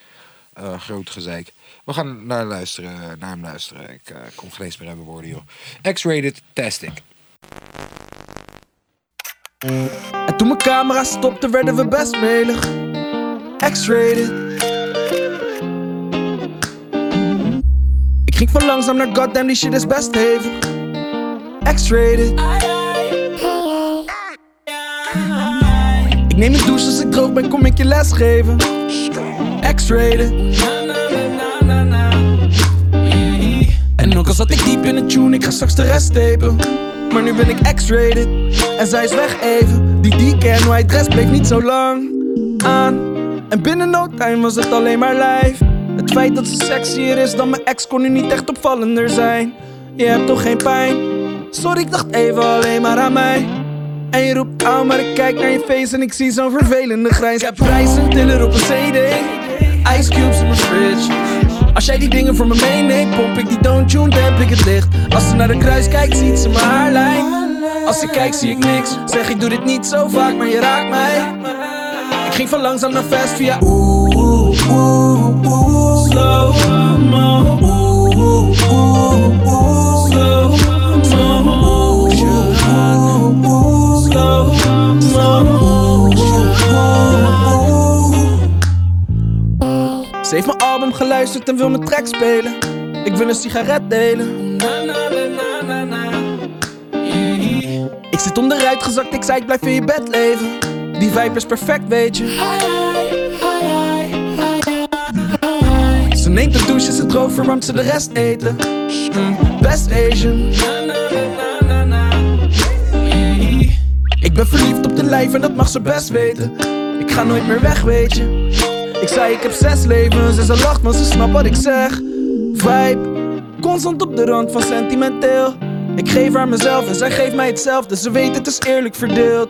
S3: eh, groot gezeik. We gaan naar, luisteren, naar hem luisteren. Ik eh, kom geen eens meer aan mijn woorden, joh. X-rated, tastic.
S6: En toen mijn camera stopte, werden we best melig. X-rated. Ik ging van langzaam naar goddamn, die shit is best hevig. X-rated. Ik neem een douche als ik droog ben, kom ik je les geven. X-rated. En ook al zat ik diep in de tune, ik ga straks de rest tapen. Maar nu ben ik X-rated en zij is weg even. Die decan, white dress bleek niet zo lang aan. En binnen no time was het alleen maar lijf. Het feit dat ze sexier is dan mijn ex kon nu niet echt opvallender zijn. Je hebt toch geen pijn? Sorry, ik dacht even alleen maar aan mij. En je roept aan, maar ik kijk naar je face en ik zie zo'n vervelende grijns. Ik heb prijzen, tiller op een CD, ice cubes in mijn fridge. Als jij die dingen voor me meeneemt, pomp ik die don't tune, damp ik het licht. Als ze naar de kruis kijkt, ziet ze mijn haarlijn. Als ze kijkt, zie ik niks. Zeg, ik doe dit niet zo vaak, maar je raakt mij. Ik ging van langzaam naar fast via oeh, oeh, oeh, oeh. Slow mo, oeh, oeh, oeh. Slow mo, oeh, oeh, oeh. Slow mo, oeh, oeh. Ze heeft mijn album geluisterd en wil mijn track spelen. Ik wil een sigaret delen. Ik zit onderuit gezakt, ik zei ik blijf in je bed leven. Die vibe is perfect, weet je. Ze neemt de douche, ze droog, verwarmt ze de rest eten. Mm, Best Asian. Ik ben verliefd op de lijf en dat mag ze best weten. Ik ga nooit meer weg, weet je. Ik zei ik heb zes levens en ze lacht, maar ze snapt wat ik zeg. Vibe, constant op de rand van sentimenteel. Ik geef haar mezelf en zij geeft mij hetzelfde. Ze weet het is eerlijk verdeeld.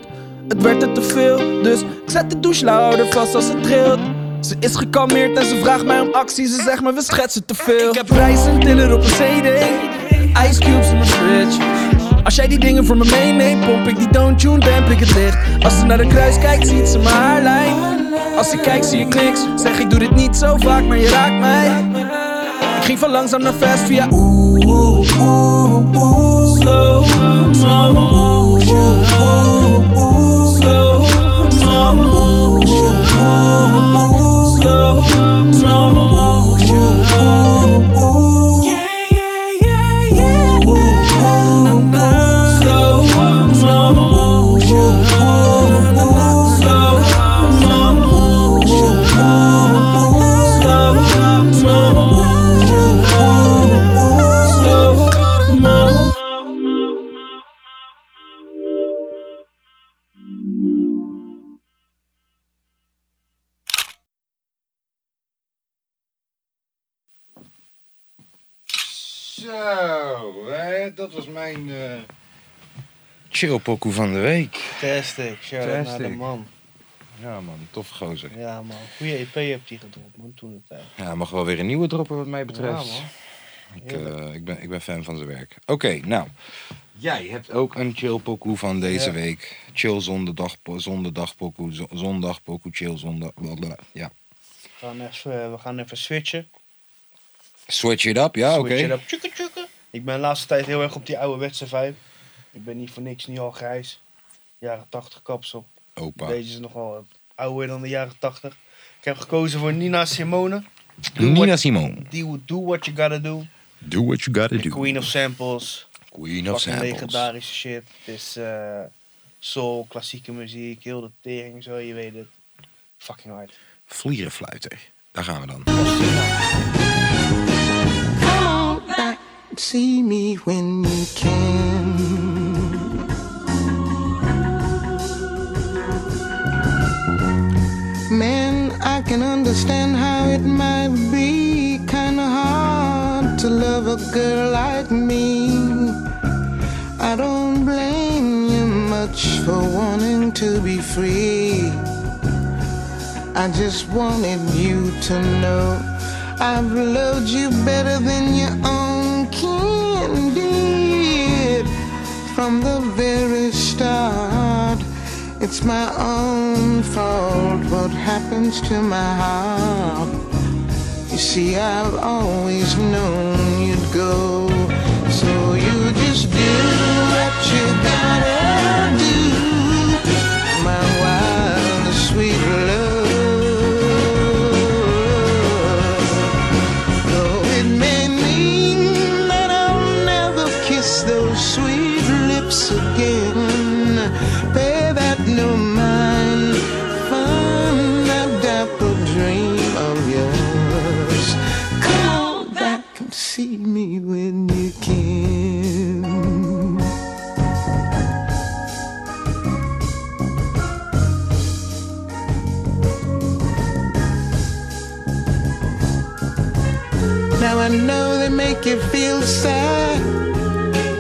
S6: Het werd er te veel, dus ik zet de douchelhouder vast als ze trilt. Ze is gekalmeerd en ze vraagt mij om actie. Ze zegt me we schetsen te veel. Ik heb prijzen, tiller op een CD, ice cubes in mijn fridge. Als jij die dingen voor me meeneemt, pomp ik die don't tune, damp ik het licht. Als ze naar de kruis kijkt, ziet ze mijn haarlijn. Als ik kijk zie ik niks Zeg ik doe dit niet zo vaak maar je raakt mij Ik ging van langzaam naar fast via oeh oeh oeh oeh Slow mo oeh oeh oeh Slow mo oeh oeh Slow mo oeh oeh oeh Slow mo oeh oeh Slow
S7: Zo, hè, dat was mijn... eh Chillpokoe van de week.
S2: Fantastic. Shout out naar de
S3: Fantastic.
S2: man.
S3: Ja man, tof gozer.
S2: Ja man, E goede EP hebt hij gedropt man, toen de tijd.
S3: Ja, hij mag wel weer een nieuwe droppen wat mij betreft.
S2: Ja,
S3: ik, eh, ik, ben, ik ben fan van zijn werk. Oké, nou. Jij hebt ook een chill pokoe van deze
S2: Ja.
S3: week. Chill zondag, zondag pokoe, zo- zondag pokoe, chill zondag. blablabla. Ja.
S2: We gaan even, eh, we gaan even switchen.
S3: Switch it up, ja, oké.
S2: Switchen op tjoeke tjoeke. Ik ben de laatste tijd heel erg op die ouderwetse vibe. Ik ben niet voor niks niet al grijs. Jaren 80 kapsel.
S3: Opa.
S2: Deze is nogal wat ouder dan de jaren 80. Ik heb gekozen voor Nina Simone.
S3: Nina Simone.
S2: Die Do What You Gotta Do.
S3: Do what you gotta
S2: De
S3: do.
S2: Queen of Samples.
S3: Queen
S2: Fucking
S3: of Samples.
S2: legendarische shit. Het is eh, soul, klassieke muziek, heel de tering, zo, je weet het. Fucking hard.
S3: Vlierenfluiter. Daar gaan we dan.
S8: See me when you can. Man, I can understand how it might be kinda hard to love a girl like me. I don't blame you much for wanting to be free. I just wanted you to know I've loved you better than your own kin did from the very start. It's my own fault what happens to my heart. You see, I've always known you'd go. So you just do what you gotta do my wild and sweet love. Though it may mean that I'll never kiss those sweet lips again. Pay that no mind, find that dapper dream of yours. Come back and see me when you can. Now I know they make you feel sad.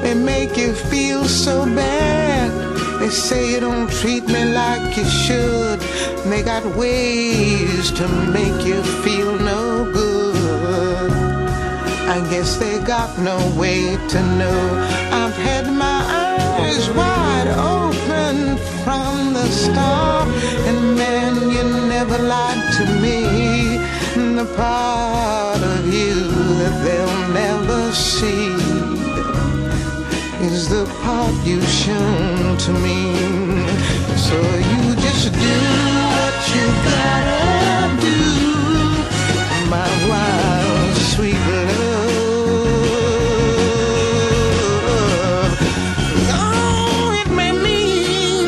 S8: They make you feel so bad. They say you don't treat me like you should. And they got ways to make you feel no good. I guess they got no way to know. I've had my eyes wide open from the start, and man, you never lied to me. And The part of you that they'll never see is the part you've shown to me. So you just do what you gotta do my wild, sweet love. Oh, it may mean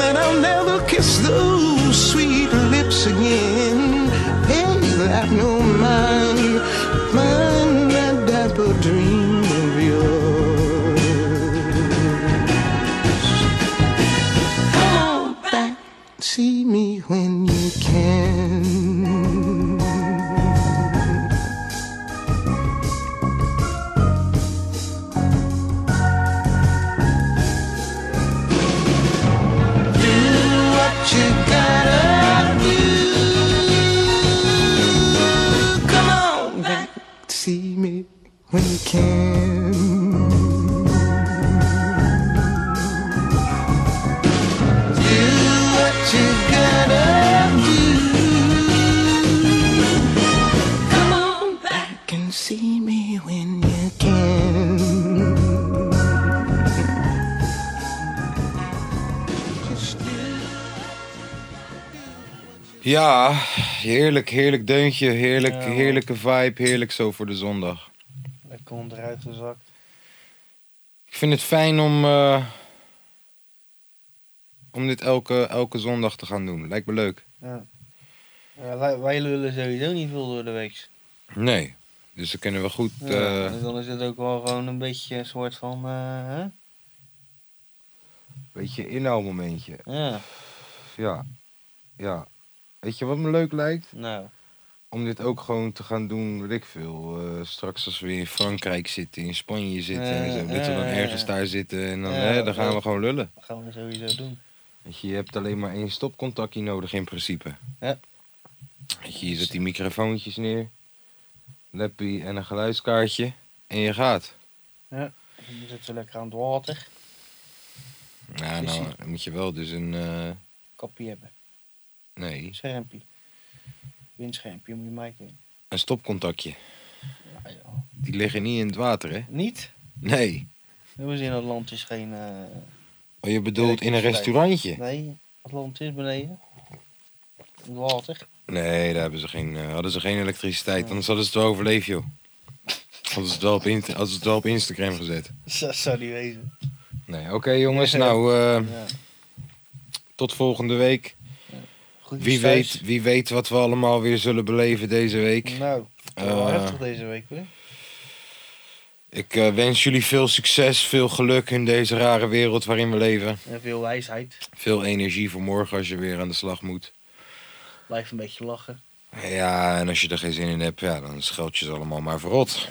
S8: that I'll never kiss those sweet lips again. Hey, that no mind, mind that dapper dream of yours. Come back, see me when you can. what you gotta do. Come on back, see me when you can. Do what you gotta do. Come on back and see me when you can. Just do.
S3: Ja, heerlijk, heerlijk deuntje. Heerlijk, heerlijke vibe. Heerlijk zo voor de zondag.
S2: Lekker onderuit gezakt.
S3: Ik vind het fijn om, eh, om dit elke, elke zondag te gaan doen. Lijkt me leuk.
S2: Ja, wij- wij lullen sowieso niet veel door de week.
S3: Nee, dus dan kunnen we goed... eh,
S2: Ja, dus dan is het ook wel gewoon een beetje een soort van. eh, hè?
S3: Beetje inhaalmomentje.
S2: Ja,
S3: Ja. Ja. Weet je wat me leuk lijkt?
S2: nou.
S3: om dit ook gewoon te gaan doen, weet ik veel. eh, straks als we in Frankrijk zitten, in Spanje zitten en zo.
S2: Eh,
S3: Dat we dan
S2: eh,
S3: ergens daar zitten en dan,
S2: Ja,
S3: hè, dan gaan we
S2: eh.
S3: gewoon lullen.
S2: Dat gaan we sowieso doen.
S3: Weet je, je hebt alleen maar één stopcontactje nodig in principe.
S2: Ja.
S3: Weet je, je zet die microfoontjes neer, leppie en een geluidskaartje en je gaat.
S2: We zitten lekker aan het water.
S3: Ja, nou dan moet je wel dus een... eh,
S2: Kopje hebben.
S3: nee,
S2: Schermpje. Windschermpje moet je mij in.
S3: een stopcontactje.
S2: Ja, joh.
S3: Die liggen niet in het water, hè?
S2: Niet?
S3: Nee.
S2: We zien Atlantis geen... eh,
S3: Oh, je bedoelt in een restaurantje?
S2: Nee, Atlantis beneden. In het (laughs) water.
S3: Nee, daar hebben ze geen, eh, hadden ze geen elektriciteit. Anders hadden ze het wel overleefd, joh. Hadden ze het wel op, int- hadden ze het wel op Instagram gezet.
S2: Dat zou niet wezen.
S3: Nee, oké jongens. Nou, eh,
S2: Ja.
S3: tot volgende week.
S2: Goed
S3: Wie weet, wie weet wat we allemaal weer zullen beleven deze week.
S2: Nou, wel
S3: Eh,
S2: heftig deze week hoor.
S3: Ik eh, wens jullie veel succes, veel geluk in deze rare wereld waarin we leven.
S2: En veel wijsheid.
S3: Veel energie voor morgen als je weer aan de slag moet.
S2: Blijf een beetje lachen.
S3: Ja, en als je er geen zin in hebt, ja, dan scheld je ze allemaal maar verrot.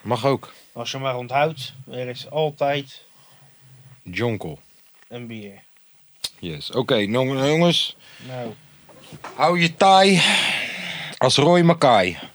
S3: Mag ook.
S2: Als je maar onthoudt, er is altijd
S3: Jonkel.
S2: een bier.
S3: Yes. Oké, jong- jongens.
S2: Nou.
S3: Hou je taai als Roy Makai.